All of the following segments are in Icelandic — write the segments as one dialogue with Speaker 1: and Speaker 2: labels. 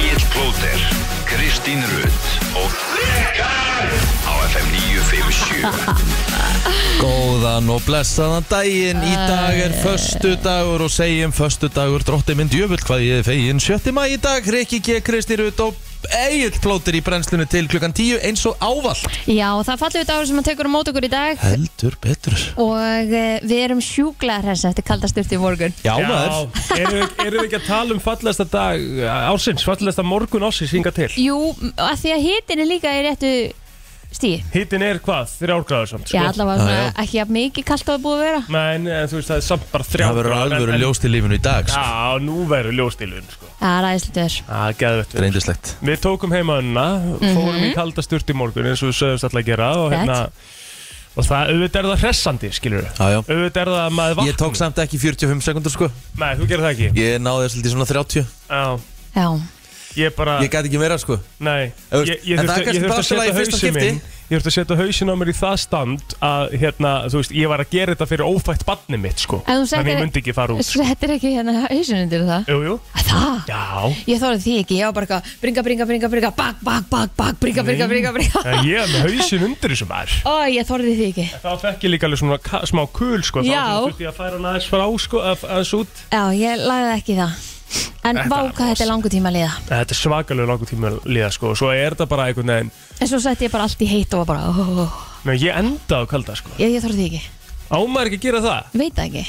Speaker 1: Blöndal Kristín Rutt og Rikar á FM 957
Speaker 2: Góðan og blessaðan daginn Í dag er föstu dagur og segjum föstu dagur Drótti minn djöfull hvað ég er fegin 7. maður í dag, Rikki G. Kristi Rut og Egil plótir í brennslunni til klukkan 10 eins og ávallt
Speaker 3: Já, það er fallegur dagur sem hann tekur á mót okkur í dag
Speaker 2: Heldur betur
Speaker 3: og eh, við erum sjúklar hess eftir kaldasturti í morgun.
Speaker 2: Já,
Speaker 4: Já,
Speaker 2: maður
Speaker 4: erum við, erum við ekki að tala um fallasta dag ásins, fallasta morgun ásins hinga til?
Speaker 3: Jú, að því að hitin er líka í réttu stíð.
Speaker 4: Hittin er hvað? Þrjárgráður samt,
Speaker 3: Já, allavega
Speaker 2: Já, já.
Speaker 3: svona ekki að mikið kalt á að búið að vera.
Speaker 4: Men, en þú veist, það er samt bara
Speaker 2: Það
Speaker 4: þrjárgráður.
Speaker 2: verður alvöru ljóst í lífinu í dag sko.
Speaker 4: Já, nú verður ljóstilun, sko.
Speaker 3: Það er aðeinslutur.
Speaker 4: Það er
Speaker 2: Það
Speaker 4: geðvett
Speaker 2: er
Speaker 4: við.
Speaker 2: reyndislegt
Speaker 4: Við tókum heimaðunna, fórum í kalda sturt í morgun eins og við sögumst alltaf að gera og
Speaker 3: Mhm. Rétt.
Speaker 4: hérna, og það, auðvitað er það hressandi, skilur við.
Speaker 2: Já, já
Speaker 4: Auðvitað er það að maður vaknar.
Speaker 2: Ég tók samt ekki 45 sekundur sko
Speaker 4: Nei, þú gerir það ekki.
Speaker 2: Ég náði þessu lítið svona 30
Speaker 4: Já,
Speaker 3: Já,
Speaker 4: ég bara,
Speaker 2: Ég gæti ekki meira sko
Speaker 4: nei,
Speaker 2: Þú veist,
Speaker 4: ég, ég
Speaker 2: en það er
Speaker 4: þurfti
Speaker 2: kannski
Speaker 4: ég þurfti
Speaker 2: bara
Speaker 4: að
Speaker 2: allt í lagi
Speaker 4: setja
Speaker 2: í fyrsta
Speaker 4: hausin
Speaker 2: skipti.
Speaker 4: minn, ég þurfti að setja hausin á mér í það stand að, hérna, þú veist, ég var að gera þetta fyrir ófætt barni mitt, sko.
Speaker 3: En þú sagðir-
Speaker 4: Þannig ég myndi ekki fara út, sko.
Speaker 3: þetta er ekki hérna hausin undir það.
Speaker 4: Jú, jú,
Speaker 3: Að það?
Speaker 4: já.
Speaker 3: Ég þorði því ekki, ég var bara eitthvað bringa, bringa, bringa, bringa, bak, bak, bak, bak, bringa, bringa, bringa, bringa.
Speaker 4: Já, Ég er með hausin undir þessum maður.
Speaker 3: Ó, ég þorði því ekki.
Speaker 4: Þá fekk ég líka alveg svona ka- smá kul sko,
Speaker 3: Já.
Speaker 4: þá þurfti ég að færa hann aðeins frá sko, að- aðeins út.
Speaker 3: Já, ég lagði ekki það. En
Speaker 4: Þetta
Speaker 3: vá
Speaker 4: er
Speaker 3: hvað þetta er langu tíma að liða.
Speaker 4: Þetta er svakalega langur tíma að liða sko, og svo er þetta bara einhvern veginn,
Speaker 3: En svo setti ég bara allt í heitt og var bara, ó, ó, ó.
Speaker 4: menn ég enda á kalda sko.
Speaker 3: Ég, ég þorði því ekki.
Speaker 4: Ámar ekki að gera það?
Speaker 3: Veit það ekki.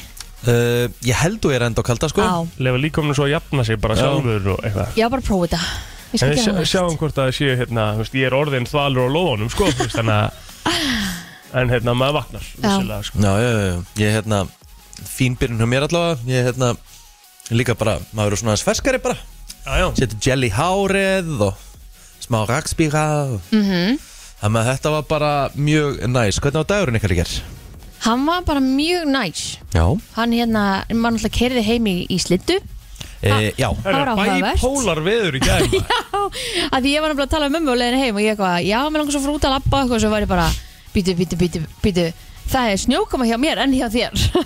Speaker 2: uh, Ég held þú er enda á kalda sko
Speaker 3: Á,
Speaker 4: Lefa líkominu svo að jafna sig bara
Speaker 2: Já.
Speaker 4: sjálfur og eitthvað.
Speaker 3: ég var bara að prófa þetta. Ég
Speaker 4: En
Speaker 3: skal
Speaker 4: við
Speaker 3: gera
Speaker 4: sjá-
Speaker 3: það.
Speaker 4: sjáum hvort að það séu hérna, þú veist, ég er orðin þvalur á lóðunum sko, þú veist, þannig að, en hérna maður vaknar, vissilega sko.
Speaker 2: Já, já, já, já. ég er hérna fín byrjun hjá mér allavega ég er hérna líka bara, maður er svona aðeins ferskari bara
Speaker 4: Já, já.
Speaker 2: setur gel í hárið og smá rakspíra og... mm -hmm. þannig að þetta var bara mjög næs hvernig á dagurinn ykkar ykkar?
Speaker 3: Hann var bara mjög næs.
Speaker 2: Já,
Speaker 3: Hann hérna, maður náttúrulega kerði heim í, í slittu.
Speaker 2: e, já.
Speaker 4: Það
Speaker 3: Það var
Speaker 4: er
Speaker 3: áhugavert.
Speaker 4: bæpólar veður í gæðum.
Speaker 3: Að því ég var náttúrulega að tala um mömmu og leiðin heim og ég eitthvað, já, mér langar svo frá út að labba og eitthvað og svo var ég bara, býtu, býtu, býtu, býtu, það er snjókama hjá mér en hjá þér.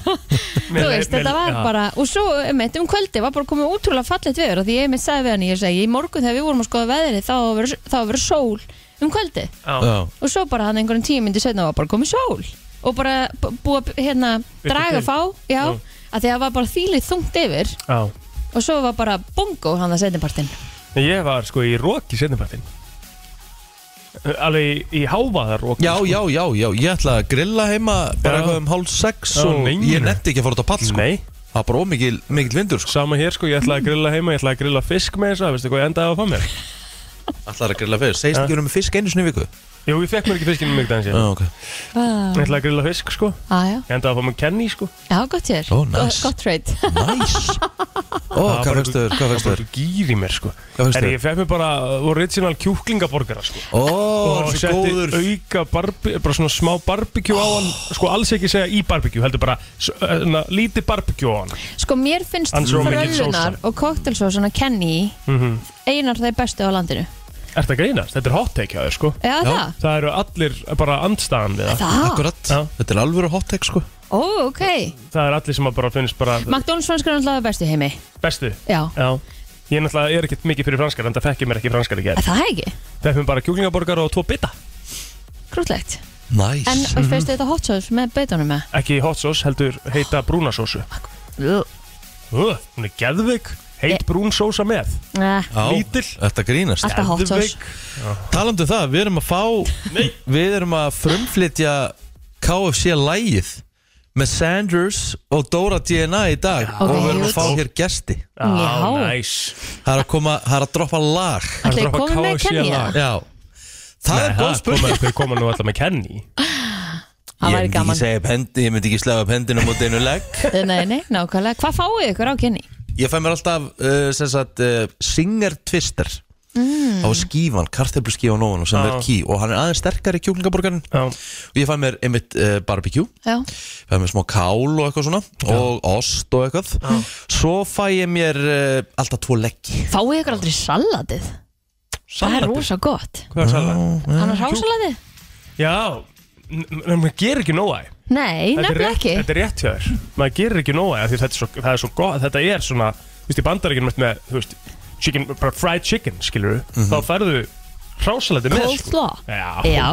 Speaker 3: Þú veist,
Speaker 4: Mér-
Speaker 3: þetta var
Speaker 4: já.
Speaker 3: bara, og svo um eitt um kvöldi var bara komið útrúlega fallet veður og því ég mitt sagði við hann, ég segi, í morgun þegar við vorum að skoða veðrið þá verður þá verður sól um kvöldi.
Speaker 4: Já.
Speaker 2: Já.
Speaker 3: og svo bara hann einhvern tíu myndi setna var bara komið sól og bara b- búið að hérna,
Speaker 4: Birtu
Speaker 3: draga
Speaker 4: til.
Speaker 3: fá já,
Speaker 4: Já.
Speaker 3: að því að það var bara þýlið þungt yfir
Speaker 4: Já.
Speaker 3: og svo var bara bongo hann að setnipartin
Speaker 4: En Ég var sko í róki setnipartin Alveg í, sko. í hávaðar róki
Speaker 2: já, já, já, já, ég ætla að grilla heima bara
Speaker 4: Já.
Speaker 2: eitthvað um hálf sex
Speaker 4: Já,
Speaker 2: og
Speaker 4: nei,
Speaker 2: ég
Speaker 4: nei.
Speaker 2: netti ekki að fara út á pall sko.
Speaker 4: Nei,
Speaker 2: það var bara ómikil mikil vindur sko.
Speaker 4: sama hér sko, ég ætlaði að grilla heima Ég ætlaði að grilla fisk með þess að, veistu hvað ég endaði á að fá mér
Speaker 2: ætlaði að grilla fyrst, segist ekki verið með fisk einu sinni í viku
Speaker 4: Jú, ég fekk mér ekki fiskinn mjög
Speaker 2: Já,
Speaker 4: daginn síðan
Speaker 2: ok,
Speaker 3: ah,
Speaker 4: Ég ætlaði að grilla fisk sko,
Speaker 3: já.
Speaker 4: ég endaði að fá mér kenni sko
Speaker 3: já, gott hér
Speaker 2: Ó, nice.
Speaker 3: gott trade
Speaker 2: næs Ó,
Speaker 4: Það var
Speaker 2: hvað
Speaker 4: bara-
Speaker 2: fyrstu þér, hvað fyrstu
Speaker 4: Það var
Speaker 2: þér?
Speaker 4: bara gýr í mér sko
Speaker 2: Hvað fékkstu
Speaker 4: En
Speaker 2: þér?
Speaker 4: ég fekk mér bara uh, original kjúklingaborgara sko
Speaker 2: Ó,
Speaker 4: Og
Speaker 2: þessi
Speaker 4: setti
Speaker 2: góður
Speaker 4: auka barbi, bara svona smá barbekjú á hann Sko alls ekki segja í barbekjú, heldur bara s- svona Lítið barbekjú á hann
Speaker 3: sko mér finnst
Speaker 4: Hans Róman Gil
Speaker 3: frölunar og koktelsósan að kenni
Speaker 4: Mhm.
Speaker 3: einar þeir bestu á landinu
Speaker 4: Ertu að grínast? Þetta er hot take hjá þér sko
Speaker 3: já,
Speaker 2: Já.
Speaker 3: það,
Speaker 4: Það eru allir bara andstæðan við það
Speaker 3: það,
Speaker 2: Akkurat,
Speaker 4: Já.
Speaker 2: þetta er alvöru hot take sko
Speaker 3: ó, ok
Speaker 4: Það er allir sem að bara finnst bara
Speaker 3: McDonalds franskur er alltaf bestu heimi
Speaker 4: bestu
Speaker 3: já,
Speaker 4: Já Ég náttúrulega er ekkert mikið fyrir franskar en það fekk ég mér ekki franskar í
Speaker 3: að
Speaker 4: gerð
Speaker 3: það er ekki
Speaker 4: Fekk mér bara kjúklingaborgar og tvo bita
Speaker 3: krútlegt
Speaker 2: Næs
Speaker 3: en mm finnst þetta hot sauce með beitunum með
Speaker 4: Ekki hot sauce, heldur heita brúna sósu uh, Hún er geðvig Heit brún sósa með
Speaker 3: eh,
Speaker 2: Já,
Speaker 4: Lítil.
Speaker 2: Þetta grínast
Speaker 3: alltaf hot sauce
Speaker 4: Geðveik.
Speaker 2: Talandu það, við erum að fá Við erum að frumflytja KFC lægið Með Sanders og Dóra DNA í dag
Speaker 3: Ok,
Speaker 2: Og við erum að
Speaker 3: huge.
Speaker 2: fá hér gesti
Speaker 4: Á,
Speaker 3: Já.
Speaker 4: næs
Speaker 2: Það er að koma, það er að droppa lag
Speaker 3: Ætli
Speaker 4: Það er að droppa
Speaker 3: komið með
Speaker 4: KFC
Speaker 3: Kenny,
Speaker 4: lag.
Speaker 2: Já Það
Speaker 4: Nei,
Speaker 2: er
Speaker 4: ha,
Speaker 2: góð spurning
Speaker 4: koma- Þau koma nú alltaf með Kenny
Speaker 3: Það
Speaker 2: Ég
Speaker 3: væri
Speaker 2: myndi ekki
Speaker 3: gaman.
Speaker 2: segja upp hendi, ég myndi ekki slega upp hendinu Mót einu legg
Speaker 3: Nei, nei, nákvæmlega. Hvað fáið ykkur á kynni?
Speaker 2: Ég fæ mér alltaf uh, sem sagt, uh, Singer Twister mm. á skífan, kartöflu skífan ofan og sem
Speaker 4: Já.
Speaker 2: er ký og hann er aðeins sterkari kjúklingaborgarinn
Speaker 4: Já.
Speaker 2: og ég fæ mér einmitt uh, barbecue
Speaker 3: Já.
Speaker 2: fæ mér smá kál og eitthvað svona og ost og eitthvað svo fæ ég mér uh, alltaf tvo leggi
Speaker 3: Fáið ykkur aldrei salatið? Það er
Speaker 4: Salatið?
Speaker 3: rosa gott.
Speaker 4: Hvað er salat?
Speaker 3: Hann er rásalatið?
Speaker 4: Já N- En maður gerir ekki nóæ
Speaker 3: Nei,
Speaker 4: Þetta er
Speaker 3: nefnilega
Speaker 4: rétt-
Speaker 3: ekki.
Speaker 4: Þetta er rétt hjá þér Maður gerir ekki nóga því þetta er svo, það er svo gott Þetta er svona Þú veist, í bandaríkjum með, með Þú veist chicken, bara fried chicken, skilur þá færðu hrásalæti með sko.
Speaker 3: Coleslaw
Speaker 4: Já.
Speaker 3: Já,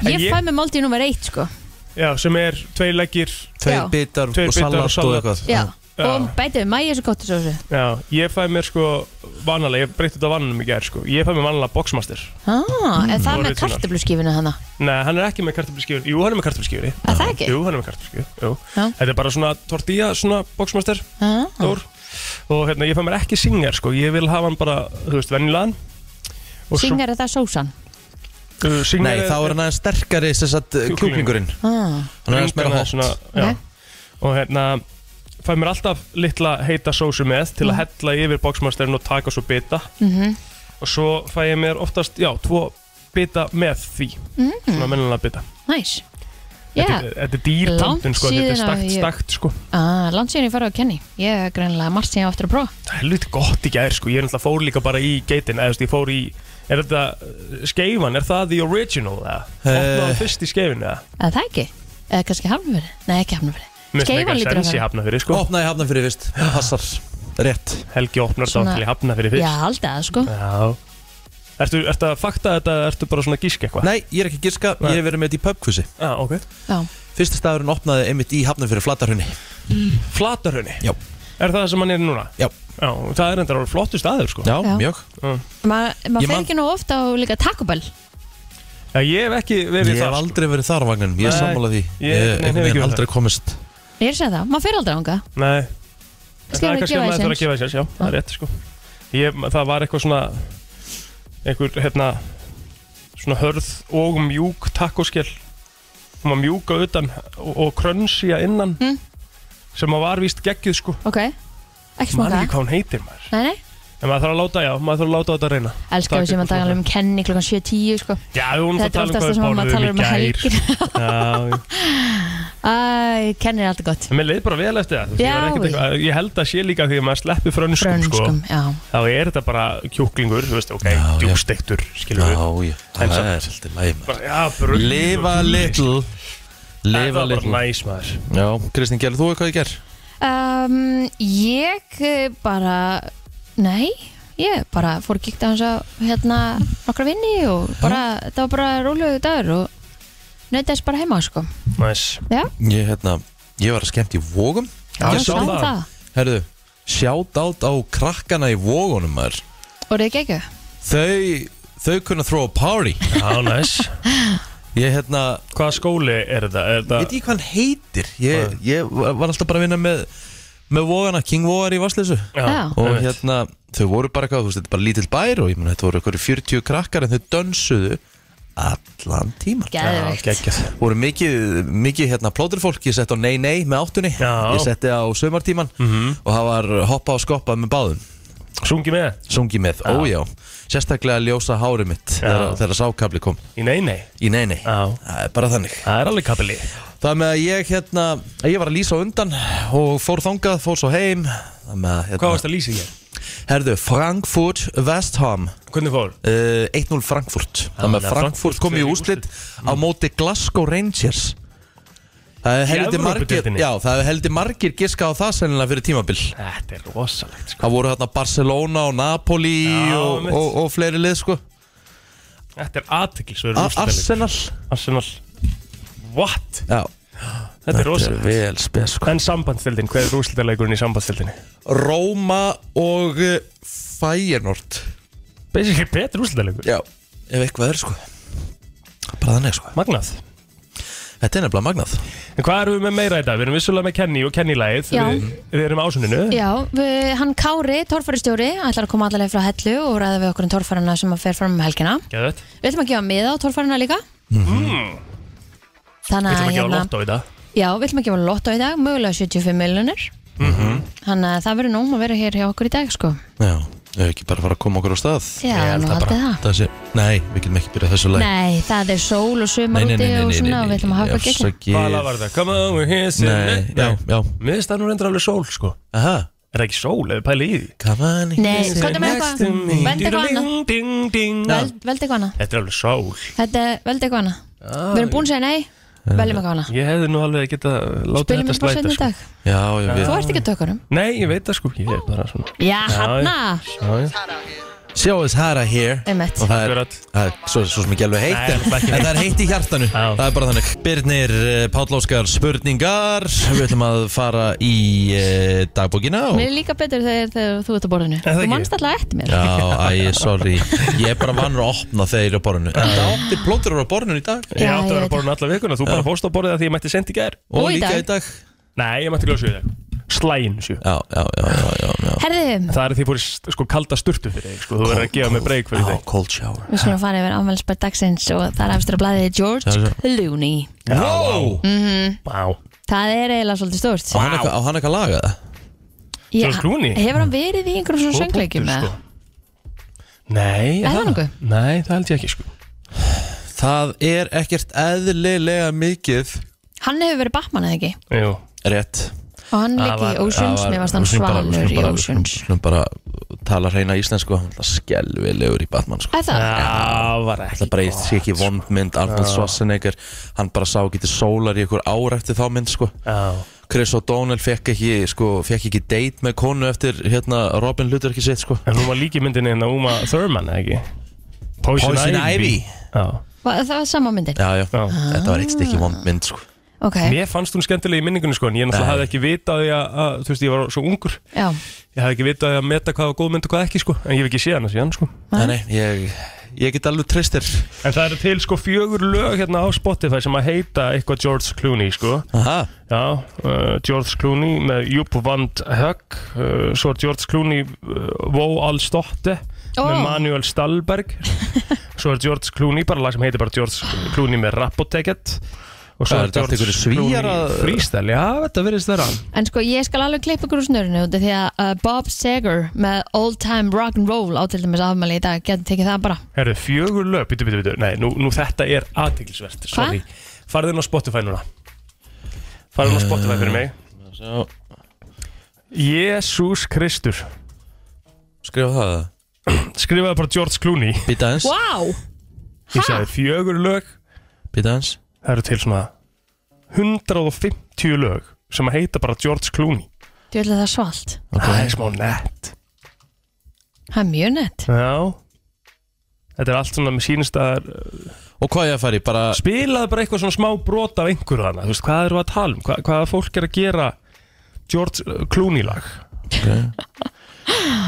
Speaker 4: En
Speaker 3: ég,
Speaker 4: ég-
Speaker 3: fæ mér máltíð nummer eitt sko
Speaker 4: Já, sem er tvei leggir
Speaker 2: Tveir
Speaker 3: Já.
Speaker 2: bitar
Speaker 4: Tveir
Speaker 2: og
Speaker 4: bitar og
Speaker 2: salat og
Speaker 4: salat.
Speaker 2: eitthvað
Speaker 3: Já,
Speaker 4: Já.
Speaker 3: og bætið við mæja svo gott þessu
Speaker 4: Já, ég fæ mér sko vanalega, ég breytti þetta vananum í gær sko Ég fæ mér vanalega boxmaster
Speaker 3: ah, En það með
Speaker 4: Original.
Speaker 3: kartöfluskifinu hana
Speaker 4: Nei, hann er ekki með kartöfluskjöfun Jú, hann er með kartöfluskjöfun
Speaker 3: Er það ekki?
Speaker 4: Jú, hann er með kartöfluskjöfun
Speaker 3: Já.
Speaker 4: Þetta er bara svona tortilla, svona boxmaster
Speaker 3: ah,
Speaker 4: Dór Og hérna, ég fæ mér ekki singar sko Ég vil hafa hann bara, þú veist, venjulegan Og svo-
Speaker 3: Syngar er það sósan
Speaker 4: uh, Singer
Speaker 2: Nei, þá er hann aðeins sterkari sem sagt eh, kjúklingurinn
Speaker 3: ah,
Speaker 2: Hann er aðeins meira
Speaker 4: Bringan er
Speaker 2: hot
Speaker 4: svona- já.
Speaker 3: Ok.
Speaker 4: Og hérna Fæ mér alltaf litla heita sósu með Til að hella yfir boxmasterin og taka svo bita
Speaker 3: Mm. mhm.
Speaker 4: Og svo fæ ég mér oftast, já, tvo bita með því Svona mennilega bita
Speaker 3: Næs Mm. Já,
Speaker 4: Þetta er- þetta er dýr
Speaker 3: Langt
Speaker 4: pöntun sko, þetta er
Speaker 3: síðan að
Speaker 4: stakt,
Speaker 3: ég-
Speaker 4: stakt sko
Speaker 3: ah, landsíðan ég farið á Kenny Ég er greinilega margt sem ég á eftir að prófa
Speaker 4: Það er helviti gott í gær sko, ég er náttúrulega fór líka bara í geitin eða þú veist, ég fór í, er þetta uh, skeifan, er það the original eða?
Speaker 2: Eh.
Speaker 4: Opnaðan fyrst í skeifinu eða?
Speaker 3: Er það ekki? Eða kannski hafnafyrir? Nei, ekki hafnafyrir Skeifan lítur að
Speaker 4: að vera
Speaker 3: fara
Speaker 4: hafna fyrir sko,
Speaker 2: Opnaði hafna fyrir vist, passar Rétt
Speaker 4: Helgi opnar
Speaker 3: Svona-
Speaker 4: þá til í hafna fyrir
Speaker 3: Já,
Speaker 4: fyrst
Speaker 3: haldið að sko
Speaker 4: Já Ertu, ertu að fakta þetta, eða ertu bara svona að gíska eitthvað?
Speaker 2: Nei, ég er ekki að giska,
Speaker 4: Nei.
Speaker 2: ég hef verið með þetta í pubquizi
Speaker 4: Já, ah, ok
Speaker 3: Já,
Speaker 2: Fyrsti staðurinn opnaði einmitt í hafna fyrir flatarhunni
Speaker 4: Flatarhunni,
Speaker 2: Já,
Speaker 4: er það sem hann er núna?
Speaker 2: já,
Speaker 4: Já, það er enda alveg flottu staður sko
Speaker 2: já,
Speaker 3: Já.
Speaker 2: mjög
Speaker 3: Ma- maður
Speaker 2: Ég
Speaker 3: fer
Speaker 2: man-
Speaker 3: ekki nú ofta á líka Taco Bell
Speaker 4: Já, ég hef ekki verið
Speaker 2: Ég hef
Speaker 4: það sko.
Speaker 2: aldrei verið þar á vagnin, ég er
Speaker 4: Nei,
Speaker 2: sammála því
Speaker 4: ég-
Speaker 2: Ég
Speaker 4: nei,
Speaker 2: einhvern
Speaker 4: hef ekki
Speaker 2: veginn
Speaker 4: verið
Speaker 2: aldrei komist
Speaker 3: Ég er að segja það, maður fer aldrei ánga
Speaker 4: Nei, En
Speaker 3: Kannski
Speaker 4: það er
Speaker 3: að
Speaker 4: kannski
Speaker 3: gefa
Speaker 4: að
Speaker 3: því
Speaker 4: maður þarf að
Speaker 3: séns.
Speaker 4: gefa þess já, það er rétt sko ég, það var eitthvað svona einhver hérna svona hörð og mjúk takkoskjel hún var mjúk á utan og, og krönsi að innan
Speaker 3: Mm.
Speaker 4: sem að var víst geggjuð sko
Speaker 3: Ok, ekki
Speaker 4: maður
Speaker 3: smaka
Speaker 4: ekki hvað hún heitir maður
Speaker 3: Nei, nei,
Speaker 4: en maður þarf að láta, já, maður þarf að láta þetta reyna
Speaker 3: elskar
Speaker 4: Takk
Speaker 3: við sem
Speaker 4: fyrir
Speaker 3: að tala um Kenny klokkan 7.10 sko
Speaker 4: já, við vorum
Speaker 3: Þetta er
Speaker 4: að
Speaker 3: oftast það
Speaker 4: tala
Speaker 3: sem
Speaker 4: um hvað
Speaker 3: maður
Speaker 4: við
Speaker 3: talar um að
Speaker 4: borðum í
Speaker 3: helgir
Speaker 4: gær já, já.
Speaker 3: Æ, Kenny er alltaf gott
Speaker 4: en mér leið bara vel eftir það þú veist, ég,
Speaker 3: Já,
Speaker 4: var ekkert
Speaker 3: já.
Speaker 4: eitthvað- ég held að sé líka því að maður sleppi frönskum,
Speaker 3: Frönskum, já
Speaker 4: sko, þá er þetta bara kjúklingur, þú veist, ok,
Speaker 2: Já, já.
Speaker 4: djúbstektur skilur
Speaker 2: Já,
Speaker 4: við,
Speaker 2: já,
Speaker 4: En
Speaker 2: það
Speaker 4: samt-
Speaker 2: er alltaf læg
Speaker 4: bara, já, brull
Speaker 2: Lifa little Lifa
Speaker 4: Það var bara
Speaker 2: little
Speaker 4: næs maður
Speaker 2: Já, Kristín, gerðu þú eitthvað í ger?
Speaker 3: um, Ég eh, bara, nei Ég bara fór að kíkta hans á hérna nokkra vinni og bara, þetta var bara rólegu dagur og nöytast bara heima sko
Speaker 4: Næs
Speaker 3: Já,
Speaker 2: Ég, hérna, ég var að skemmt í vógum
Speaker 4: Já,
Speaker 3: ég
Speaker 4: ég sá það.
Speaker 2: Herðu, sjátt átt á krakkana í vógunum maður
Speaker 3: Og það gekk
Speaker 2: Þau, þau kunna throw a party
Speaker 4: Já, næs
Speaker 2: Ég hérna,
Speaker 4: Hvaða skóli er þetta? Er
Speaker 2: veit
Speaker 4: þetta
Speaker 2: ekki hvað hann heitir Ég, ég var var alltaf bara að vinna með með vógana, King Vógar í Vassleysu
Speaker 3: Já.
Speaker 2: og
Speaker 4: einmitt.
Speaker 2: hérna, þau voru bara eitthvað, þú veist, þetta er bara lítill bær og ég mun þetta voru eitthvað 40 krakkar en þau dönsuðu allan tíman
Speaker 4: Já,
Speaker 3: Geðveikt
Speaker 4: geggjað
Speaker 2: voru mikið, mikið hérna plóturfólk ég setti á Nei Nei með áttunni
Speaker 4: Já. Mhm.
Speaker 2: ég setti á sömartíman og það var hoppa og skoppa með báðum
Speaker 4: Sungi með
Speaker 2: sungi með,
Speaker 4: Já.
Speaker 2: ójá sérstaklega ljósa hári mitt
Speaker 4: Já.
Speaker 2: þegar, þegar sákabli kom
Speaker 4: Í nei, nei
Speaker 2: í Nei Nei,
Speaker 4: Já.
Speaker 2: það er bara þannig
Speaker 4: Það er alveg kapili
Speaker 2: það með að ég hérna, ég var að lýsa á undan og fór þangað, fór svo heim það með að,
Speaker 4: Hvað varst
Speaker 2: hérna,
Speaker 4: að lýsa hér?
Speaker 2: herðu, Frankfurt West Ham
Speaker 4: Hvernig fór?
Speaker 2: uh, 1-0 Frankfurt þannig
Speaker 4: Já, þannig
Speaker 2: að
Speaker 4: að
Speaker 2: Frankfurt kom í Mm.
Speaker 4: fer í
Speaker 2: úslit á móti Glasgow Rangers Það er heldur margir,
Speaker 4: Evrópudeildinni?
Speaker 2: já, það er heldur margir giska á það sennilega fyrir tímabil
Speaker 4: Þetta er rosalegt sko
Speaker 2: Það voru hérna Barcelona og Napoli
Speaker 4: Já,
Speaker 2: og,
Speaker 4: mitt.
Speaker 2: og, og fleiri lið sko
Speaker 4: Þetta er aðtiklisverður
Speaker 2: A- Arsenal
Speaker 4: Arsenal What?
Speaker 2: Já,
Speaker 4: Þetta er rosalegt
Speaker 2: vel spes sko
Speaker 4: En sambandstildin, hver er úrslitaleikurinn í sambandstildinni?
Speaker 2: Róma og uh, Feyenoord
Speaker 4: Basically betur úrslitaleikur
Speaker 2: Já Ef eitthvað er sko Bara þannig sko
Speaker 4: Magnað
Speaker 2: Þetta er nefnilega magnað
Speaker 4: En hvað erum við með meira í dag? Við erum vissulega með Kenny og Kenny-lægið
Speaker 3: Já.
Speaker 4: við, við erum ásuninu
Speaker 3: Já, við, hann Kári, torfæristjóri, ætlar að koma allavega frá Hellu og ræða við okkur um torfærana sem að fer fram um helgina.
Speaker 4: Geðvett
Speaker 3: Við ætlum að gefa miða á torfærana líka.
Speaker 4: Við
Speaker 3: Þannig að,
Speaker 4: Mhm. ætlum að gefa
Speaker 3: hérna,
Speaker 4: lott á í dag
Speaker 3: já, við ætlum að gefa lotto í dag, mögulega 75 miljonir.
Speaker 4: Mhm.
Speaker 3: Þannig að það verður nóm að vera hér hjá okkur í dag, sko.
Speaker 2: Já, ef ekki bara fara að koma okkur á stað
Speaker 3: Já,
Speaker 4: Ég held
Speaker 3: nú
Speaker 4: það
Speaker 3: haldið það.
Speaker 2: Það sé, nei, við getum ekki byrjað þessu lag
Speaker 3: Nei, það er sól og sumar úti og svona og við ætlum að hafa okkur gegn.
Speaker 4: Hvaða lag var þetta? Come on, we're here
Speaker 2: Nei, já, já
Speaker 4: Mér finnst það nú reyndar alveg sól, sko
Speaker 2: Aha,
Speaker 4: Er það ekki sól, ef við pæli í því?
Speaker 2: come on
Speaker 3: Nei, sko, komdu með
Speaker 4: Next to
Speaker 3: eitthvað,
Speaker 4: me.
Speaker 3: veldi eitthvað annað,
Speaker 4: Ding, ding, ding.
Speaker 3: Vel- veldu eitthvað annað,
Speaker 4: Þetta er alveg sól
Speaker 3: þetta er veldu eitthvað annað. Við erum búin að segja nei, veljum eitthvað hana
Speaker 4: Ég hefði nú alveg að geta látið
Speaker 3: Byrjum
Speaker 4: þetta
Speaker 3: við bara
Speaker 4: slæta
Speaker 3: setna í
Speaker 4: sko.
Speaker 3: dag
Speaker 2: Já, ég
Speaker 3: Þú
Speaker 2: veit
Speaker 3: ert ekki að tökunum
Speaker 4: Nei, ég veit það sko, ég er bara svona
Speaker 3: Já, hanna
Speaker 4: Já, já.
Speaker 2: Show us Hara here
Speaker 3: Einmitt.
Speaker 2: Og það er,
Speaker 4: Akkurat.
Speaker 2: það er svo, svo sem ekki alveg heitt
Speaker 4: Nei,
Speaker 2: en,
Speaker 4: það er ekki
Speaker 2: en það er heitt í hjartanu
Speaker 4: Já.
Speaker 2: Það er bara þannig Birnir eh, Páll Óskar spurningar Við ætlum að fara í eh, dagbókina og
Speaker 3: Mér er líka betur þegar, þegar þú ert á borðinu
Speaker 4: það
Speaker 3: Þú
Speaker 4: ekki?
Speaker 3: manst alltaf eftir mér
Speaker 2: Já, æ, sorry Ég er bara vannur að opna þeir á borðinu En það átti plótur á borðinu í dag
Speaker 4: Ég
Speaker 3: Já, ég
Speaker 4: átti að
Speaker 3: veit
Speaker 4: vera að borða alla vikuna, þú bara fórst á borðið að því ég mætti sendi í gær
Speaker 2: Og,
Speaker 3: Og í
Speaker 2: líka
Speaker 3: dag.
Speaker 2: í dag
Speaker 4: Nei, ég mætti glóð sjö í dag Slæin sjö
Speaker 2: Já, já, já, já, já, já.
Speaker 3: Herðu,
Speaker 4: Það er því fór í st- sko kalda sturtu fyrir þig sko, þú verður að gefa mig breyk fyrir
Speaker 2: Já,
Speaker 4: þig
Speaker 2: cold shower
Speaker 3: við skulum fara yfir afmælisbær dagsins og það er efstur að blæði George
Speaker 2: Já, já.
Speaker 3: Clooney
Speaker 2: Wow
Speaker 4: Vá,
Speaker 3: Það er eiginlega svolítið stórt
Speaker 2: Á hann eitthvað- á hann eitthvað lagað?
Speaker 3: Já,
Speaker 4: George Clooney?
Speaker 3: Hefur hann verið í einhverjum svona
Speaker 4: góð
Speaker 3: söngleikjum
Speaker 4: punktur,
Speaker 3: eða?
Speaker 4: sko. Nei,
Speaker 3: Er það nokkuð?
Speaker 4: Nei, það held ég ekki sko
Speaker 2: Það er ekkert eðlilega mikið
Speaker 3: Hann hefur verið Batman eða ekki
Speaker 4: Jú,
Speaker 2: Rétt
Speaker 3: Og hann
Speaker 4: Það
Speaker 3: líki í
Speaker 4: var-
Speaker 3: Oceans,
Speaker 2: Það var-
Speaker 3: mér varst hann
Speaker 2: við skulum bara- við
Speaker 3: svalur
Speaker 2: skulum
Speaker 3: í
Speaker 2: bara-
Speaker 3: Oceans
Speaker 2: Við skulum bara tala hreina íslensku Hann er skelvilegur í Batman sko
Speaker 3: Er Það
Speaker 4: það var ekki
Speaker 2: Það bara eitt sé ekki vond
Speaker 3: sko.
Speaker 2: mynd Arnold Schwarzenegger Hann bara sá ekki til sólar í ykkur ár eftir þá mynd sko
Speaker 4: Já,
Speaker 2: Chris O'Donnell fekk ekki, sko, fekk ekki date með konu eftir hérna, Robin Luther ekki sitt sko.
Speaker 4: en hún var líki myndinni en að Uma Thurman, eða ekki Poison,
Speaker 2: Poison Ivy.
Speaker 4: Já.
Speaker 3: Var- það var sama myndin
Speaker 2: já, já.
Speaker 4: Já.
Speaker 2: þetta var eitt
Speaker 3: Ah.
Speaker 2: stykki vond mynd sko.
Speaker 3: Ok,
Speaker 4: Mér fannst hún skemmtileg í minningunni sko en ég náttúrulega hafði ekki vitað því að, að, þú veist, ég var svo ungur
Speaker 3: já
Speaker 4: Ég hafði ekki vitað því að meta hvað var góð mynd og hvað ekki sko en ég hef ekki séð hana síðan sko
Speaker 2: Nei, nei, ég, ég get alveg tristir
Speaker 4: En það eru til sko fjögur lög hérna á Spotify sem að heita eitthvað George Clooney sko
Speaker 2: Aha,
Speaker 4: Já, uh, George Clooney með Jupp Vand Högg uh, Svo er George Clooney uh, Vó Allstótte með
Speaker 3: Ó.
Speaker 4: Manuel Stalberg Svo er George Clooney, bara lag sem heitir bara George Clooney með Rappoteket Og svo
Speaker 2: Það
Speaker 4: er
Speaker 2: eru þetta allt
Speaker 4: George
Speaker 2: einhverjir svíjar að-
Speaker 4: Clooney freestyle Já, þetta verðist þeirra
Speaker 3: En sko, ég skal alveg klippa ykkur úr snörinu út af því að uh, Bob Seger með Old Time Rock'n'Roll á til dæmis afmæli í dag getur tekið það bara
Speaker 4: Herðu, fjögur lög, bitu, bitu, bitu Nei, nú, nú þetta er aðtiklisvert Farðin á Spotify núna Farðin á Spotify fyrir mig
Speaker 2: Sjá,
Speaker 4: Jésús Kristur
Speaker 2: skrifa það
Speaker 4: Skrifaði bara George Clooney
Speaker 2: Býta eins,
Speaker 3: Wow!
Speaker 4: Ég sagði fjögur lög
Speaker 2: býta eins
Speaker 4: það eru til svona 150 lög sem að heita bara George Clooney
Speaker 3: Þú ætla það er svalt
Speaker 4: það er smá nett
Speaker 3: Það er mjög nett
Speaker 4: já þetta er allt svona með sínist að
Speaker 2: Og hvað ég að fara í, bara
Speaker 4: spilaði bara eitthvað svona smá brot af einhverju hana, þú veist, hvað eru að tala um Hva, hvaða fólk er að gera George uh, Clooney lag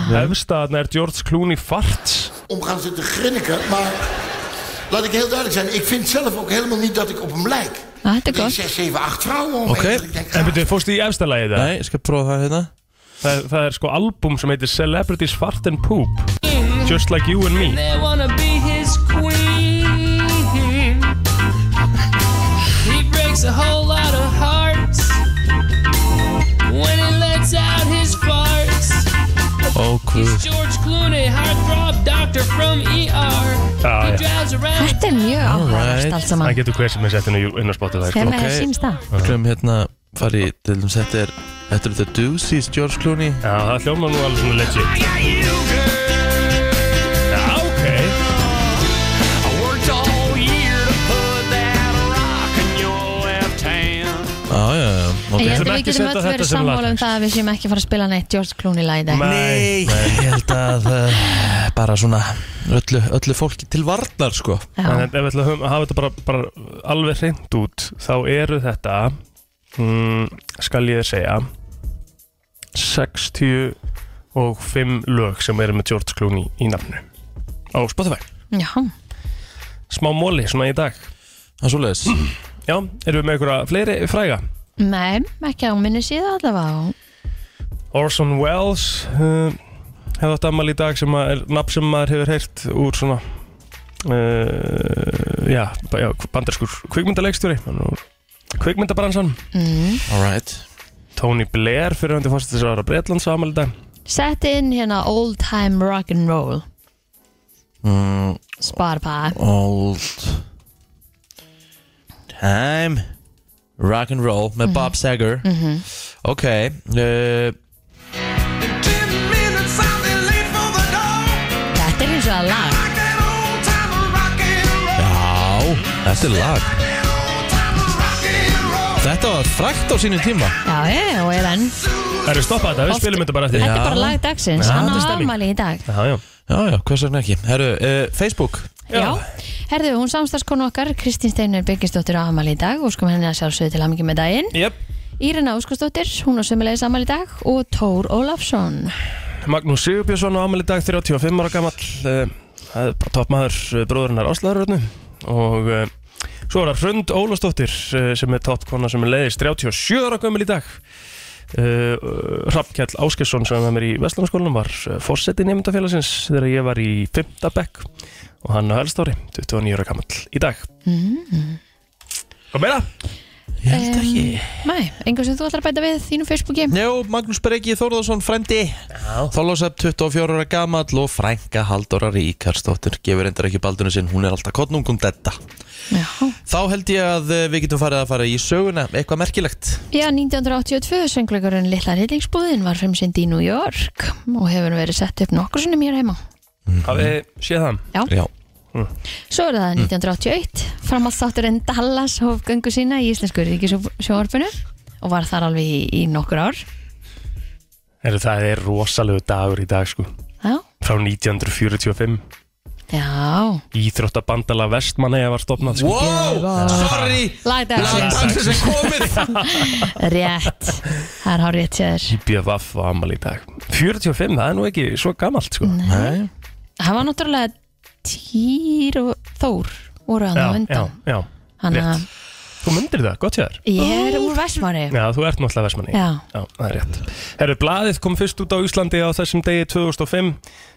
Speaker 4: okay. efstaðna er George Clooney farts
Speaker 5: om gaan zitten grinniken. Maar laat ik heel duidelijk zijn. Ik vind zelf ook helemaal niet dat ik op hem lijk.
Speaker 3: Ah, Þetta er
Speaker 5: Er
Speaker 3: gott
Speaker 5: zijn 6, 7, 8 vrouwen om
Speaker 2: Oké.
Speaker 5: me heen. Ik denk,
Speaker 4: en
Speaker 5: ah,
Speaker 4: betur, fórstu í efsta lagi það?
Speaker 2: Nei, ég skal prófa það hérna
Speaker 4: það það er sko album sem heitir Celebrities Fart and Poop Just Like You and Me
Speaker 6: They wanna be his queen. He breaks a whole lot of hearts when he lets out his farts.
Speaker 2: Ó,
Speaker 6: He's
Speaker 2: hvað
Speaker 6: George Clooney, heartthrob doctor from ER.
Speaker 4: ah,
Speaker 6: He
Speaker 4: ja.
Speaker 6: drives around.
Speaker 3: Þetta er mjög áhverjast
Speaker 2: Alright.
Speaker 3: allt saman
Speaker 4: það getur hver sem er sett inn á- inn á Spotify sko.
Speaker 3: Þegar með það
Speaker 2: ok.
Speaker 3: sínst það
Speaker 2: Skulum hérna fara í, til dæmis þetta er Þetta er The Doozies, George Clooney
Speaker 4: Já, það hljóma nú alveg svona legit Já, ok
Speaker 2: Já, já, já,
Speaker 3: En
Speaker 2: ok
Speaker 3: ég held að við
Speaker 4: ætlum ekki
Speaker 3: getum
Speaker 4: setja
Speaker 3: öll
Speaker 4: þetta
Speaker 3: verið
Speaker 4: sem lag
Speaker 3: sammála um
Speaker 4: dagsins.
Speaker 3: það að við séum ekki að fara að spila neitt George Clooney lag í dag
Speaker 2: Nei, ég held að uh, bara svona öllu, öllu fólki til varnar sko
Speaker 4: En
Speaker 3: Já.
Speaker 4: ef við ætlum að hafa þetta bara, bara alveg hreint út þá eru þetta mm, skal ég segja 65 lög sem eru með George Clooney í nafnu á Spotify
Speaker 3: Já,
Speaker 4: Smá móli svona í dag
Speaker 2: Það er svoleiðis
Speaker 4: Já, erum við með einhverja fleiri fræga
Speaker 3: nei, ekki á minni síða allavega
Speaker 4: Orson Welles uh, hefði átt ammali í dag sem að er nafn sem maður hefur heyrt úr svona uh, já, ba- já bandarskur kvikmyndaleikstjóri hann er úr kvikmyndabransan
Speaker 3: mm.
Speaker 2: Alright
Speaker 4: Tony Blair fyrir hundi fórst þess að ára Breitlands ammali í dag
Speaker 3: Sett inn hérna Old Time Rock'n'Roll
Speaker 2: mm,
Speaker 3: Sparpa
Speaker 2: Old Time Rock'n'roll með Bob Seger Ok uh,
Speaker 3: Þetta er eins og að lag
Speaker 2: Já, þetta er lag var frækt á sínum tíma
Speaker 3: Já, ég, og ég venn
Speaker 4: Það eru stoppað þetta, við
Speaker 3: Oft-
Speaker 4: spilum þetta bara eftir
Speaker 3: Þetta er
Speaker 2: Já.
Speaker 3: bara lag dagsins,
Speaker 2: Já,
Speaker 3: hann á
Speaker 4: þetta er stemning.
Speaker 3: afmæli í dag
Speaker 4: Já, já
Speaker 2: Já, já, hvers vegna ekki Herru, uh, Facebook
Speaker 3: Já, herðu, hún samstagskonu okkar Kristín Steinar Byrgisdóttir á afmæli í dag og skum henni að sjálfsögðu til hamingi með daginn
Speaker 4: Jep,
Speaker 3: Írina Óskarsdóttir, hún á sömulegis afmæli í dag og Tór Ólafsson
Speaker 4: Magnús Sigurbjörnsson á amal í dag 35 ára gammal uh, Það er bara toppmaður uh, bróðurinnar Áslaðurörnu Og uh, svo er það Hrund Ólafsdóttir uh, sem er toppkona sem er leiðist 37 ára gammal í dag uh, Hrafnkjall Áskesson sem er með mér í Vestlandskólanum var uh, fórsetið nefndafélagsins þegar ég var í 5. bekk Og hann á Elstóri, 29 ára gammal í dag mm. Og meira?
Speaker 2: Ég held ekki
Speaker 3: Nei, einhver sem þú ætlar að bæta við þínu Facebooki
Speaker 2: Jó, Magnús Breki Þórðarsson, frændi Þólósepp, 24 ára gamall og frænga Haldóra Ríkarsdóttir gefur endur ekki baldunum sinn, hún er alltaf kottnungum detta
Speaker 3: Já,
Speaker 2: Þá held ég að eh, við getum farið að fara í söguna eitthvað merkilegt
Speaker 3: Já 1982 söngleikurinn Lilla Rillingsbúðin var frumsynd í New York og hefur verið sett upp nokkur sinnum hér heima
Speaker 4: Hafið þið séð það?
Speaker 2: Já,
Speaker 3: Svo er
Speaker 4: Mm.
Speaker 3: það 1981 framhaldstátturinn Dallas hóf göngu sína í Íslensku ríkisjónvarpinu og var þar alveg í, í nokkur ár
Speaker 4: Heyrðu, Það er rosalegu dagur í dag sko
Speaker 3: Já,
Speaker 4: Frá 1945
Speaker 3: já
Speaker 4: Íþróttabandala Vestmanneja var stopnað sko.
Speaker 2: Wow, sorry
Speaker 3: Lagdagsins,
Speaker 2: Dagsins er komið
Speaker 3: rétt Það er hár rétt sér
Speaker 4: IBFF var amal í dag 45, það er nú ekki svo gamalt sko.
Speaker 2: Nei,
Speaker 3: Það var náttúrulega Týr og Þór voru hann á
Speaker 4: já, já,
Speaker 3: undan
Speaker 4: já.
Speaker 3: Þannig að
Speaker 4: rétt. Þú myndir það, gott hjá þér
Speaker 3: ég er úr Vestmanni
Speaker 4: Já, þú ert náttúrulega Vestmanni
Speaker 3: Já.
Speaker 4: það er rétt Herru, blaðið kom fyrst út á Íslandi á þessum degi 2005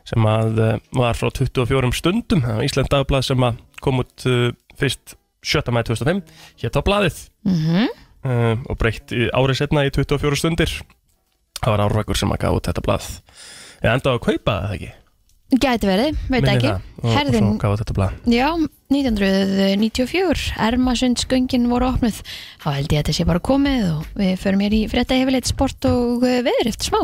Speaker 4: sem að uh, var frá 24 stundum Það var Ísland dagblað sem að kom út uh, fyrst 7. mæði 2005 hér á blaðið
Speaker 3: mm
Speaker 4: uh, og breytt í- árið setna í 24 stundir það var árvakur sem að gaf út þetta blað ég endaði að kaupa það ekki
Speaker 3: Gæti verið, veit
Speaker 4: Minni
Speaker 3: ekki
Speaker 4: það. og,
Speaker 3: Herðin,
Speaker 4: og svo gaf út þetta blað
Speaker 3: já, 1994 Ermasundsgöngin voru opnuð Þá held ég að þetta sé bara komið og við förum hér í frétta hefilegt sport og uh, veður eftir smá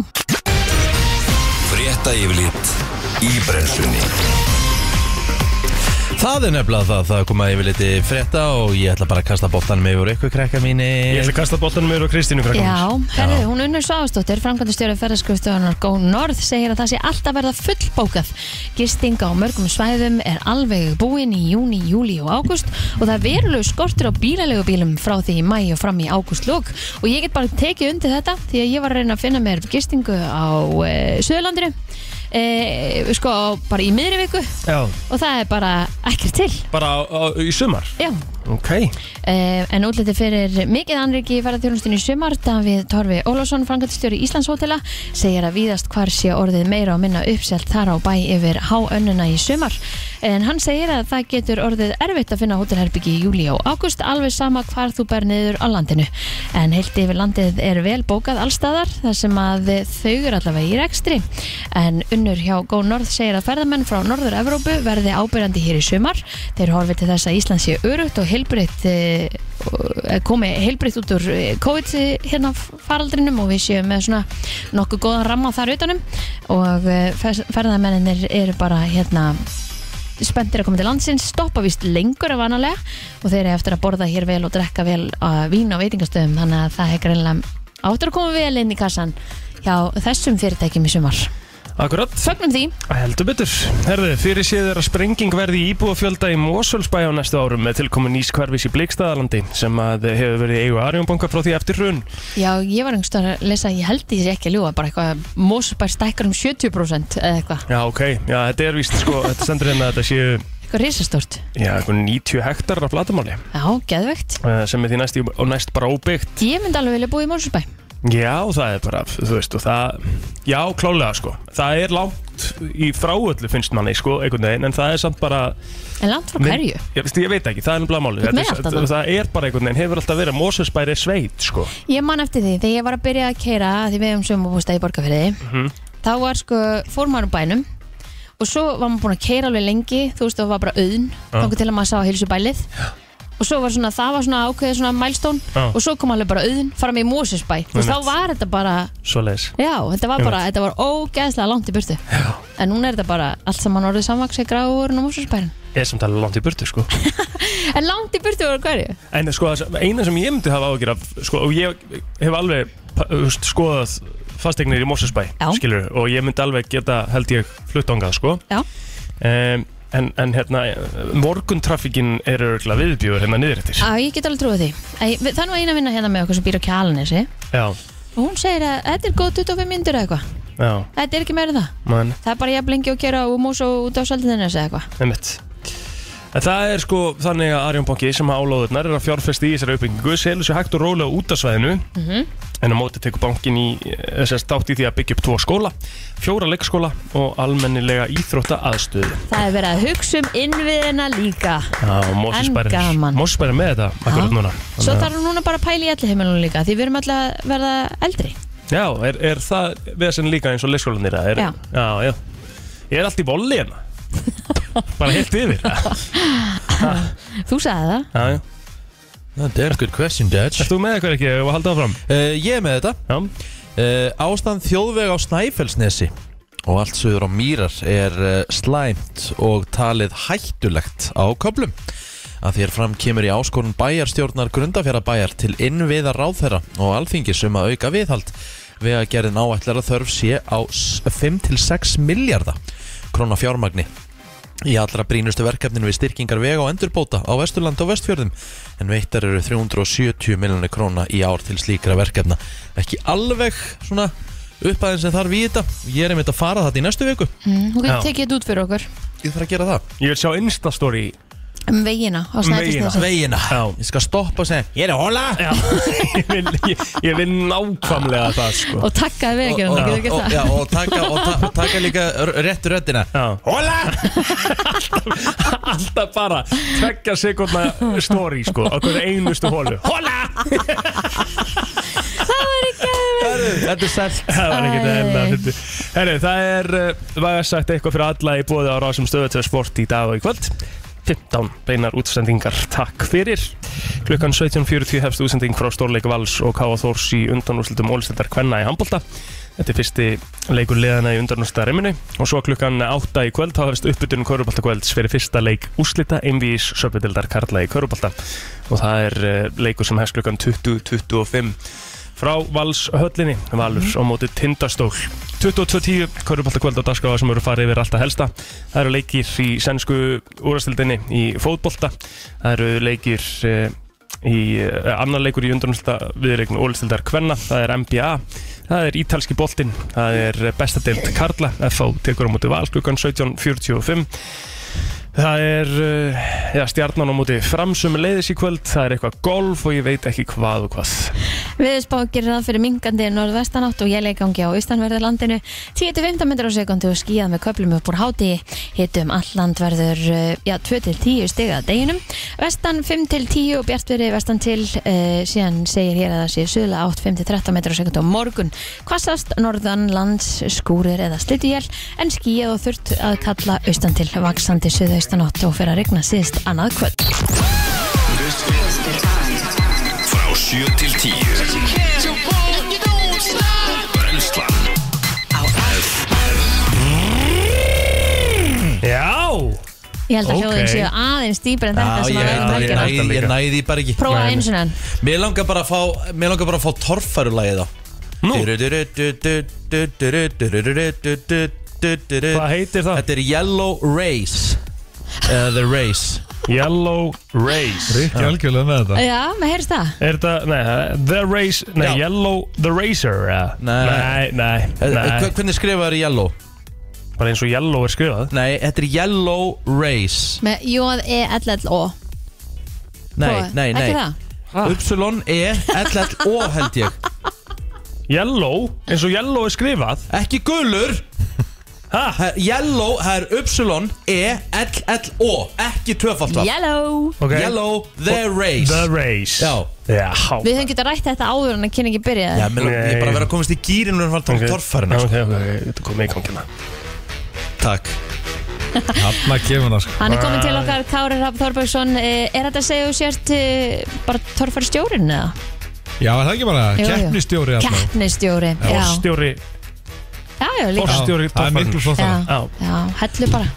Speaker 1: Frétta yfirlit í brennslunni
Speaker 2: það er nefnilega það, það koma yfir liti frétta og ég ætla bara að kasta boltanum yfir ykkur krakka
Speaker 4: Ég
Speaker 2: mínir
Speaker 4: ætla að kasta boltanum yfir á Kristínu krakkanum
Speaker 3: Já, herðu, hún unnur Svavastóttir, framkvæmdastjóri ferðarskriðstofunar Go North segir að það sé alltaf verða fullbókað. Gisting á mörgum svæðum er alveg búin í júni, júli og ágúst og það er verulegu skortur á bílalegu bílum frá því í mæ og fram í ágústlok og ég get bara tekið undir þetta því að ég var að reyna að finna mér gistingu á e, Söðurlandinu e, sko bara í miðri viku
Speaker 4: Já,
Speaker 3: og það er bara ekkert til.
Speaker 4: bara á, á, í sumar
Speaker 3: Já,
Speaker 4: Ok
Speaker 3: Eh, en útliti fyrir mikið anriki í ferðarþjónustinni í sumar Davíð Torfi Ólásson, frangatistjóri Íslandshótela segir að víðast hvar sé orðið meira og minna uppselt þar á bæ yfir háönnuna í sumar en hann segir að það getur orðið erfitt að finna hótelherbyggi í júli og águst alveg sama hvar þú ber niður á landinu en heilt yfir landið er vel bókað allstaðar þar sem að þau eru allavega í rekstri en unnur hjá Go North segir að ferðamenn frá Norður Evrópu verði ábyrjandi hér í sumar þeir horfi til þess að Ísland sé örugt og heilbreytt eh, og- eh, komi heilbreytt út úr eh, COVID eh, hérna f- faraldrinum og við séum með svona nokkuð góðan ramma þar utanum og eh, fer- ferðamennir eru bara hérna spenntir að koma til landsins, stoppa víst lengur af vanalega og þeir eru eftir að borða hér vel og drekka vel að vín á veitingastöðum þannig að það er greinlega áttur að koma vel inn í kassan hjá þessum fyrirtækjum í sumar.
Speaker 4: Akkurat
Speaker 3: Fögnum því
Speaker 4: Heldur betur Herðu, fyrir séður að sprenging verði í íbúafjölda í Mosulsbæ á næstu árum með tilkomu nýs hverfis í Blíkstaðalandi sem að hefur verið í eigu Arjónbanka frá því eftir hrun
Speaker 3: Já, ég var einhverstað að lesa, ég held ég sé ekki að ljúa bara eitthvað, Mosubær stækkar um 70% eða eitthvað,
Speaker 4: Já, ok Já, þetta er víst sko Þetta stendur hérna að þetta séu
Speaker 3: eitthvað risastort
Speaker 4: Já, eitthvað 90 hektar af flatamáli
Speaker 3: Já, geðvegt
Speaker 4: eh, sem er því næst í, og næst bara óbyggt
Speaker 3: Ég myndi alveg vilja búa í Mosubær
Speaker 4: Já, það er bara, þú veist, og það, já, klálega, sko, það er langt í fráöllu, finnst manni, sko, einhvern veginn, en það er samt bara,
Speaker 3: En langt frá
Speaker 4: Minn-
Speaker 3: hverju?
Speaker 4: ég, veist, ég veit ekki, það er nefnilega málið,
Speaker 3: Þú ert með
Speaker 4: Þetta er-
Speaker 3: allt þarna.
Speaker 4: það er bara einhvern veginn, hefur alltaf verið Mósusbæri sveit, sko,
Speaker 3: Ég man eftir því, þegar ég var að byrja að keira því við hefum sömubústa í borgarferði
Speaker 4: Mhm.
Speaker 3: þá var sko, fór maður úr bænum og svo var maður búin að keira alveg lengi þú veist, það var bara auðn,
Speaker 4: Já.
Speaker 3: þangur til að maður sá að heilsu bælið og svo var svona, það var svona ákveðið svona mælstón
Speaker 4: Já.
Speaker 3: og svo kom alveg bara auðn fram í Mósusbæ, þú veist, þá
Speaker 4: Einmitt.
Speaker 3: var þetta bara
Speaker 4: svoleiðis.
Speaker 3: Já, þetta var bara, þetta var ógeðslega langt í burtu Já. En núna er þetta bara allt saman orðið samvaks í gráurinn og músusbærin
Speaker 4: er samt alveg langt í burtu sko
Speaker 3: En langt í burtu voru hverju?
Speaker 4: En sko, það sem- eina sem ég myndi hafa ágjur af sko, og ég hef alveg pa- þú veist, skoðað fasteignir í Mosesbæ
Speaker 3: Já.
Speaker 4: skilur, og ég myndi alveg geta held ég fluttangað sko
Speaker 3: Já.
Speaker 4: um, en, en hérna morguntraffíkin er örgulega viðbjöður hérna niður eftir
Speaker 3: Á, ég get alveg trúið því Æ, við- Það er nú eina vinna hérna með okkur sem býr á kjalanesi
Speaker 4: Já,
Speaker 3: og hún segir að þetta er góð 25 myndur eða eitthvað
Speaker 4: já,
Speaker 3: Þetta er ekki meira en það
Speaker 4: mann,
Speaker 3: Það er bara jafn lengi að gera úr mús og út á saldinnes eða eitthvað
Speaker 4: einmitt En það er sko þannig að Arjón Banki sem hafa álóðurnar er að fjárfesta í þessari uppbyggingu selur sér hægt og rólega út af svæðinu
Speaker 3: Mhm.
Speaker 4: en á móti tekur bankin í eh, þessast dátt í því að byggja upp tvo skóla fjóra leikskóla og almennilega íþrótta aðstöðu
Speaker 3: Það er verið að hugsa um innviðina líka
Speaker 4: Já, og
Speaker 3: En
Speaker 4: Mosesbær er-
Speaker 3: gaman.
Speaker 4: Mosesbær er með þetta akkurat núna Þannig
Speaker 3: Svo
Speaker 4: að-
Speaker 3: þarf hún núna bara að pæla í allir heimilunum líka Því við erum alltaf að verða eldri
Speaker 4: Já, er, er það vesen líka eins og leikskólanir eða er,
Speaker 3: Já.
Speaker 4: já, já Ég er allt í bolli hérna Bara heilt yfir Já,
Speaker 3: Þú sagði það
Speaker 4: já
Speaker 2: That is a good question, Dutch
Speaker 4: Ert þú með eitthvað ekki og halda áfram?
Speaker 2: uh, Ég er með þetta
Speaker 4: Já,
Speaker 2: uh, Ástand þjóðveg á Snæfellsnesi og allt söður á Mýrar er uh, slæmt og talið hættulegt á köplum að þér fram kemur í áskorun bæjarstjórnar grundafjörðabæjar til innviða ráðherra og alþingis um að auka viðhald við að gerðin áætlar að þörf sé á s- 5-6 miljardar króna fjármagni í allra brýnustu verkefninu við styrkingar vega og endurbóta á Vesturland og Vestfjörðum en veittar eru 370 miljonir króna í ár til slíkra verkefna ekki alveg svona upphæðin sem þarf í þetta ég er einmitt að fara þetta í næstu viku
Speaker 3: mm, Hún getur
Speaker 4: Já.
Speaker 3: tekið þetta út fyrir okkur
Speaker 2: ég þarf að gera það
Speaker 4: ég vil sjá instastory
Speaker 3: Um vegina á
Speaker 4: Um vegina.
Speaker 3: Snæfellsnesi
Speaker 2: vegina
Speaker 4: Já.
Speaker 2: ég skal stoppa og segja ég er að hola
Speaker 4: Já, ég vil, ég, ég vil nákvæmlega það sko
Speaker 3: Og takkaði við ekki
Speaker 2: og,
Speaker 3: hún
Speaker 2: og,
Speaker 3: getur
Speaker 2: og,
Speaker 3: gert
Speaker 2: já,
Speaker 3: það
Speaker 2: og, taka, og, ta, og taka líka r- réttu röddina
Speaker 4: Já,
Speaker 2: hola
Speaker 4: alltaf bara tvekja sekundna story sko á hverju einustu hólu Hóla!
Speaker 2: þetta er sælt
Speaker 4: Það var ekkert
Speaker 3: Æ.
Speaker 4: enna fyndi Herri, það er, uh, var sagt eitthvað fyrir alla í bóði á rásum stöðutöð sport í dag og í kvöld 15 beinar útsendingar, takk fyrir Klukkan 17.40 hefst útsending frá Stórleik Vals og Káa Þórs í undanúrslutum Ólistendar Kvenna í handbolta Þetta er fyrsti leikur liðana í undanúrslita reyminu og svo klukkan 8 í kvöld þá hefst uppbytun Körubalta kvölds fyrir fyrsta leik úslita einvís söpudildar Karla í Körubalta og það er uh, leikur sem hefst klukkan 20.25 frá Vals höllinni Valur á móti Tindastól 22.10, Körubalta kvöld á dagskráða sem eru farið yfir alltaf helsta það eru leikir í sænsku úrastildinni í fótbolta, það eru leikir eh, í eh, annar leikur í undrunsta viðreikn úrastildar Kvenna, það er NBA það er ítalski boltinn, það er bestadeild Karla, FH tekur á móti Val klukkan 17.45 Það er eh, já, stjarnan á móti framsum leiðis í kvöld, það er eitthvað golf og ég veit ekki hvað og hvað.
Speaker 3: Viðspá gerir það fyrir mingandi norðvestanátt og jæleigangi á austanverðu landinu 10-15 metrar á sekundi og skíðað með köflum upp úr háti hitum all land verður eh, já, 2-10 stiga að deginum vestan 5-10 og bjartveri vestan til eh, síðan segir hér að það sé suðla 8-5-13 metrar á sekundi á morgun hvassast norðan lands skúrir eða slitujél en skíðað og þurft að kalla austan til vaksandi suðaustanátt og fyrir að regna síðst annað kvöld
Speaker 1: Frá 7 til 10 Brennslan
Speaker 4: Já!
Speaker 3: Ég held að
Speaker 4: Ok.
Speaker 3: hljóðin séu aðeins dýpar en þetta
Speaker 2: Já,
Speaker 3: sem
Speaker 2: ég,
Speaker 3: að
Speaker 2: ég,
Speaker 3: verða
Speaker 2: ég,
Speaker 3: ekki
Speaker 2: ég, ég næði því bara ekki
Speaker 3: Prófa
Speaker 4: Nei, nei.
Speaker 3: einu sinna
Speaker 2: Mér langar bara að fá Mér langar bara að fá torfærulægið á
Speaker 4: Nú. Hvað
Speaker 2: Hvað
Speaker 4: heitir það?
Speaker 2: Þetta er Yellow Race uh, The Race
Speaker 4: Yellow Race
Speaker 7: Rikki algjörlega með þetta
Speaker 3: Já, maður heyrst það
Speaker 4: Er þetta, nei, The Race, nei,
Speaker 2: Já.
Speaker 4: Yellow The Racer eða?
Speaker 2: Nei.
Speaker 4: nei, nei,
Speaker 2: Eh, eh,
Speaker 4: nei.
Speaker 2: hva- Hvernig skrifaður Yellow?
Speaker 4: Bara eins og Yellow er skrifað
Speaker 2: Nei, þetta er Yellow Race
Speaker 3: Með E J-E-L-L-O
Speaker 2: Nei, nei, nei
Speaker 3: Ekki það? Ah.
Speaker 2: Upsilon E L L O held ég
Speaker 4: Yellow, eins og Yellow er skrifað
Speaker 2: Ekki gulur
Speaker 4: Ha?
Speaker 2: Það er Yellow, það er Upsilon E L L O Ekki tvöfalt var
Speaker 3: Yellow
Speaker 4: Ok.
Speaker 2: Yellow The Race
Speaker 4: The Race
Speaker 2: Já.
Speaker 4: Já
Speaker 3: Við höfum getað rætt þetta áður en að kynningi byrjaði
Speaker 2: Já, mér ég er bara að vera að komast í gýrin og fara að um
Speaker 4: Ok.
Speaker 2: taka torfærin
Speaker 4: Ok, ok, ok, þetta kom í gangina
Speaker 2: Takk
Speaker 7: Hanna gefur hann sko
Speaker 3: Hann er komin til okkar, Kári Rapp Þorbergsson Eh, Er þetta að segja þú sért eh, bara torfari stjórin eða?
Speaker 7: Já, er það ekki bara
Speaker 3: Jú, jú.
Speaker 7: keppnistjóri alltaf
Speaker 3: Keppnistjóri Já,
Speaker 4: Forstjóri,
Speaker 3: já, já, líka
Speaker 7: Það
Speaker 4: Forstjóri
Speaker 7: er
Speaker 4: torfærinnar.
Speaker 7: miklu
Speaker 3: Já,
Speaker 7: flottara
Speaker 4: Já.
Speaker 3: já, hellu bara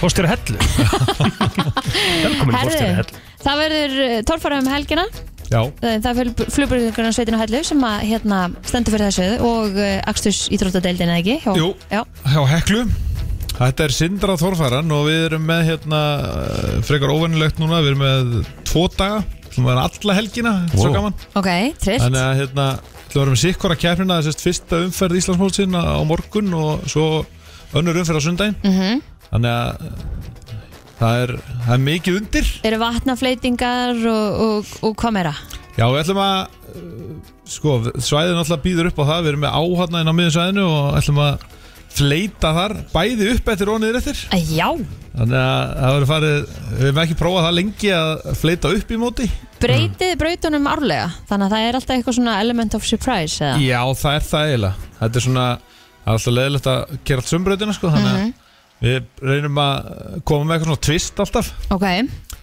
Speaker 4: Fórstjóri Hellu Velkomin
Speaker 3: Herðu,
Speaker 4: fórstjóri Hellu
Speaker 3: Það verður tórfara um helgina Eh,
Speaker 8: Já,
Speaker 3: Það það er flugbröðingarnar sveitin á Hellu sem að hérna stendur fyrir þessu og uh, Aksturs íþróttadeildin eða ekki? Hjá,
Speaker 8: Jú.
Speaker 3: Já,
Speaker 8: hjá Heklu Þetta er Sindra Þorfæran og við erum með hérna eh, frekar óvennilegt núna Við erum með tvo daga, við erum alla helgina, þetta er
Speaker 2: Wow.
Speaker 8: svo gaman
Speaker 3: ok, trillt
Speaker 8: Þannig að hérna, við erum sikkora kjærfina þessist fyrsta umferð Íslandsmólsinn á morgun og svo önnur umferð á sundaginn
Speaker 3: Mhm.
Speaker 8: Þannig að það er, það er mikið undir
Speaker 3: Eru vatnafleitingar og, og, og hvað meira?
Speaker 8: Já, við ætlum að uh, sko, svæðin alltaf býður upp á það við erum með áhanna inn á miðjum svæðinu og ætlum að fleita þar bæði upp eftir og niður eftir
Speaker 3: Æ, Já,
Speaker 8: þannig að það verður farið við hefum ekki prófað það lengi að fleita upp í móti
Speaker 3: breytið brautunum árlega þannig að það er alltaf eitthvað svona element of surprise eða?
Speaker 8: Já, það er það eiginlega Þetta er svona, það er alltaf leðilegt að gera allt sumbröðina sko, þannig að við reynum að koma með eitthvað svona twist alltaf
Speaker 3: Ok,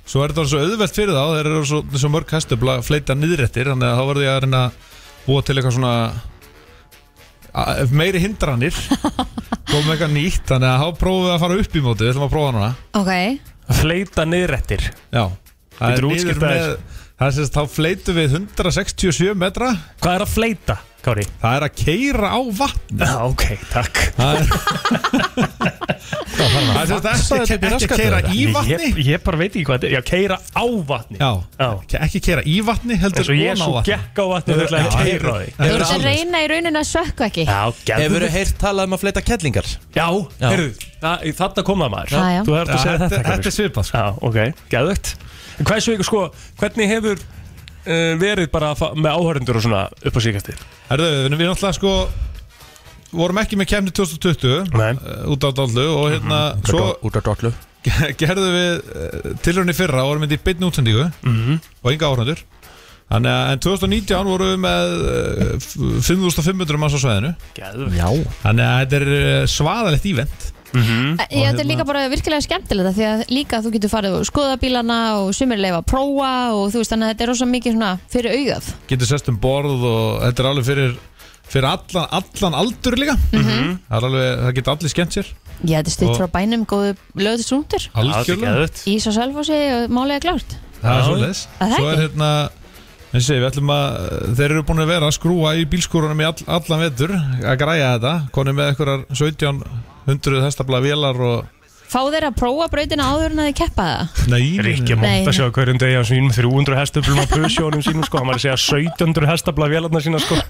Speaker 8: Svo er þetta orðið svo auðvelt fyrir þá þeir eru svo, svo mörg hæstöfla að fleita niðrættir þannig að þá verði ég að reyna að búa til eitthvað svona a- meiri hindranir koma með eitthvað nýtt, þannig að þá prófum við að fara upp í móti við ætlum að prófa núna
Speaker 3: ok,
Speaker 4: Fleita niðrættir
Speaker 8: Já, það
Speaker 4: Geturðu
Speaker 8: niður
Speaker 4: útskýrt það
Speaker 8: með- það er sem sagt, þá fleitum við 167 metra
Speaker 4: Hvað er að fleita, Kári?
Speaker 8: það er að keira á vatni
Speaker 4: Já, ok, takk
Speaker 8: Það er Það er sem sagt
Speaker 2: vaxa þetta upp í
Speaker 8: ekki, ekki
Speaker 2: rassgatið
Speaker 8: keira
Speaker 2: þeirra?
Speaker 8: í vatni
Speaker 4: Ég, ég bara veit ekki hvað þetta er Já, keira á vatni
Speaker 8: Já,
Speaker 4: Já.
Speaker 8: ekki keira í vatni heldur
Speaker 4: Eins og ég
Speaker 8: ofan á
Speaker 4: svo
Speaker 8: vatni.
Speaker 4: gekk á vatni Það er að keira á því
Speaker 8: Það
Speaker 3: þú
Speaker 8: er
Speaker 3: ert að
Speaker 8: alveg-
Speaker 3: reyna í rauninu að sökka ekki
Speaker 4: Já,
Speaker 2: Hefur
Speaker 4: gerðu
Speaker 2: þú heyrt talað um að fleita kellingar?
Speaker 4: Já,
Speaker 2: Já.
Speaker 4: heyrðu það- Þarna kom það maður
Speaker 3: Já, já.
Speaker 4: Þú hefur
Speaker 8: Já,
Speaker 4: að segja
Speaker 8: þetta,
Speaker 4: þetta,
Speaker 8: þetta er
Speaker 4: Kári
Speaker 8: svipað sko.
Speaker 4: Já, ok, geðvögt Hversu ykkur, sko, hvernig hefur uh, verið bara að fa- með áhörendur og svona upp á síkastir?
Speaker 8: Herðu, við við náttúrulega sko vorum ekki með kemni 2020
Speaker 4: Nei.
Speaker 8: eh, út á dollu og hérna svo
Speaker 2: Út af dollu
Speaker 8: gerðum við tilrönni fyrra og vorum myndið í beinni útsendingu og enga áhrandur Þannig að en 2019 vorum við með eh, f- 5500 manns á svæðinu
Speaker 4: Geðvögt
Speaker 2: Já
Speaker 8: Þannig að þetta er eh, svaðalegt ívent
Speaker 3: Eh,
Speaker 4: Hm?
Speaker 3: Ég, þetta er
Speaker 8: hérna-
Speaker 3: líka bara virkilega skemmtilegt af því að líka þú getur farið og skoða bílana og sumir leifa að prófa og þú veist þannig að þetta er rosa mikið svona fyrir augað
Speaker 8: Getur sest um borð og þetta er alveg fyrir fyrir allan, allan aldur líka það, er alveg, það getur allir skemmt sér
Speaker 3: Já, þetta er stutt
Speaker 8: Og-
Speaker 3: frá bænum, góðu lögðist rúndur
Speaker 8: Algjörlega,
Speaker 4: Geðvögt
Speaker 3: Ís og selfósi og málega klárt
Speaker 8: það er
Speaker 4: Já.
Speaker 8: svo leis
Speaker 3: Er það
Speaker 8: Svo er
Speaker 3: ekki?
Speaker 8: hérna En sé, við ætlum að, þeir eru búin að vera að skrúa í bílskúrunum í all, allan vetur að græja þetta, konum með einhverjar 1700 hestafla vélar og
Speaker 3: Fá þeir að prófa brautina áður en að þið keppa það
Speaker 8: Nei,
Speaker 4: Rikki
Speaker 8: nei, nei.
Speaker 4: Mótt
Speaker 3: Nei.
Speaker 4: að sjá hverjum degi á sínum 300 hestöflum á pusjónum sínum sko, hann var að segja 1700 hestafla vélarnar sína sko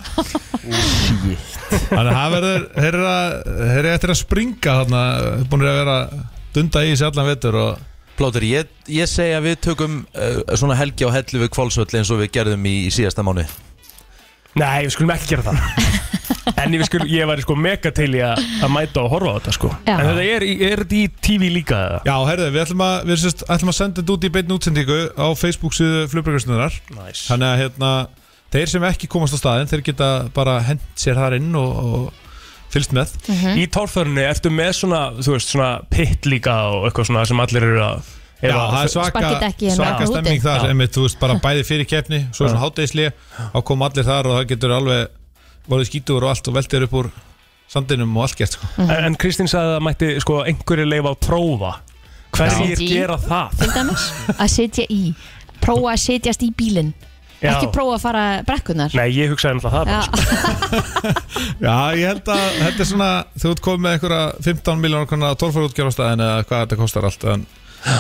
Speaker 8: Þannig að það verður, þeir eru að- þeir eru eftir að springa þarna, búin að vera að dunda í þessi allan vetur og
Speaker 2: Plóter, ég, ég segi að við tökum uh, svona helgi á hellu við kvolsvöll eins og við gerðum í, í síðasta mánu
Speaker 4: Nei, við skulum ekki gera það En ég, skul, ég væri sko mega til í að að mæta og horfa á þetta sko
Speaker 3: Já.
Speaker 4: En þetta er, í- er þetta í TV líka eða?
Speaker 8: Já, herðu, við ætlum að, við sérst, ætlum að senda þetta út í beinni útsendingu á Facebook síðu flugbryggarstundunar
Speaker 4: Næs
Speaker 8: Þannig að hérna, þeir sem ekki komast á staðin, þeir geta bara hent sér þar inn og, og fylgst með
Speaker 3: Mhm.
Speaker 4: Í tórförunni ertu með svona, þú veist, svona pitt líka og eitthvað svona sem allir eru að
Speaker 8: Já,
Speaker 4: eru að-
Speaker 8: það er svaka,
Speaker 3: Sparkið dekki hérna
Speaker 8: svaka
Speaker 3: úti.
Speaker 8: stemming þar
Speaker 4: Já.
Speaker 8: einmitt, þú veist, bara bæði fyrir keppni svo er svona hátægisli, þá koma allir þar og það getur alveg, voruð skítur og allt og veltir upp úr sandinum og allt gett sko.
Speaker 4: En, en Kristín sagði að mætti sko einhverju leifa að prófa Hverjir
Speaker 3: Já.
Speaker 4: gera það?
Speaker 3: til dæmis Að sitja í, prófa að sitjast í bílinn
Speaker 4: Já.
Speaker 3: Ekki prófa að fara brekkunar
Speaker 4: Nei, ég hugsaði um það bara
Speaker 3: Já,
Speaker 8: Já, ég held að þetta er svona þú ert komið með einhverja 15 miljónar konar tólfarútgjörnastæðin eða hvað þetta kostar allt en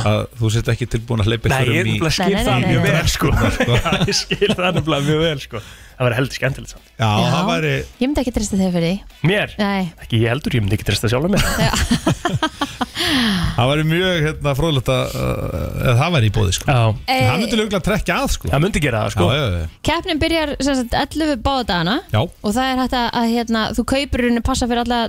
Speaker 8: að þú sitt ekki tilbúin að hleypa
Speaker 4: Nei, ég
Speaker 3: Nei,
Speaker 4: nefnilega skil
Speaker 8: einhverjum í
Speaker 3: nei,
Speaker 4: það
Speaker 3: nei,
Speaker 4: mjög
Speaker 3: nei.
Speaker 4: vel sko Já, Ég skil það nefnilega mjög vel sko Það var heldur skemmtilegt samt
Speaker 8: Já, það væri
Speaker 3: ég myndi ekki trista þeir fyrir því
Speaker 4: Mér?
Speaker 3: Nei,
Speaker 4: Ekki ég heldur, ég myndi ekki trista sjálfur mér
Speaker 8: Það væri mjög hérna, fróðlegt að uh, eða það væri í bóði sko.
Speaker 4: Já
Speaker 8: En Það myndi
Speaker 3: e,
Speaker 8: lögulega trekja að sko.
Speaker 4: Það myndi gera það
Speaker 8: Já,
Speaker 4: sko
Speaker 8: já, já,
Speaker 3: keppnin byrjar sem sagt 11 báðdagana
Speaker 8: já.
Speaker 3: og það er hægt að, að hérna, þú kaupir henni passa fyrir alla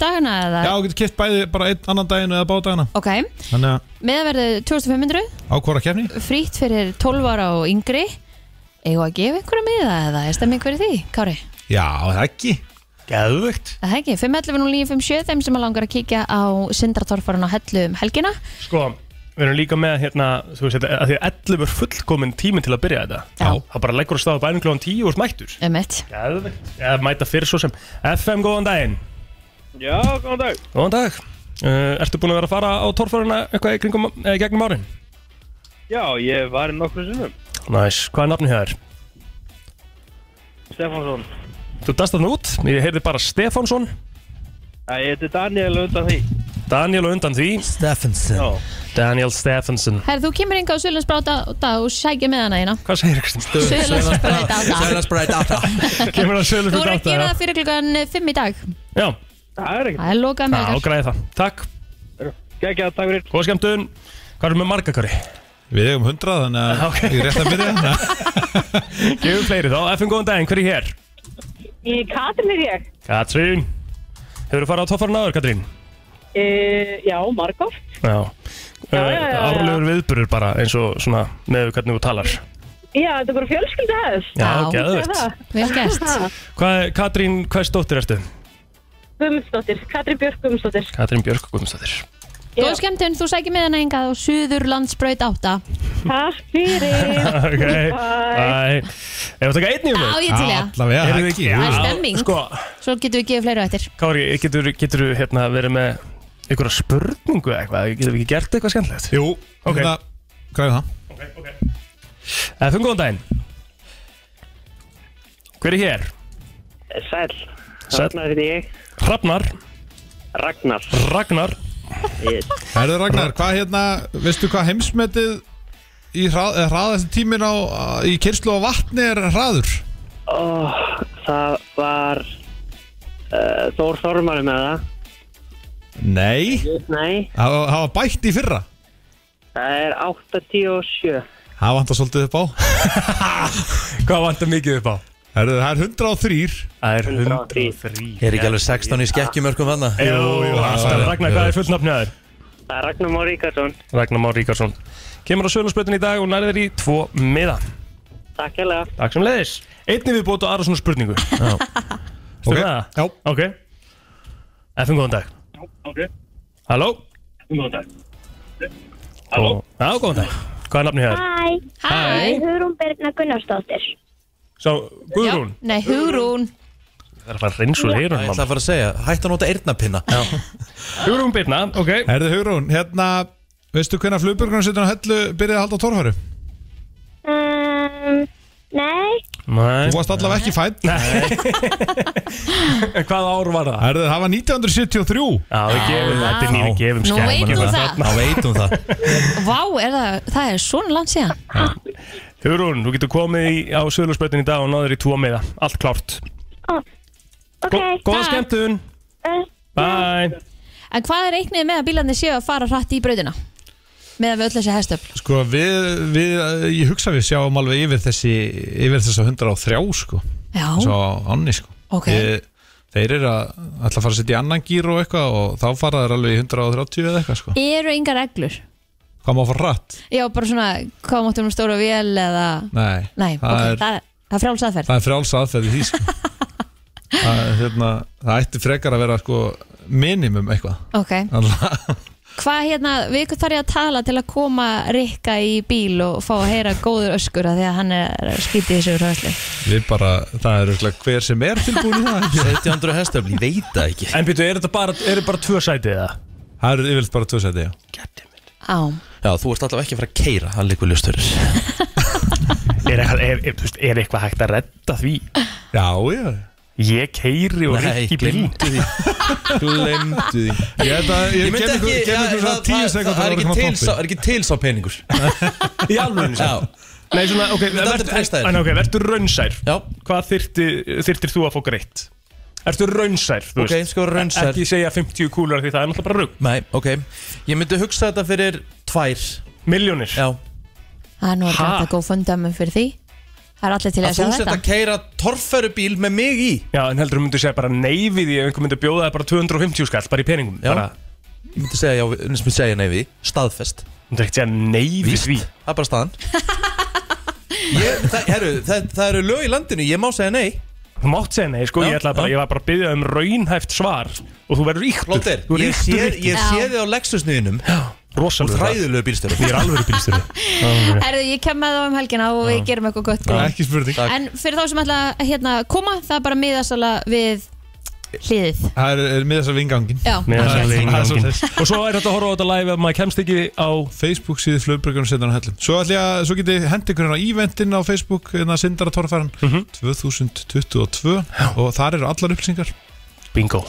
Speaker 3: dagana eða
Speaker 8: Já, þú getur kipt bæði bara einn annan daginn eða bádagana
Speaker 3: Ok,
Speaker 8: Þannig að
Speaker 3: meðverðið 2500
Speaker 8: ákvara kefni
Speaker 3: frýtt fyrir 12 ára og yngri eigum við að gefa einhverja miða eða er stemming fyrir því, Kári?
Speaker 8: Já, það ekki
Speaker 4: Geðvögt
Speaker 3: Er Það ekki, 511-0957 þeim sem að langar að kíkja á syndratorfarun á hellu um helgina
Speaker 4: Sko, við erum líka með hérna Þú veist, þetta- að því að 11 er fullkomin tíminn til að byrja þetta
Speaker 3: Já.
Speaker 4: Það bara leggur að staða bænum klóðan 10 og smættur
Speaker 3: um eitt
Speaker 4: Geðvögt Eða mæta fyrir svo sem FM, góðan daginn
Speaker 9: Já, góðan dag
Speaker 4: Góðan dag Uh, ertu búin að vera að fara á torfæruna eitthvað í kringum, eh, gegnum árin?
Speaker 6: Já, ég var í nokkru sinnum
Speaker 4: Næs, hvað er nafnið það er?
Speaker 6: Stefánsson
Speaker 4: Þú dast þarna út, ég heyrði bara Stefánsson
Speaker 6: Já, Ég heiti Daniel undan því
Speaker 4: Daniel og undan því
Speaker 2: Steffensen
Speaker 4: Daniel Stephenson
Speaker 3: Herðu, þú kemur hingað á Suðlandsbráta og dag og sækja með hana hérna
Speaker 4: Hvað segir Kristján?
Speaker 3: Suðlandsbráta
Speaker 2: Sælastbræt átta
Speaker 4: Kemur að sölu
Speaker 3: Þú
Speaker 4: fyrir
Speaker 3: voru að gera
Speaker 4: átta já.
Speaker 3: það fyrir klukkan 5 í dag
Speaker 4: Já,
Speaker 6: Það er ekkert
Speaker 3: Það er lokað með
Speaker 4: já, græði það Takk,
Speaker 6: Gækja, takk fyrir
Speaker 4: góða skemmtun Hvað erum við marga kari?
Speaker 8: Við eigum 100 þannig að
Speaker 4: Ok.
Speaker 8: ég er rétt að byrja þannig að-
Speaker 4: Gefum fleiri þá, FM góðan daginn, hver er hér?
Speaker 10: Í Katrin er ég.
Speaker 4: Katrín Hefur þú farið á toffarinn áður, Katrín?
Speaker 10: E, já, Markov.
Speaker 4: Já, já,
Speaker 10: já, já, já.
Speaker 4: Árlegur viðburur bara eins og svona með hvernig þú talar
Speaker 10: Já, þetta er bara fjölskylda hefð.
Speaker 4: Já,
Speaker 3: Já.
Speaker 4: geðvögt
Speaker 3: það Vel gert
Speaker 4: Hvað er, Katrín, hvers dóttir ertu?
Speaker 10: Guðmundsdóttir, Katrin Björk Guðmundsdóttir.
Speaker 4: Katrín Björk Guðmundsdóttir
Speaker 3: Góð skemmtun, þú sækir með hana hingað á Suðurlandsbráta 8
Speaker 10: Takk fyrir.
Speaker 4: Ok, bye Ef við taka einn í um
Speaker 3: Já, ég til í það
Speaker 8: Allavega,
Speaker 4: Erum við ekki?
Speaker 8: jú.
Speaker 3: Það er stemming.
Speaker 4: Sko,
Speaker 3: Svo getum við gefið fleira eftir
Speaker 4: Kári, getur, getur hérna verið með einhverja spurningu eða eitthvað? Getur við ekki gert eitthvað skemmtilegt?
Speaker 8: Jú,
Speaker 4: Ok.
Speaker 8: hérna, græði það
Speaker 4: Efum Eh, góðan daginn Hver er hér?
Speaker 6: Sæl,
Speaker 4: Sæll.
Speaker 6: Eh, Ragnar heiti ég
Speaker 4: Hrafnar,
Speaker 6: Ragnar
Speaker 4: Ragnar
Speaker 6: Yes.
Speaker 8: Herðu Ragnar, hvað hérna, veistu hvað heimsmetið í eh, hrað, hraðast tímin á, í kyrslu á vatni er hraður?
Speaker 6: Ó, Það var uh, Þór Þormari með það
Speaker 8: Nei
Speaker 6: Nei,
Speaker 8: Það það var bætt í fyrra
Speaker 6: það er 87
Speaker 8: Það vantar svolítið upp á
Speaker 4: Hvað vantar mikið upp á?
Speaker 8: Herðu, það er 103
Speaker 4: Það er
Speaker 6: 103.
Speaker 4: 103
Speaker 2: Er ekki alveg 16 í skekkjumörkum þarna?
Speaker 4: Jú,
Speaker 8: jú,
Speaker 4: alltaf
Speaker 8: já,
Speaker 4: Ragnar,
Speaker 8: já.
Speaker 4: hvað er fullnafnið þér?
Speaker 6: Það er Ragnar Már Ríkarsson
Speaker 4: Ragnar Már Ríkarsson Kemur á sölunsprötin í dag og nærðir í tvo miða
Speaker 6: Takk hérlega
Speaker 4: Takk sem leiðis Einnig við bótu aðra svona spurningu
Speaker 2: Já.
Speaker 4: Styrir okay. það?
Speaker 8: Já,
Speaker 4: Ok Efum góðan dag
Speaker 6: Ok.
Speaker 4: Halló
Speaker 6: Góðan dag
Speaker 4: Halló Já, góðan dag Hvað er nafnið
Speaker 6: Ah.
Speaker 4: hér?
Speaker 11: Hæ,
Speaker 3: Hæ
Speaker 11: Hugrún Birna Gunnarsdóttir.
Speaker 4: Sá,
Speaker 3: Já,
Speaker 4: Guðrún
Speaker 3: Nei, Hugrún
Speaker 4: Það er að fara að reynsu leirun
Speaker 2: Ég ætla að fara að segja, hættu að nota eyrnapinna
Speaker 4: Hugrún Birna, ok
Speaker 8: herðu Hugrún, hérna, veistu hvenær flugbjörgunarsveitin á Hellu byrjaði að halda á torfæru?
Speaker 11: Um, nei,
Speaker 4: Nei
Speaker 8: Þú varst allavega ekki fætt
Speaker 4: Hvað ár var það?
Speaker 8: Herðu, það var 1973
Speaker 4: Já, við gefum, þetta er nýri gefum
Speaker 3: Nú
Speaker 4: skemmanum
Speaker 3: veitum
Speaker 4: hérna.
Speaker 3: það
Speaker 2: Ná veitum það
Speaker 3: Vá, er það, það er svona langt síðan
Speaker 4: Hugrún, þú getur komið í, á söðlusbreytin í dag og náður í tvo meða Allt klárt
Speaker 11: ok,
Speaker 4: Góða
Speaker 3: takk.
Speaker 4: skemmtun
Speaker 11: uh,
Speaker 4: Bye
Speaker 3: En hvað er eignið með að bílarnir séu að fara hratt í brautina? Með að við öll þessi hestöfl
Speaker 8: Sko, við, við, ég hugsa við sjáum alveg yfir þessi, yfir þessa 103 sko
Speaker 3: Já,
Speaker 8: Svo ánni sko
Speaker 3: ok
Speaker 8: ég, Þeir eru að ætla að fara að setja í annan gýr og eitthvað og þá fara þeir alveg í 130 eða eitthvað sko
Speaker 3: Eru engar reglur?
Speaker 8: Hvað má fara rætt?
Speaker 3: Já, bara svona, hvað máttum við stóra vél eða
Speaker 8: Nei,
Speaker 3: Nei,
Speaker 8: það,
Speaker 3: ok,
Speaker 8: er,
Speaker 3: það, það er frjáls aðferð
Speaker 8: það er frjáls aðferð í því sko það, er, hérna, það ætti frekar að vera sko minimum eitthvað
Speaker 3: Ok,
Speaker 8: Alla-
Speaker 3: hvað hérna, við hvað þarf ég að tala til að koma Rikka í bíl og fá að heyra góður öskur að því að hann er að skýti þessu hræðslu
Speaker 8: Við bara, það er örugglega hver sem er tilbúin í það
Speaker 2: 1700 hestöfl, ég veit það ekki
Speaker 4: En býtu, er þetta bara, er þetta bara tvö sætið eða?
Speaker 8: Það eru yfirleitt bara tvö seti, já
Speaker 3: Á,
Speaker 2: Já, þú ert allavega ekki að fara að keira, það líkur ljóstörir
Speaker 4: Er eitthvað, er, er, þú veist, er eitthvað hægt að redda því?
Speaker 8: Já, já
Speaker 4: Ég keiri og
Speaker 2: Nei,
Speaker 4: rikki bíl
Speaker 2: glemdu því Glemdu því
Speaker 8: Ég, held að- ég,
Speaker 2: Ég
Speaker 8: ég
Speaker 2: myndi ekki,
Speaker 8: ykkur kem
Speaker 2: það
Speaker 8: ykkur svona
Speaker 2: það-
Speaker 8: 10
Speaker 2: það- það
Speaker 8: sekúndur
Speaker 2: er
Speaker 8: að
Speaker 2: ekki
Speaker 8: koma
Speaker 2: til sá-
Speaker 8: toppi.
Speaker 2: það er ekki til sá peningur
Speaker 4: Í sko. alveg
Speaker 2: Já,
Speaker 4: Nei, svona, ok,
Speaker 2: þetta
Speaker 4: vertu-
Speaker 2: treysta þér.
Speaker 4: en ok, verður raunsær
Speaker 2: já,
Speaker 4: Hvað þyrti, þyrtir þú að fá greitt? Ertu raunsær, þú
Speaker 2: ok, sko raunsar
Speaker 4: Ekki segja 50 kúlar því það er náttúrulega bara rugg
Speaker 2: Nei, ok, ég myndi hugsa þetta fyrir tvær
Speaker 4: Miljónir
Speaker 2: Já,
Speaker 3: það er nú að
Speaker 4: Ha?
Speaker 3: græta góð fundamum fyrir því Það er allir til
Speaker 2: að
Speaker 3: að sjá
Speaker 2: þú sett
Speaker 3: þetta
Speaker 2: að keira torfærubíl með mig í
Speaker 4: Já, en heldur þú myndir segja bara nei við því ef einhver myndir bjóða það bara 250 skall, bara í peningum
Speaker 2: Já.
Speaker 4: bara,
Speaker 2: Ég myndi segja, já, ég myndi segja nei við, staðfest
Speaker 4: Myndir ekkert segja nei við
Speaker 2: Víst.
Speaker 4: því
Speaker 2: Það er bara staðan ég, það, heru, það, það eru lög í landinu, ég má segja nei
Speaker 4: Þú mátt segja nei, sko,
Speaker 2: Já,
Speaker 4: ég, ætlaði bara,
Speaker 2: já.
Speaker 4: ég var bara að byggja um raunhæft svar og þú verður yktur
Speaker 2: Plóter,
Speaker 4: Þú
Speaker 2: ég
Speaker 4: verður
Speaker 2: sé,
Speaker 4: yktur,
Speaker 2: ég
Speaker 3: Já.
Speaker 2: sé þið á Lexusniðinum
Speaker 4: yktur Rosalega
Speaker 2: Ræðilegu bílstöru
Speaker 4: Ég er alveg bílstjóri
Speaker 3: Herðu, ég kem með þá um helgina og við gerum eitthvað gott
Speaker 8: Það er
Speaker 3: góð
Speaker 8: Ekki spurning
Speaker 2: Takk.
Speaker 3: En fyrir þá sem ætla að hérna, koma, það er bara miðasala við
Speaker 10: hliðið
Speaker 8: Það er, er miðast af vingangin
Speaker 10: Já.
Speaker 4: Miðast af vinganginn.
Speaker 8: Og svo er þetta að horfa á þetta live ef maður kemst ekki á Facebook síðu flugbrökkunum sindar á hellum Svo ætla ég að, svo getið hendi ykkur hérna á eventin á Facebook hérna sindar að torfæran
Speaker 2: Mhm.
Speaker 8: 2022 og þar eru allar upplýsingar
Speaker 4: Bingo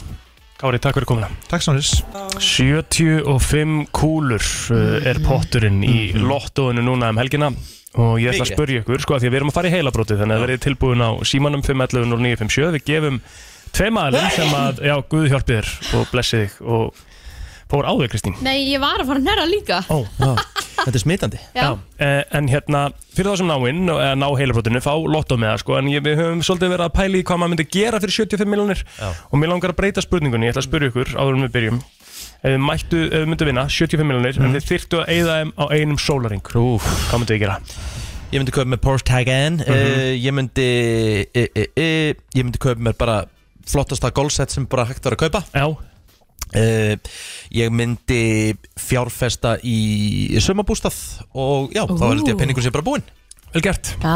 Speaker 4: Kári, takk fyrir komina
Speaker 8: Takk Snáris
Speaker 4: 75 kúlur uh, er potturinn í lottóinu núna um helgina og ég ætla að
Speaker 8: Mikið.
Speaker 4: spurja ykkur sko að því að við erum að fara í heilabrótið þannig að verið tilbúin á símanum 511 0957 við gefum tveim aðlum sem að já, Guð hjálpi þér og blessi þig og fór á þig Kristín
Speaker 10: Nei, ég var að fara að nærra líka
Speaker 4: Ó, þetta er smitandi
Speaker 10: Já.
Speaker 4: En hérna, fyrir þá sem náinn og- eða ná heilabrótinu, fá lottó með það sko en ég, við höfum svolítið verið að pæla í hvað maður myndi gera fyrir 75 miljonir og mér langar að breyta spurningunni, ég ætla að spyrja ykkur áður en við byrjum ef þið, mættu, ef þið myndu vinna 75 miljonir en þið þyrftu að eyða þeim á einum sólaring Úf. hvað myndu þið gera?
Speaker 2: Ég myndi kaupa með Porsche Taycan mm Ég myndi e, e, e, Ég myndi kaupa með bara flottasta golfset sem bara hægt var að kaupa Eh,
Speaker 4: Já
Speaker 2: Ég myndi fjárfesta í sumabústað og já, þá held ég að penningur sé bara búinn
Speaker 4: Vel gert
Speaker 10: Já,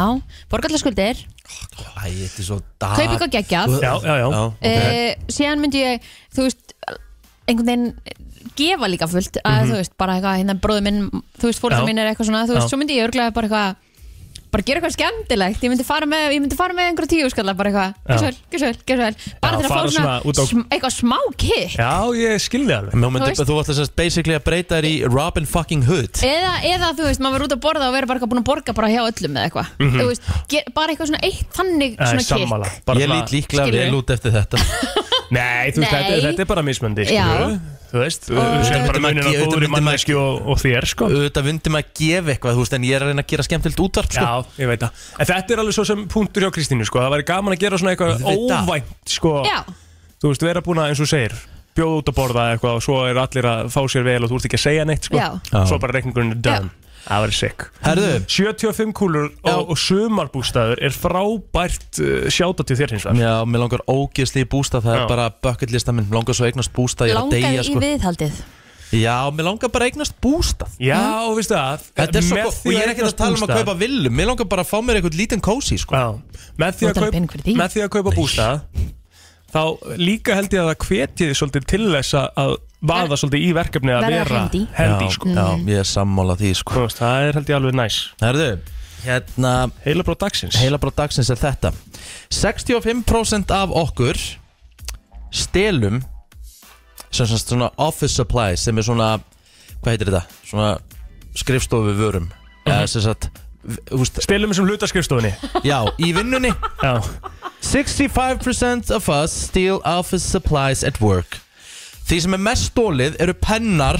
Speaker 10: borgarlega skuldir
Speaker 2: Æ, þetta er svo dag
Speaker 10: Kaup ykkur geggjað. Eh,
Speaker 2: Já,
Speaker 4: já, já,
Speaker 10: okay. Síðan myndi ég, þú veist einhvern veginn gefa líka fullt að
Speaker 2: Mhm.
Speaker 10: þú veist, bara eitthvað, hérna bróður minn þú veist,
Speaker 2: Já.
Speaker 10: fórður minn er eitthvað svona, þú veist,
Speaker 2: Já.
Speaker 10: svo myndi ég örglega bara eitthvað bara gera eitthvað skemmtilegt, ég myndi fara með ég myndi fara með einhverja tíu skalla, bara eitthvað
Speaker 2: Já.
Speaker 10: gjössu vel, gjössu vel, gjössu vel
Speaker 2: Já,
Speaker 10: bara til að fá
Speaker 2: fara
Speaker 10: svona,
Speaker 2: svona út á-
Speaker 10: sm- eitthvað smá kick
Speaker 4: Já, ég skilði alveg
Speaker 2: Þú, myndi,
Speaker 10: Þú veist- Eh,
Speaker 2: þú ætla sérst basically að breyta þér í Robin fucking Hood
Speaker 10: eða, eða, þú veist, maður verður út að borða og verður bara eitthvað búin að borga bara hjá öllum eða eitthvað
Speaker 2: Mhm.
Speaker 10: þú veist, ger, bara eitthvað svona eitt
Speaker 4: Nei,
Speaker 10: þannig svona kick
Speaker 4: Eh, sammála. Bara
Speaker 2: Ég
Speaker 4: svona-
Speaker 2: lít líklega
Speaker 10: Skilurðu?
Speaker 2: vel út eftir þetta
Speaker 4: Nei, þú veist,
Speaker 10: Nei.
Speaker 4: þetta, þetta er bara mismöndi
Speaker 10: Já.
Speaker 4: Þú veist, þú sér bara munin að góður í manneski og, og þér sko
Speaker 2: Auðvitað myndi maður að gefa eitthvað, þú veist, en ég er að reyna að gera skemmtilegt útvarp sko.
Speaker 4: Já, ég veit það En þetta er alveg svo sem punktur hjá Kristínu sko Það væri gaman að gera svona eitthvað
Speaker 2: Auðvitað.
Speaker 4: óvænt sko
Speaker 10: Já.
Speaker 4: Þú veist, vera búin að eins og þú segir Bjóða út að borða eitthvað og svo er allir að fá sér vel og þú ert ekki að segja neitt sko
Speaker 10: Já. Já.
Speaker 4: Svo bara reikningurinn er done Það væri sick
Speaker 2: Herðu
Speaker 4: 75 kúlur og, og sumarbústaður er frábært uh, sjáta til þér hins vegar
Speaker 2: Já, mér langar ógeðsli í bústað, það
Speaker 4: Já.
Speaker 2: er bara bucket lista minn Langar svo að eignast bústað, ég er að
Speaker 10: langaði
Speaker 2: deyja
Speaker 10: í
Speaker 2: sko.
Speaker 10: viðhaldið
Speaker 2: Já, mér langar bara að eignast bústað
Speaker 4: Já, mm. veistu það
Speaker 2: Þetta er svo
Speaker 4: Með
Speaker 2: gott,
Speaker 4: því
Speaker 2: og ég
Speaker 4: að
Speaker 2: er ekkert
Speaker 4: eignast
Speaker 2: að tala um að
Speaker 4: bústað-
Speaker 2: kaupa villu Mér langar bara að fá mér eitthvað lítinn kósi sko.
Speaker 4: með því, að kaup, með því að kaupa bústað þá líka held ég að það hvetji þið svolítið til þess að- að vaða svolítið í verkefni að
Speaker 2: Verða
Speaker 4: vera
Speaker 2: hendi. Mm.
Speaker 4: hendi
Speaker 2: Já,
Speaker 4: sko.
Speaker 2: já,
Speaker 10: Mm.
Speaker 2: ég er sammála því sko.
Speaker 4: veist, Það er held ég alveg næs
Speaker 2: Herðu, hérna
Speaker 4: Heilabrót dagsins
Speaker 2: Heilabrót dagsins er þetta 65% af okkur stelum sem sem svona office supplies sem er svona, hvað heitir þetta? Svona skrifstofu vörum
Speaker 4: Mhm.
Speaker 2: eða sem sagt v- þú veist-
Speaker 4: Stelum þessum hlutaskrifstofunni
Speaker 2: Já, í vinnunni
Speaker 4: Já
Speaker 2: 65% of us steal office supplies at work Því sem er mest stólið eru pennar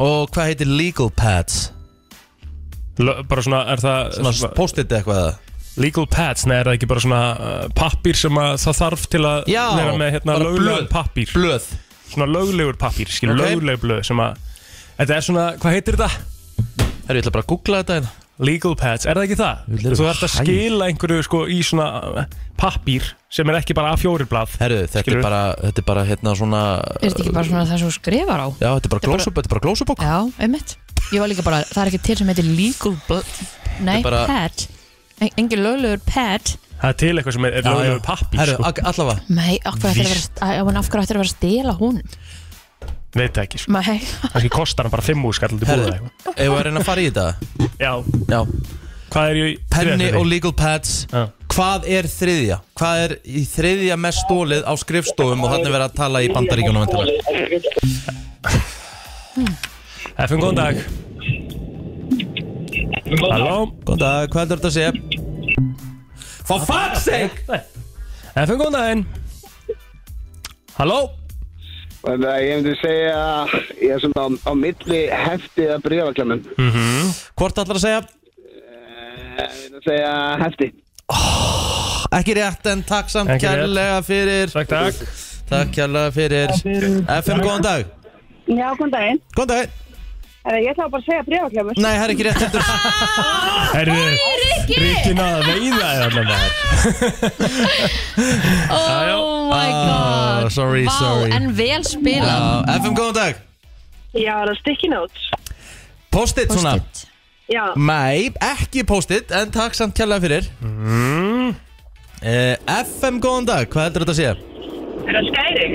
Speaker 2: og hvað heitir legal pads
Speaker 4: L bara svona, er það
Speaker 2: Svona post-it eitthvað
Speaker 4: Legal pads, nei, er það ekki bara svona uh, pappir sem að það þarf til að
Speaker 2: Já,
Speaker 4: vera með hérna
Speaker 2: bara blöð,
Speaker 4: löglegur pappir
Speaker 2: Blöð
Speaker 4: Svona löglegur pappir, skil,
Speaker 2: Ok.
Speaker 4: lögleg blöð sem að Þetta er svona, hvað heitir þetta?
Speaker 2: Herru, ég ætla bara að googla þetta hérna
Speaker 4: Legal pads, er það ekki það?
Speaker 2: Vil eru
Speaker 4: Þú þarfst að
Speaker 2: hæ.
Speaker 4: skila einhverju sko í svona pappír sem er ekki bara A4-blad
Speaker 2: Herru, þetta er bara, þetta er bara hérna svona
Speaker 10: Er þetta ekki bara svona það sem þú skrifar á?
Speaker 2: Já, þetta er bara
Speaker 10: Þetta er bara-
Speaker 2: glósubók, þetta er bara glósubók
Speaker 10: Já, einmitt Ég var líka bara, það er ekki til sem heitir legal bl- Nei,
Speaker 2: Þetta er bara-
Speaker 10: pad En- Engin löglegur pad
Speaker 4: Það er til eitthvað sem er, er
Speaker 2: Já,
Speaker 4: löglegur
Speaker 2: já.
Speaker 4: pappír
Speaker 2: Herru,
Speaker 4: sko.
Speaker 2: ak- allavega
Speaker 10: Nei, af hverju ætti að vera
Speaker 4: Víst.
Speaker 10: að- já, en af hverju ætti að vera að stela hún
Speaker 4: Veit það ekki, sko.
Speaker 10: Nei,
Speaker 4: kannski kostar hann bara 5 úr skallandi
Speaker 2: Herru,
Speaker 4: búða eitthvað
Speaker 2: ef við erum að reyna að fara í þetta
Speaker 4: Já,
Speaker 2: Já
Speaker 4: Hvað er í
Speaker 2: Penni
Speaker 4: þriðja sæti?
Speaker 2: og legal pads Hvað er þriðja? Hvað er í þriðja mest stólið á skrifstofum og þannig verið að tala í bandaríkjunum væntanlega?
Speaker 4: FM, góðan dag Halló
Speaker 2: Góðan dag, hvað heldur þetta að segja? For fuck's sake
Speaker 4: FM, góðan daginn Halló
Speaker 12: Þannig að ég myndi segja ég er svona á, á milli heftið að bríðavaklemmum.
Speaker 4: mm -hmm.
Speaker 2: Hvort ætlar að segja?
Speaker 12: Ég myndi segja hefti.
Speaker 2: Oh, Ekki rétt en takk samt
Speaker 12: Ekki rétt.
Speaker 2: kærlega fyrir
Speaker 4: Takk, takk
Speaker 2: Takk kærlega fyrir FM, góðan dag
Speaker 3: Já, góðan daginn.
Speaker 2: Góðan daginn.
Speaker 3: Herra, ég ætla bara að segja brjóðklefur.
Speaker 2: Nei, það er ekki rétt heldur
Speaker 4: Herru,
Speaker 3: Rikki!
Speaker 4: Rikki náða að veiða þér allan það
Speaker 10: Oh my god
Speaker 2: Ah, sorry,
Speaker 10: Vá,
Speaker 2: sorry.
Speaker 10: en vel spilað
Speaker 2: Já, FM, Uh, góðan dag
Speaker 3: Já, það er sticky notes.
Speaker 2: Post-it svona
Speaker 3: Já.
Speaker 2: Mæ, ekki post-it en takk Eh, samt kærlega fyrir mm. FM, góðan dag, hvað heldur þetta að segja?
Speaker 13: Er það skæri?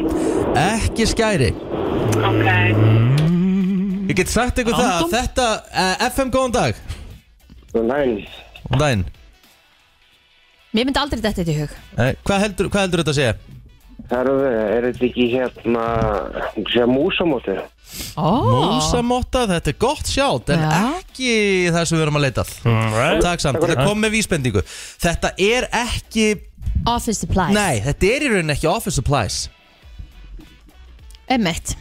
Speaker 2: Ekki skæri
Speaker 13: Ok.
Speaker 2: Ég get sagt ykkur það að
Speaker 13: Andum?
Speaker 2: þetta uh, FM góðan dag Góðan daginn Góðan daginn
Speaker 3: Mér myndi aldrei þetta í hug
Speaker 2: Eh, Hvað heldur, hvað heldur þetta að segja?
Speaker 14: Herðu, er þetta ekki hérna, sem músamóti?
Speaker 3: oh.
Speaker 2: Músamotta, þetta er gott sjátt en ekki það sem við erum að leitað
Speaker 4: right.
Speaker 2: Takk samt, þetta kom með vísbendingu Þetta er ekki
Speaker 3: Office supplies
Speaker 2: Nei, þetta er í rauninni ekki office supplies
Speaker 3: Emmett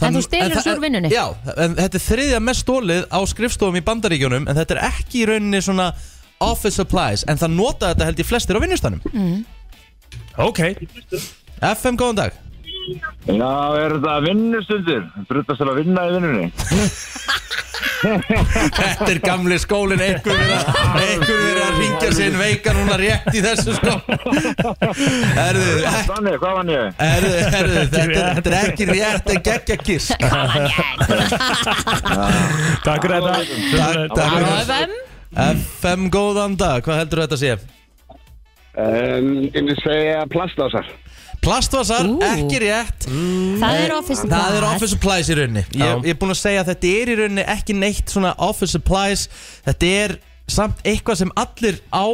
Speaker 3: En þú stelur
Speaker 2: það-
Speaker 3: þessu úr vinnunni
Speaker 2: Já, en þetta er þriðja mest stólið á skrifstofum í bandaríkjunum en þetta er ekki í rauninni svona office supplies en það nota þetta held ég flestir á vinnustanum
Speaker 3: mm.
Speaker 2: Ok FM, góðan dag
Speaker 15: Já, er þetta vinnustundir? Brutast til að vinna í vinnunni?
Speaker 2: Þetta er gamli skólin einhver verið að- einhver verið að ringja sinn veika núna rétt í þessu sko Erðu
Speaker 15: Þannig, hvað vann ég?
Speaker 2: Erðu, erðu, þetta, er- þetta er ekki rétt en geggja gisk Takk fyrir þetta Takk, takk fyrir
Speaker 3: Á
Speaker 2: þetta
Speaker 3: FM
Speaker 2: FM góðan dag, hvað heldur þetta að sé?
Speaker 16: Um, ég myndi segja plastásar
Speaker 2: Plastvasar, ekki rétt
Speaker 3: Það er office
Speaker 2: Það er
Speaker 3: supplies.
Speaker 2: office supplies í rauninni Ég, ég er búin að segja að þetta er í rauninni ekki neitt svona office supplies Þetta er samt eitthvað sem allir á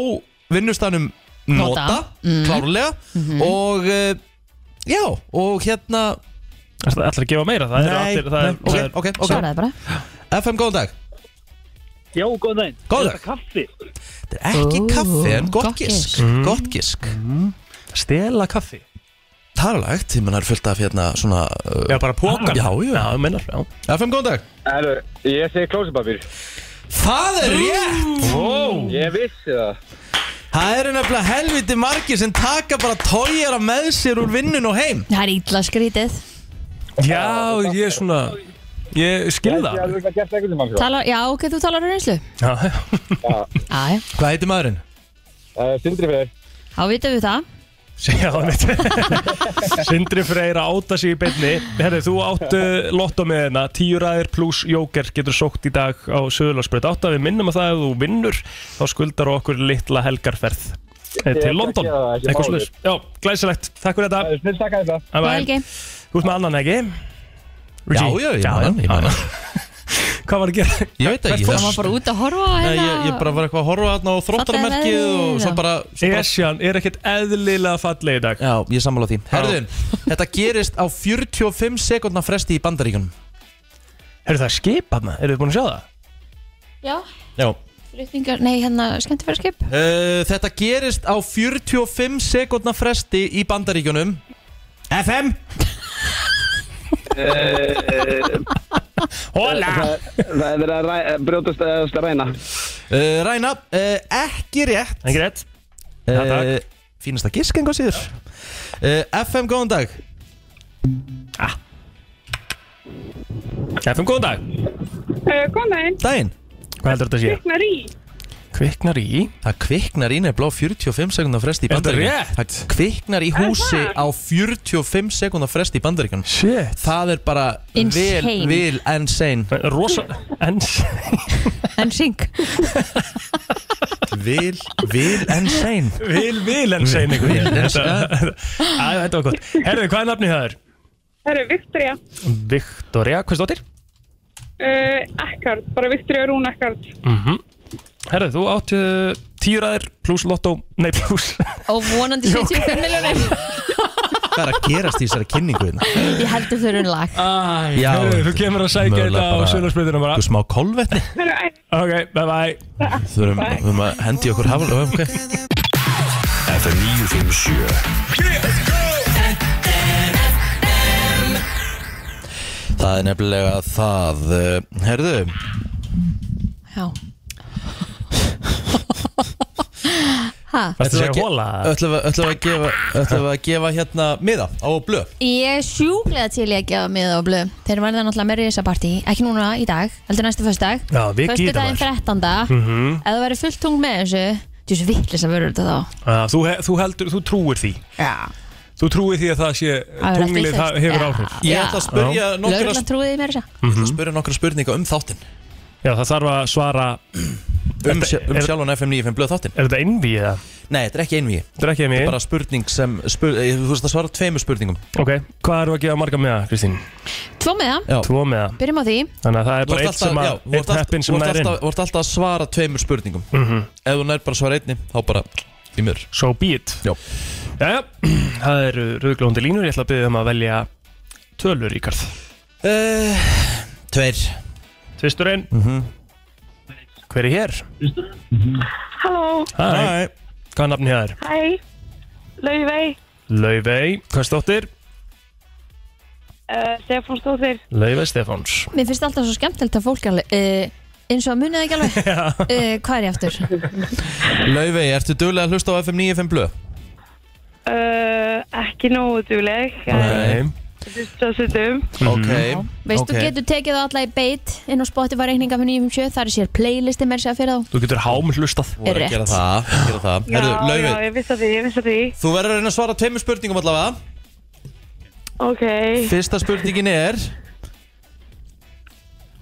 Speaker 2: vinnustanum nota,
Speaker 4: Nota. Mm.
Speaker 2: klárlega
Speaker 4: Mhm.
Speaker 2: og uh, já, og hérna
Speaker 4: Það ætlar að gefa meira, það er
Speaker 2: Nei,
Speaker 4: allir það er,
Speaker 2: nei, ok,
Speaker 4: það er,
Speaker 2: ok, ok. Svaraðu bara. FM, góðan dag
Speaker 17: Já, góðan daginn.
Speaker 2: Góðan
Speaker 17: Er þetta kaffi?
Speaker 2: Þetta er ekki
Speaker 17: Ó,
Speaker 2: kaffi en gott
Speaker 17: gott
Speaker 2: gisk
Speaker 17: gisk.
Speaker 2: mm. Gott gisk
Speaker 4: Stela kaffi
Speaker 2: Það er lagt, ég menn það er fullt af hérna svona uh,
Speaker 4: Já, bara pókar.
Speaker 2: Já, já,
Speaker 4: Já, ég mennar, já
Speaker 2: FM, góðan dag
Speaker 14: Herðu, ég segi klósipapir.
Speaker 2: Það er rétt
Speaker 14: Wow. Ég vissi það.
Speaker 2: Það eru nefnilega helviti margir sem taka bara tójara með sér úr vinnun og heim
Speaker 3: Það er ítla skrítið
Speaker 4: Já, ég er svona Ég skil það
Speaker 14: alveg að gert ekkert um hann.
Speaker 3: talar, Já, ok, þú talar um reynslu
Speaker 4: Já, já
Speaker 3: Æ.
Speaker 2: Hvað heitir maðurinn?
Speaker 14: Sindri fyrir.
Speaker 3: Þá vitum við það
Speaker 4: Já, mitt Sindri Freyr að áta sig í beinni Herri, þú átt uh, lotto með hérna Tíu ræðir pluss jóker getur sókt í dag á Söðurlandsbreyt Átt að við minnum að það ef þú vinnur þá skuldar okkur litla helgarferð
Speaker 14: Ég
Speaker 4: eh,
Speaker 14: ætla
Speaker 4: til
Speaker 14: að
Speaker 4: London
Speaker 14: gera það, ekki
Speaker 4: Eitthvað
Speaker 14: máli.
Speaker 4: slúðis Já, glæsilegt, takk fyrir þetta
Speaker 14: Snill, takk að þetta.
Speaker 4: Bye, bye.
Speaker 14: Helgi.
Speaker 4: Þú ert með annan ekki?
Speaker 2: Já, já, ég man hann, ég man hann.
Speaker 4: Hvað var að gera?
Speaker 2: Ég veit ekki,
Speaker 4: Hvert
Speaker 3: Það var
Speaker 4: fórstu?
Speaker 3: bara út að horfa á
Speaker 2: Nei,
Speaker 3: hérna
Speaker 2: ég, ég bara var eitthvað að horfa þarna á þróttarmerkið
Speaker 3: veðrið
Speaker 2: og svo
Speaker 3: og-
Speaker 2: bara svo bara-
Speaker 4: Esjan er ekkert eðlilega fallið í dag
Speaker 2: Já, ég sammála því Herðin, þetta gerist á 45 sekundna fresti í bandaríkunum
Speaker 4: Herðu það skipaðna, eru þið búin að sjá það?
Speaker 3: Já,
Speaker 2: Já
Speaker 3: flutningar, nei, hérna, skemmtifæraskip
Speaker 2: uh, Þetta gerist á 45 sekundna fresti í bandaríkunum FM
Speaker 4: Hola
Speaker 16: Það er verið að ræ- brjótast að ræna
Speaker 2: uh, Ræna, uh, ekki rétt
Speaker 4: Ekki rétt
Speaker 2: uh, Fínasta gisk enga síður uh, FM, góðan dag
Speaker 4: FM, góðan dag
Speaker 13: Góðan daginn.
Speaker 2: Daginn
Speaker 4: Hvað heldur þetta sé?
Speaker 13: Kviknar í.
Speaker 4: Kviknar í
Speaker 2: Það kviknar í nefnilega á 45 sekundar fresti í
Speaker 4: Er þetta
Speaker 2: bandaríkjum Það kviknar í húsi á 45 sekundar fresti í bandaríkjum
Speaker 4: Shit
Speaker 2: Það er bara
Speaker 3: Insane.
Speaker 2: vel, vel insane
Speaker 4: Rosa, insane
Speaker 3: En syng
Speaker 2: Vil, vil insane
Speaker 4: Vil, vil insane einhvern veginn.
Speaker 2: Vil
Speaker 4: Þetta Æ, þetta var gott Herðu, hvað er nafnið það er?
Speaker 13: Það eru Viktoria.
Speaker 4: Viktoria Kvistóttir
Speaker 13: Uh, Ekkard, bara Viktoria Rún Ekkard.
Speaker 4: mm -hmm. Herðu, þú átt uh, tíu ræðir pluss lottó Nei, pluss
Speaker 3: Og vonandi 75 miljonir
Speaker 2: Hvað er að gerast í þessari kynningu hérna?
Speaker 3: Ég heldur þau eru lag
Speaker 2: Ah.
Speaker 4: Æ, Herðu, þú kemur að sækja
Speaker 2: mögulega
Speaker 4: þetta á
Speaker 2: bara-
Speaker 4: sölarsbreytina bara
Speaker 2: Smá kolvetni
Speaker 4: Ok, bye bye
Speaker 2: Þurfum þurfum að hendi okkur hafla okay.
Speaker 1: FM 957
Speaker 2: Það er nefnilega það uh, Herðu
Speaker 3: Já Ha?
Speaker 2: ætlum við að ge- Ætlum við ætlum við að gefa Ætlum við að gefa hérna miða á blöð
Speaker 3: Ég er sjúklega til ég að gefa miða á blöð Þeir verða náttúrulega meiri í þessa partí Ekki núna í dag, heldur næstu föstudag
Speaker 4: Já, við gýrum
Speaker 3: Föstudaginn 13.
Speaker 4: Mhm.
Speaker 3: Ef það verður fullt tung með þessu Þú veist vittlis að verður þetta þá
Speaker 4: Ah, þú, he- þú heldur, þú trúir því
Speaker 3: Já
Speaker 4: Þú trúir því að það sé
Speaker 3: Það er allt
Speaker 4: tunglið það
Speaker 3: vitlaust.
Speaker 4: hefur
Speaker 3: Já,
Speaker 4: áhrif
Speaker 3: Ég ætla að já.
Speaker 2: spyrja
Speaker 3: Lögreglan trúiði mér þess að
Speaker 2: Ég ætla að spyrja nokkra spurninga um þáttinn
Speaker 4: Já, það þarf að svara
Speaker 2: um,
Speaker 4: Þetta-
Speaker 2: sjá- um
Speaker 4: er-
Speaker 2: sjálfan FM 95 blöð þáttinn Er þetta einvíð eða? Nei, þetta er ekki einvíð Þetta er ekki einvíð Þetta er bara spurning sem, spur, eh, þú veist að svara tveimur spurningum
Speaker 4: Ok, hvað eru að gefa marga meða, Kristín?
Speaker 3: Tvo með það,
Speaker 4: Tvo meða
Speaker 3: byrjum á því
Speaker 4: Þannig að það er
Speaker 2: Þú ert
Speaker 4: bara eitt
Speaker 2: alltaf-
Speaker 4: sem að
Speaker 2: já, þú ert
Speaker 4: Eitt
Speaker 2: alltaf-
Speaker 4: heppin
Speaker 2: þú
Speaker 4: sem
Speaker 2: ert
Speaker 4: nær inn Mhm.
Speaker 2: alltaf- Þú ert alltaf að svara tveimur spurningum Ef þú nær bara að svara einni, þá bara í mér
Speaker 4: So be it
Speaker 2: Já
Speaker 4: Jæja, það eru rauglóðandi línur Ég ætla að byggja um að velja tölur, Ríkard Eh,
Speaker 2: uh, Tveir
Speaker 4: Tvisturinn Hver er hér?
Speaker 18: Halló,
Speaker 4: Hæ Hvað er nafnið hér?
Speaker 18: hæ, Laufey,
Speaker 4: Laufey, hvað er stóttir?
Speaker 18: uh, Stefán Stóðir
Speaker 4: Laufey Stefáns
Speaker 3: Mér finnst alltaf svo skemmtilegt að fólk alveg uh, eins og að munið ekki alveg uh, Hvað er ég aftur?
Speaker 2: Laufey, ertu duglega að hlusta á FM 95 blöð?
Speaker 18: uh, Ekki nógu dugleg
Speaker 2: Nei
Speaker 18: Svo sittum
Speaker 2: Ok
Speaker 3: Veist,
Speaker 4: Ok.
Speaker 3: þú getur tekið það alla í beit inn á Spotify reikninga fyrir 950, það er sér playlisti mér segja fyrir þá
Speaker 4: Þú getur hám hlustað
Speaker 2: Þú verður að
Speaker 3: Rétt.
Speaker 2: gera það, gera það.
Speaker 18: Já,
Speaker 2: Herðu, Laufey,
Speaker 18: já, ég vissi að því, ég vissi að því
Speaker 2: þú verður að reyna að svara tveimur spurningum allavega
Speaker 18: Ok,
Speaker 2: Fyrsta spurningin er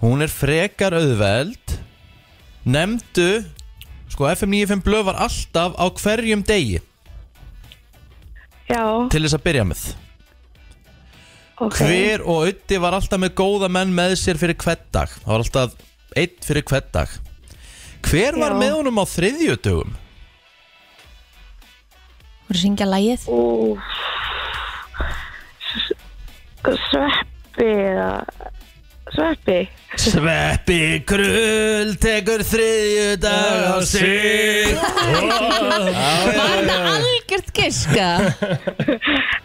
Speaker 2: Hún er frekar auðveld Nemndu Sko FM 95 blöð var alltaf á hverjum degi
Speaker 18: já,
Speaker 2: Til þess að byrja með
Speaker 18: ok
Speaker 2: Hver og Ötti var alltaf með góða menn með sér fyrir hvert dag Það var alltaf einn fyrir hvert dag Hver var
Speaker 3: Já.
Speaker 2: með honum á þriðjudögum?
Speaker 3: Þú voru að syngja lagið
Speaker 18: Sveppi eða Sveppi
Speaker 2: Sveppi Krull tekur þriðjudag á sig
Speaker 3: Var þetta algjört giska?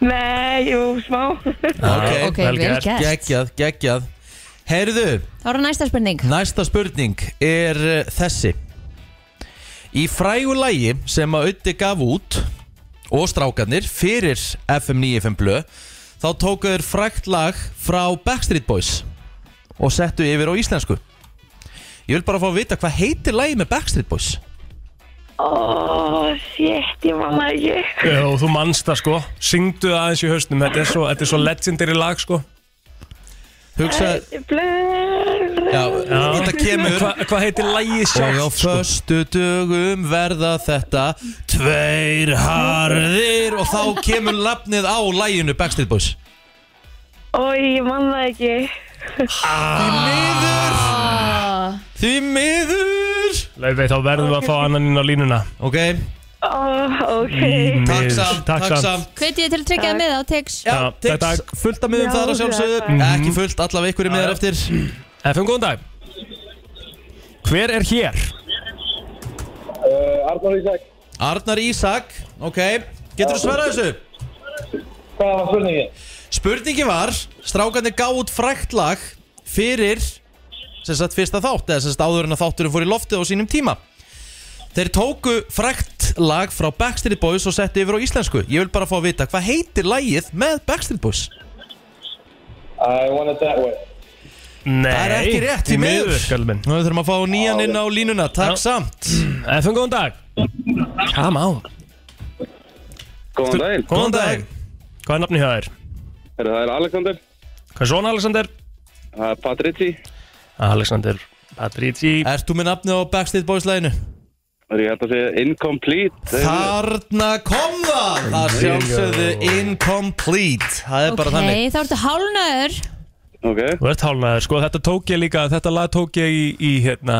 Speaker 18: Nei, jú, smá
Speaker 2: Ok,
Speaker 3: ok, vel gert.
Speaker 2: Geggjað, geggjað Heyrðu,
Speaker 3: Það voru næsta spurning
Speaker 2: næsta spurning er uh, þessi Í frægu lægi sem að Ötti gaf út og strákarnir fyrir FM 95 blö þá tóku þeir frægt lag frá Backstreet Boys og settu yfir á íslensku Ég vil bara fá að vita hvað heitir lægi með Backstreet Boys
Speaker 18: Ó, shit, ég man það ekki
Speaker 4: Já, þú manst það sko Syngdu það aðeins í hausnum Þetta er svo, þetta er svo legendary lag sko
Speaker 2: Hugsa
Speaker 18: Blöð
Speaker 2: Já, þetta kemur
Speaker 4: Hvað heitir lægið
Speaker 2: Og
Speaker 4: sjálft,
Speaker 2: á
Speaker 4: sko?
Speaker 2: föstu dögum verða þetta Tveir harðir Og þá kemur lafnið á læginu Backstreet Boys
Speaker 18: Ó, ég man það ekki
Speaker 2: Því miður
Speaker 4: Laufey, þá verðum við að fá annan inn á línuna
Speaker 2: Ok
Speaker 18: Ó, ok
Speaker 2: Takk samt, takk samt
Speaker 3: Hvetið ég til að tryggja það með á Tix
Speaker 2: Já, Tix, fullt af miðum
Speaker 3: Já,
Speaker 2: þar að sjálfsögðu
Speaker 3: takk.
Speaker 2: Ekki fullt, allavega ykkur í miðar eftir
Speaker 4: FM, góðan dag Hver er hér?
Speaker 2: uh, Arnar Ísak Arnar Ísak, ok Getur þú svarað þessu? Hvað var spurningin? Spurningin var, strákarnir gáð út frækt lag fyrir sem sagt fyrsta þátt eða sem sagt áður en að þátturinn fór í loftið á sínum tíma Þeir tóku frækt lag frá Backstreet Boys og setti yfir á íslensku Ég vil bara fá að vita, hvað heitir lagið með Backstreet Boys?
Speaker 19: I want it that way
Speaker 4: Nei
Speaker 2: Það er ekki rétt, því miður.
Speaker 4: Skalmin
Speaker 2: Nú þurfum að fá nýjan inn á línuna, takk
Speaker 4: Já.
Speaker 2: samt
Speaker 4: FM, góðan dag Come on
Speaker 19: Góðan daginn
Speaker 4: Góðan dag Hvað er nafnið hjá þér?
Speaker 19: Heyrðu, Það er Alexander
Speaker 4: Hvað er svona Alexander?
Speaker 19: Það er Patrici
Speaker 4: Alexander Patrici
Speaker 2: Ert þú með nafnið á Backstreet Boys laginu?
Speaker 19: Það er ég hægt að segja incomplete
Speaker 2: Þarna kom það Það sjálfsögðu incomplete Það er bara
Speaker 3: Ok,
Speaker 2: þannig
Speaker 3: þá ertu hálnaður
Speaker 19: okay.
Speaker 4: Þú ert hálnaður, sko, þetta tók ég líka Þetta lag tók ég í, í hérna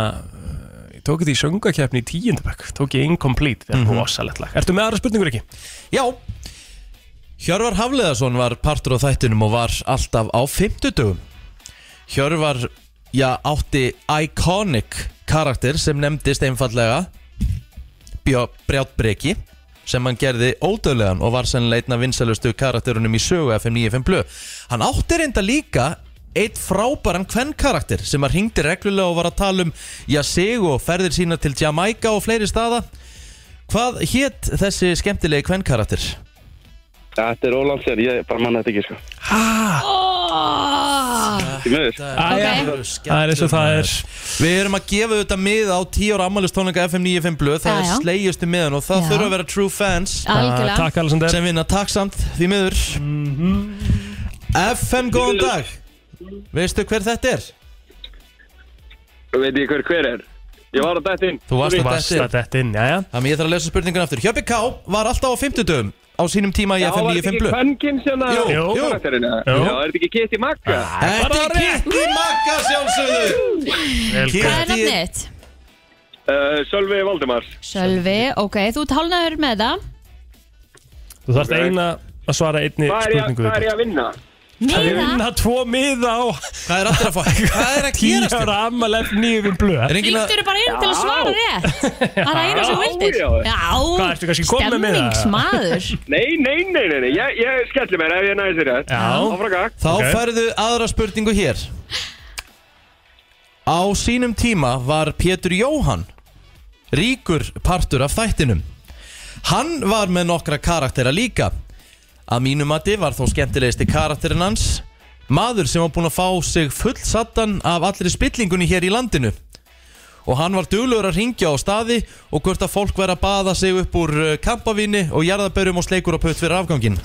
Speaker 4: Ég tók þetta í söngakeppni í tíundabökk Tók ég incomplete, þetta er rosalegt lag Ertu með aðra spurningur ekki?
Speaker 2: Já Hjörvar Hafleðarsson var partur á þættinum og var alltaf á fimmtudugum Hjörvar, já, átti iconic karakter sem nefndist einfallega Brjátbreki sem hann gerði ódöðlegan og var sennilega einn af vinsælustu karakterunum í sögu FM95 Blö Hann átti reynda líka eitt frábæran kvenn karakter sem hann ringdi reglulega og var að tala um já sig og ferðir sína til Jamaica og fleiri staða Hvað hétt þessi skemmtilegi kvenn karakter?
Speaker 19: Þetta er Róland sér, ég bara manna þetta ekki sko Því miður
Speaker 4: Það er eins og það er
Speaker 2: Við erum að gefa þetta mið á 10 ára ammælistónleika FM 95 blöð Það
Speaker 4: Já, já.
Speaker 2: er slegjustu miðan og það
Speaker 4: Já.
Speaker 2: þurfa að vera true fans
Speaker 4: Algjörlega. Ah, takk, Alexander.
Speaker 2: Sem vinna takk samt því miður FM góðan dag Veistu hver þetta er?
Speaker 19: Veit ég hver hver er? Ég var að dætt inn
Speaker 2: Þú varst að
Speaker 4: Varst
Speaker 2: detta
Speaker 4: að detta inn, jæja
Speaker 2: Þannig ég þarf að lesa spurningun aftur Hjöppi K. var alltaf á 50 dögum á sínum tíma í
Speaker 19: Já,
Speaker 2: FM
Speaker 19: var þetta
Speaker 2: 95
Speaker 19: ekki
Speaker 2: blöð
Speaker 19: kvenkin sem að
Speaker 2: Jú,
Speaker 19: Jú,
Speaker 2: jú.
Speaker 19: karakterinn, eða?
Speaker 2: Jú.
Speaker 19: Já, er þetta ekki Kitty Magga?
Speaker 2: Þetta er Kitty Magga sjálfsögðu
Speaker 3: Hvað er nafnið þitt?
Speaker 19: Uh, Sölvi Valdimars
Speaker 3: Sölvi, ok, þú ert hálnaður með það
Speaker 4: Þú þarft eina að svara einni
Speaker 19: Hvað er ég að-
Speaker 4: spurningu
Speaker 19: hvað er ég að vinna?
Speaker 4: Það er vinna tvo miða á
Speaker 2: Hvað er aftur að fá? Hvað er að gerast hérna?
Speaker 4: Tíu ára ammal F9 við um blöð
Speaker 3: Ringdur bara inn til að svara rétt Það er eina sem þú vildir
Speaker 19: já. Hvað, ertu
Speaker 3: Já,
Speaker 19: kannski kominn með miða?
Speaker 3: stemmingsmaður
Speaker 19: Nei, nei, nei, nei, nei. Ég, ég skelli mér ef ég næði sér rétt Áfram gakk.
Speaker 2: Þá færðu aðra spurningu hér Á sínum tíma var Pétur Jóhann ríkur partur af þættinum Hann var með nokkra karaktera líka Að mínum mati var þó skemmtilegasti karakterin hans Maður sem var búinn að fá sig fullsattan af allri spillingunni hér í landinu Og hann var duglegur að ringja á staði og hvort að fólk væri að baða sig upp úr eh, kampavíni og jarðabörjum og sleikur á putt fyrir afganginn.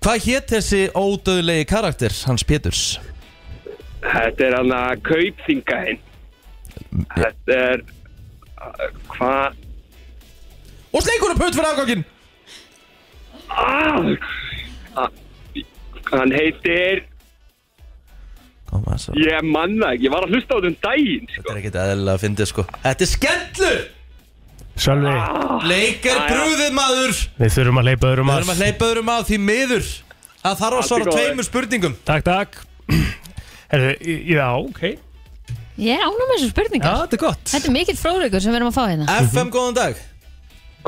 Speaker 2: Hvað hétt þessi ódöðlegi karakter Hans Péturs?
Speaker 19: Þetta er hann að kaupþingaðinn Þetta er Hvað
Speaker 2: Og sleikur á putt fyrir afganginn
Speaker 19: Hann heitir
Speaker 2: Koma svo
Speaker 19: Ég manna ekki, ég var að hlusta á þetta um daginn sko.
Speaker 2: Þetta er ekkert eðlilega að fyndið sko Þetta er skellur!
Speaker 4: Sölvi,
Speaker 2: Leik
Speaker 4: Ah,
Speaker 2: er brúðið maður
Speaker 4: við þurfum að leipa öðrum
Speaker 2: Við
Speaker 4: að
Speaker 2: erum að hleypa öðrum að því miður að þarf að
Speaker 4: Allt í
Speaker 2: svara
Speaker 4: góðu.
Speaker 2: tveimur spurningum
Speaker 4: Takk, takk Herðu, í- já, ok
Speaker 3: Ég er ánum með þessu spurningar
Speaker 4: Já, þetta er gott
Speaker 3: Þetta er mikill fróðleikur sem við erum að fá hérna
Speaker 2: FM, góðan dag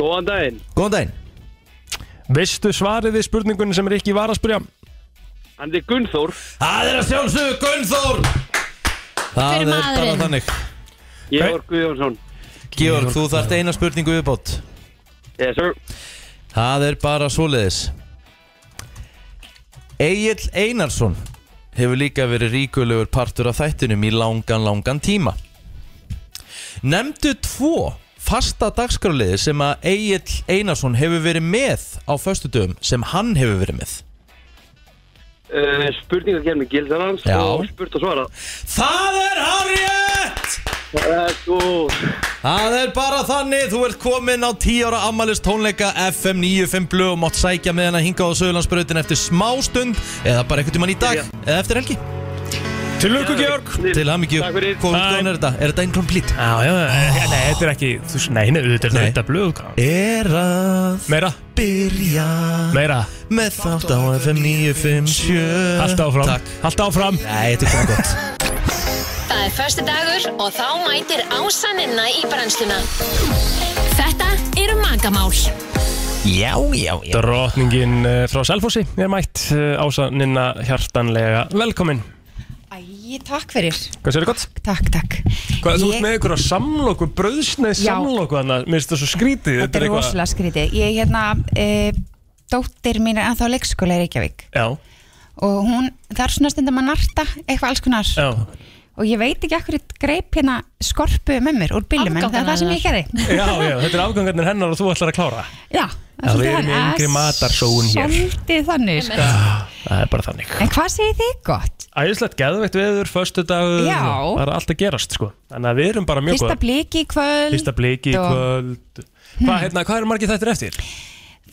Speaker 19: Góðan daginn
Speaker 2: Góðan daginn
Speaker 4: Veistu svarið við spurningunni sem er ekki var að spyrja?
Speaker 19: Hann heitir Gunnþór
Speaker 2: Það er að sjálfsögðu Gunnþór
Speaker 19: Hver er
Speaker 2: Það er bara
Speaker 19: maðurinn?
Speaker 2: þannig
Speaker 19: Georg Guðjónsson
Speaker 2: Georg, þú þarft eina spurningu viðbót
Speaker 19: Yes sir
Speaker 2: Það er bara svoleiðis Egil Einarsson hefur líka verið ríkulegur partur af þættinum í langan, langan tíma Nemndu tvo fasta dagskráliði sem að Egil Einarsson hefur verið með á föstudöfum sem hann hefur verið með
Speaker 19: uh, Spurningar gerð með gildan hans
Speaker 2: Já.
Speaker 19: og spurt og svara
Speaker 2: Það er hárétt!
Speaker 19: Eh, sko-
Speaker 2: Það er bara þannig, þú ert komin á 10 ára ammælist tónleika FM 95 blöð og mátt sækja með hennar hingað á Söðurlandsbrautin eftir smá stund eða bara einhvern tímann í dag eða eftir helgi
Speaker 4: Til lukku, Georg
Speaker 2: Til hamingju,
Speaker 4: Takk fyrir.
Speaker 2: hvað
Speaker 4: Bye.
Speaker 2: útgáðan er þetta? Er þetta incomplete?
Speaker 4: Já, já, já, Eh, nei, þetta er ekki þú, veist, Nei, nei, þetta er þetta blöð
Speaker 2: Er að
Speaker 4: Meira,
Speaker 2: byrja
Speaker 4: meira
Speaker 2: með þátt á FM 957
Speaker 4: Haltu áfram.
Speaker 2: Alltaf áfram Nei, þetta er komið gott
Speaker 20: Það er förstu dagur og þá mætir ásaninna í brennsluna. Þetta eru magamál.
Speaker 2: Já, já, já
Speaker 4: Drotningin eh, frá Selfossi er mætt eh, Ása Ninna hjartanlega velkomin
Speaker 10: Æ, takk fyrir.
Speaker 4: Hvað sér gott?
Speaker 10: Takk, takk.
Speaker 4: Hvað, þú
Speaker 10: Ég-
Speaker 4: ert með ykkur að samloku, brauðsneið
Speaker 10: Já.
Speaker 4: samloku þannig, mér finnst það svo skrítið
Speaker 10: Þetta er
Speaker 4: eitthvað-
Speaker 10: rosalega skrítið. Ég, hérna, e, dóttir mín er ennþá á leikskóla í Reykjavík
Speaker 4: Já,
Speaker 10: og hún, það er svona stundum að narta eitthvað alls konar
Speaker 4: já
Speaker 10: og ég veit ekki akkur greip hérna skorpu með mér úr bílum en það er það sem ég gerði.
Speaker 4: Já, já, þetta er afgangarnir hennar og þú ætlar að klára
Speaker 10: Já,
Speaker 4: Já, við erum í yngri matarsóun hér
Speaker 10: Svolítið þannig, sko.
Speaker 4: Það er bara þannig
Speaker 10: En hvað segir þið gott?
Speaker 4: Æðislegt geðveikt veður, föstu dagur
Speaker 10: Já.
Speaker 4: Það er allt að gerast sko Þannig að við erum bara mjög
Speaker 10: Fyrsta
Speaker 4: góð
Speaker 10: bliki í kvöld.
Speaker 4: Fyrsta bliki í
Speaker 10: og-
Speaker 4: kvöld Hvað, hérna, hvað eru margir þættir eftir?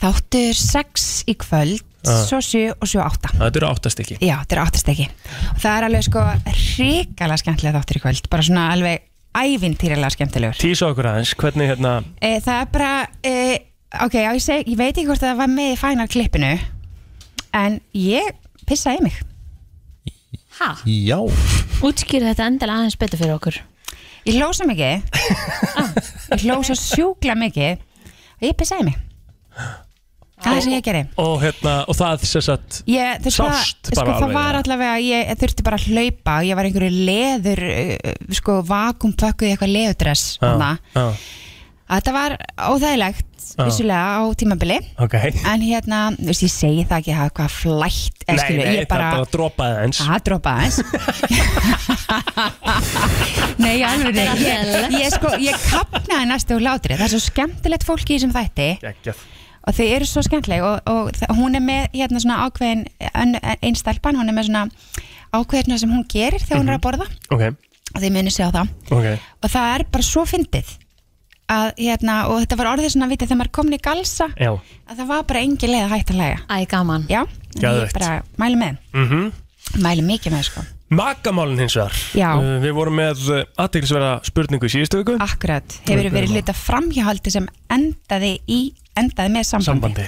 Speaker 10: Þáttur 6 í kvöld,
Speaker 4: Ah.
Speaker 10: svo 7 og svo 8.
Speaker 4: Það eru áttastykki
Speaker 10: Já, þetta er áttastekki og það er alveg sko hrikalega skemmtilega þáttur í kvöld bara svona alveg ævintýrilega skemmtilegur
Speaker 4: Tísa okkur aðeins, hvernig hérna
Speaker 10: e, Það er bara e, ok, já, ég, seg, ég veit ekki hvort það var með í fænar klippinu en ég pissaði í mig
Speaker 3: Ha?
Speaker 2: Já
Speaker 3: Útskýrðu þetta endilega aðeins betur fyrir okkur
Speaker 10: Ég hlósa mikið Ah, Ég hlósa sjúkla mikið og ég pissaði í mig Það er það sem ég gerði
Speaker 4: Og hérna, og það sem sagt
Speaker 10: Ég, þú veist
Speaker 4: Sást
Speaker 10: það, sko,
Speaker 4: bara
Speaker 10: það
Speaker 4: alveg,
Speaker 10: var
Speaker 4: eða?
Speaker 10: allavega, ég þurfti bara að hlaupa og ég var í einhverju leður, eh, sko, vakumpökkuð í eitthvað leðurdress, hana,
Speaker 4: já
Speaker 10: að þetta var óþægilegt
Speaker 4: Já.
Speaker 10: vissulega á tímabili
Speaker 4: Ok
Speaker 10: en hérna, þú veist, ég segi það ekki að hafa hvað flætt eða
Speaker 4: Nei, nei,
Speaker 10: skilur, ég
Speaker 4: það er bara að dropa aðeins
Speaker 10: að dropa aðeins Nei, ég alveg ég, ég, ég, sko, ég kapnaði næstu úr látri það er svo skemmtilegt fólki í þessum þætti
Speaker 4: Ekkert
Speaker 10: og þau eru svo skemmtileg og, og þa- hún er með hérna svona ákveðin einn stelpan, hún er með svona ákveðina sem hún gerir þegar hún er að borða
Speaker 4: Ok
Speaker 10: og þið munið sjá það
Speaker 4: Ok
Speaker 10: og það er bara svo fyndið að, hérna, og þetta var orðið svona vitið þegar maður er komin í galsa
Speaker 4: Já
Speaker 10: að það var bara engin leið að hætta að læga Æ, gaman Já, en
Speaker 4: Geðveikt.
Speaker 10: ég bara mælu með
Speaker 4: mm -hmm.
Speaker 10: mælu mikið með sko
Speaker 4: Magamálinn hins vegar
Speaker 10: Já.
Speaker 4: uh, Við vorum með aðtilsverða spurningu í síðustu viku
Speaker 10: Akkurat, hefur verið hluta framhjáhaldi sem endaði í, endaði með sambandi,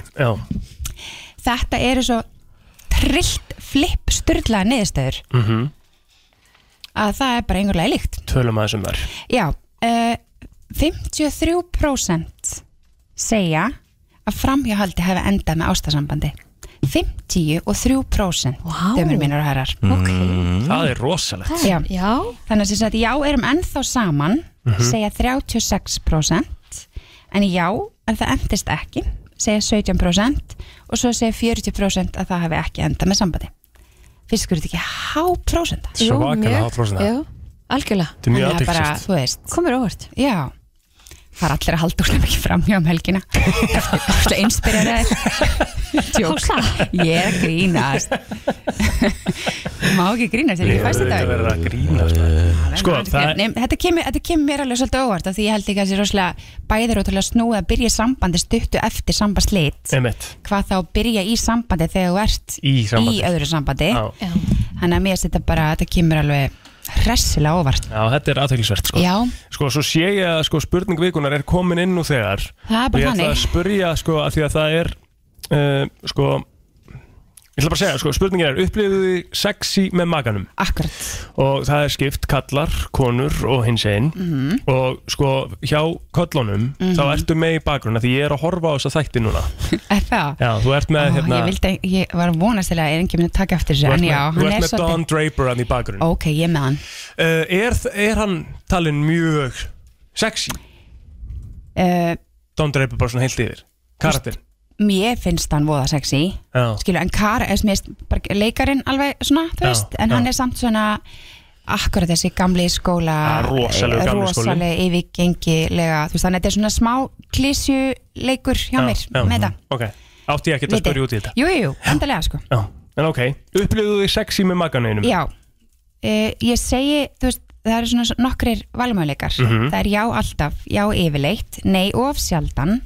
Speaker 4: Sambandi, já
Speaker 10: Þetta eru svo trillt flipp styrlaða niðurstöður
Speaker 4: mm -hmm.
Speaker 10: að það er bara einhverlega líkt
Speaker 4: Tölum um að þessum þar
Speaker 10: Já, uh, 53% segja að framhjáhaldi hefði endað með ástasambandi 53% wow. dömur mínur og herrar
Speaker 4: okay. Það er rosalegt
Speaker 10: já. já Þannig að sem sagt já erum ennþá saman
Speaker 4: Mhm.
Speaker 10: segja 36% en já en það endist ekki segja 17% og svo segja 40% að það hefði ekki endað með sambandi Fyrst skur þetta ekki há prósenda
Speaker 3: Jú, mjög. Jú, algjörlega
Speaker 10: Þetta er mjög Þannig að bara, athyglisvert.
Speaker 3: þú
Speaker 10: veist
Speaker 3: Komur óvart
Speaker 10: Já Það er allir að halda úrslega mikið framhjá um helgina Það er einspyrjar eða Tjók Ég er að grínast Má ekki grínast, þetta er ekki fæst í dag
Speaker 4: verið að grína Sko, það
Speaker 10: Nei, þetta, kemur, þetta kemur mér alveg svolítið óvart af því ég held ekki að þessi rosalega bæðir ótrúlega snúið að byrja í sambandi stuttu eftir sambandsleit
Speaker 4: er Emmett
Speaker 10: hvað þá byrja í sambandi þegar þú ert
Speaker 4: Í sambandi.
Speaker 10: öðru sambandi
Speaker 4: Já.
Speaker 10: þannig að mér finnst þetta bara þetta kemur alveg hressilega óvart
Speaker 4: Já, þetta er aðteglisvert sko.
Speaker 10: Já.
Speaker 4: Sko, svo sé ég að sko, spurning vikunar er komin inn nú þegar
Speaker 10: Það er bara
Speaker 4: Og ég ætla
Speaker 10: þannig.
Speaker 4: að spurja, sko, að því að það er uh, Sko Ég ætla bara að segja, sko, spurningin er Upplifðu þið sexy með maganum?
Speaker 10: Akkurat
Speaker 4: Og það er skipt kallar, konur og hins einn
Speaker 10: Mhm.
Speaker 4: Og sko, hjá köllunum
Speaker 10: Mhm.
Speaker 4: Þá ertu með í bakgrunna Því ég er að horfa á þessa þætti núna
Speaker 10: er það?
Speaker 4: Já, þú ert með,
Speaker 10: Ó,
Speaker 4: hérna
Speaker 10: ég, vildi, ég var vonast til að er enginn minn að taka eftir
Speaker 4: Þú
Speaker 10: þessu
Speaker 4: ert
Speaker 10: en
Speaker 4: með,
Speaker 10: já,
Speaker 4: þú
Speaker 10: hann
Speaker 4: ert
Speaker 10: er
Speaker 4: með Don
Speaker 10: svolítið
Speaker 4: Draper hann í bakgrunn
Speaker 10: ok, ég er með hann
Speaker 4: er, er hann talin mjög sexy?
Speaker 10: uh,
Speaker 4: Don Draper bara svona heilt yfir Karatinn
Speaker 10: mér finnst hann voða sexy
Speaker 4: Já.
Speaker 10: skilu, en Kara, eða sem ég veist, bara leikarinn alveg svona, þú
Speaker 4: Já,
Speaker 10: veist, en
Speaker 4: já.
Speaker 10: hann er samt svona akkurat þessi gamli skóla
Speaker 4: Ja, rosalegur
Speaker 10: sko,
Speaker 4: gamli skóli.
Speaker 10: rosaleg yfirgengilega, þú veist, þannig að þetta er svona smá klísju leikur hjá mér með þetta,
Speaker 4: Ok, átti ég ekki að
Speaker 10: Viti.
Speaker 4: spyrja út í þetta
Speaker 10: jú, jú, jú, endalega sko
Speaker 4: Mhm. Já, en ok, upplifðu þið sexy með maganeinum?
Speaker 10: já, uh, ég segi þú veist, það eru svona nokkrir valmöðleikar
Speaker 4: Mhm.
Speaker 10: það er já alltaf, já yfirleitt nei of sjaldan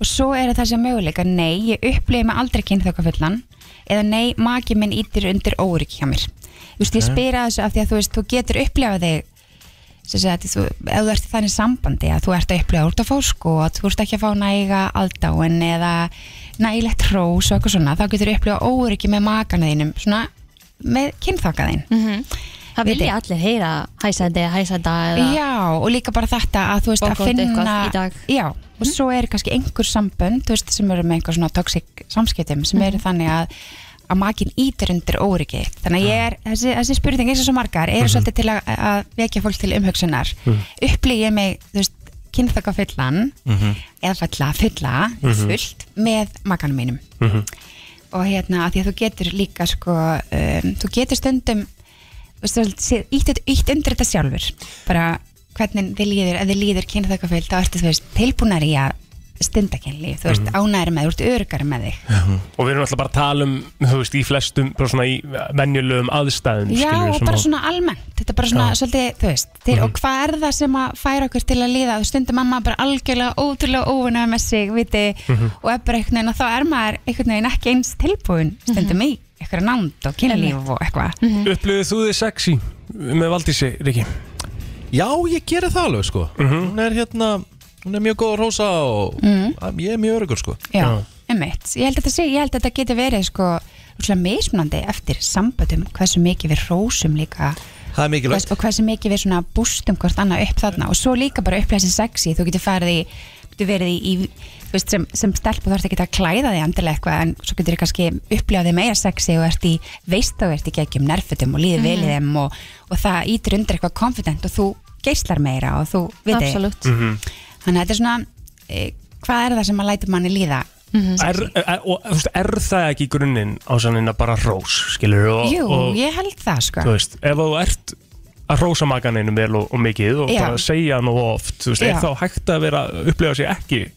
Speaker 10: og svo eru þessi möguleikar, nei, ég upplifi mig aldrei kynþökkafullan eða nei, maki minn ítir undir órygg hjá mér þú veist,
Speaker 4: Ok.
Speaker 10: ég spyr að þessu af því að þú veist, þú getur upplifað þig sem sagt, þú, ef þú ert í þannig sambandi að þú ert að upplifa út af fósku og að þú ert ekki að fá næga aldáin eða nægilegt hrós og eitthvað svona þá getur þú upplifa óryggi með makana þínum svona með kynþakaðin mm -hmm.
Speaker 3: Það vilja allir heyra hæsandi, hæsandi
Speaker 10: Já, og líka bara þetta að þú veist að
Speaker 3: Bókótt eitthvað
Speaker 10: finna
Speaker 3: í dag.
Speaker 10: Já, og svo er kannski einhver sambönd þú veist, sem eru með einhver svona toxic samskiptum sem eru þannig að að makin ítir undir óryggi þannig að ég er, þessi, þessi spurning eins og svo margar eru svolítið til að, að vekja fólk til umhugsunar mm
Speaker 6: Mhm.
Speaker 10: ég mig, þú veist, kynþaka fullan
Speaker 6: Mhm.
Speaker 10: eða falla, fulla,
Speaker 6: Mhm.
Speaker 10: fullt með makanum mínum og hérna að því að þú getur líka sko, um, þú getur stundum ítt, ítt undir þetta sjálfur bara hvernig þið líður ef þið líður kynþökkaföld þá ertu þú veist tilbúnar í að stunda kynlíf þú veist
Speaker 4: Mhm.
Speaker 10: mm. ánæri með, þú ert örgar með þig
Speaker 4: Og við erum alltaf bara að tala um, þú veist, í flestum, bara svona í venjulegum aðstæðum
Speaker 10: já
Speaker 4: skilurðu,
Speaker 10: og
Speaker 4: sem
Speaker 10: bara
Speaker 4: að-
Speaker 10: svona almennt þetta er bara svona
Speaker 4: Já.
Speaker 10: svolítið, þú veist til,
Speaker 4: Mhm.
Speaker 10: og hvað er það sem að færa okkur til að líða þú stundum mamma bara algjörlega ótrúlega óvunna með sig, viti
Speaker 6: Mhm.
Speaker 10: og er bara einhvern veginn og þá er maður einhvern veginn ekki eins tilbúin stundum í eitthvað nánd og kynlíf og eitthvað
Speaker 4: Mhm. Upplifðu þú þið sexy með Valdísi, Riki?
Speaker 2: Já, ég gerir það alveg sko
Speaker 4: Mhm.
Speaker 2: Hún er hérna, hún er mjög góð að rósa og
Speaker 10: Mhm.
Speaker 2: að- ég er mjög örgur sko
Speaker 10: Já, einmitt. Ég held að þetta, sé, ég held að þetta geti verið sko rússlega mismunandi eftir samböndum hversu mikið við rósum líka
Speaker 2: Það er mikilvægt
Speaker 10: hvers, og hversu mikið við svona bústum hvort annað upp þarna og svo líka bara upplæsið sexi þú getur farið í getur verið í, í þú veist, sem, sem stelp og þarf ekki að klæða þig andilega eitthvað en svo getur þið kannski upplæðið meira sexi og ert í veist og ert í geggjum nerfutum og líður vel í þeim og, og það ítur undir eitthvað confident og þú geislar meira og þú vitið
Speaker 3: Absolutt.
Speaker 4: Mhm.
Speaker 10: þannig að þetta er svona e, hvað er það sem að læta manni líða
Speaker 4: Er, er, og, þú veist, er það ekki í grunninn á sannina bara rós, skilur og,
Speaker 10: Jú,
Speaker 4: og,
Speaker 10: ég held það sko
Speaker 4: þú veist, ef þú ert að rósa makaninu vel og, og mikið og
Speaker 10: Já.
Speaker 4: bara segja hann og oft, þú veist,
Speaker 10: Já.
Speaker 4: er þá hægt að vera upplega sér ekki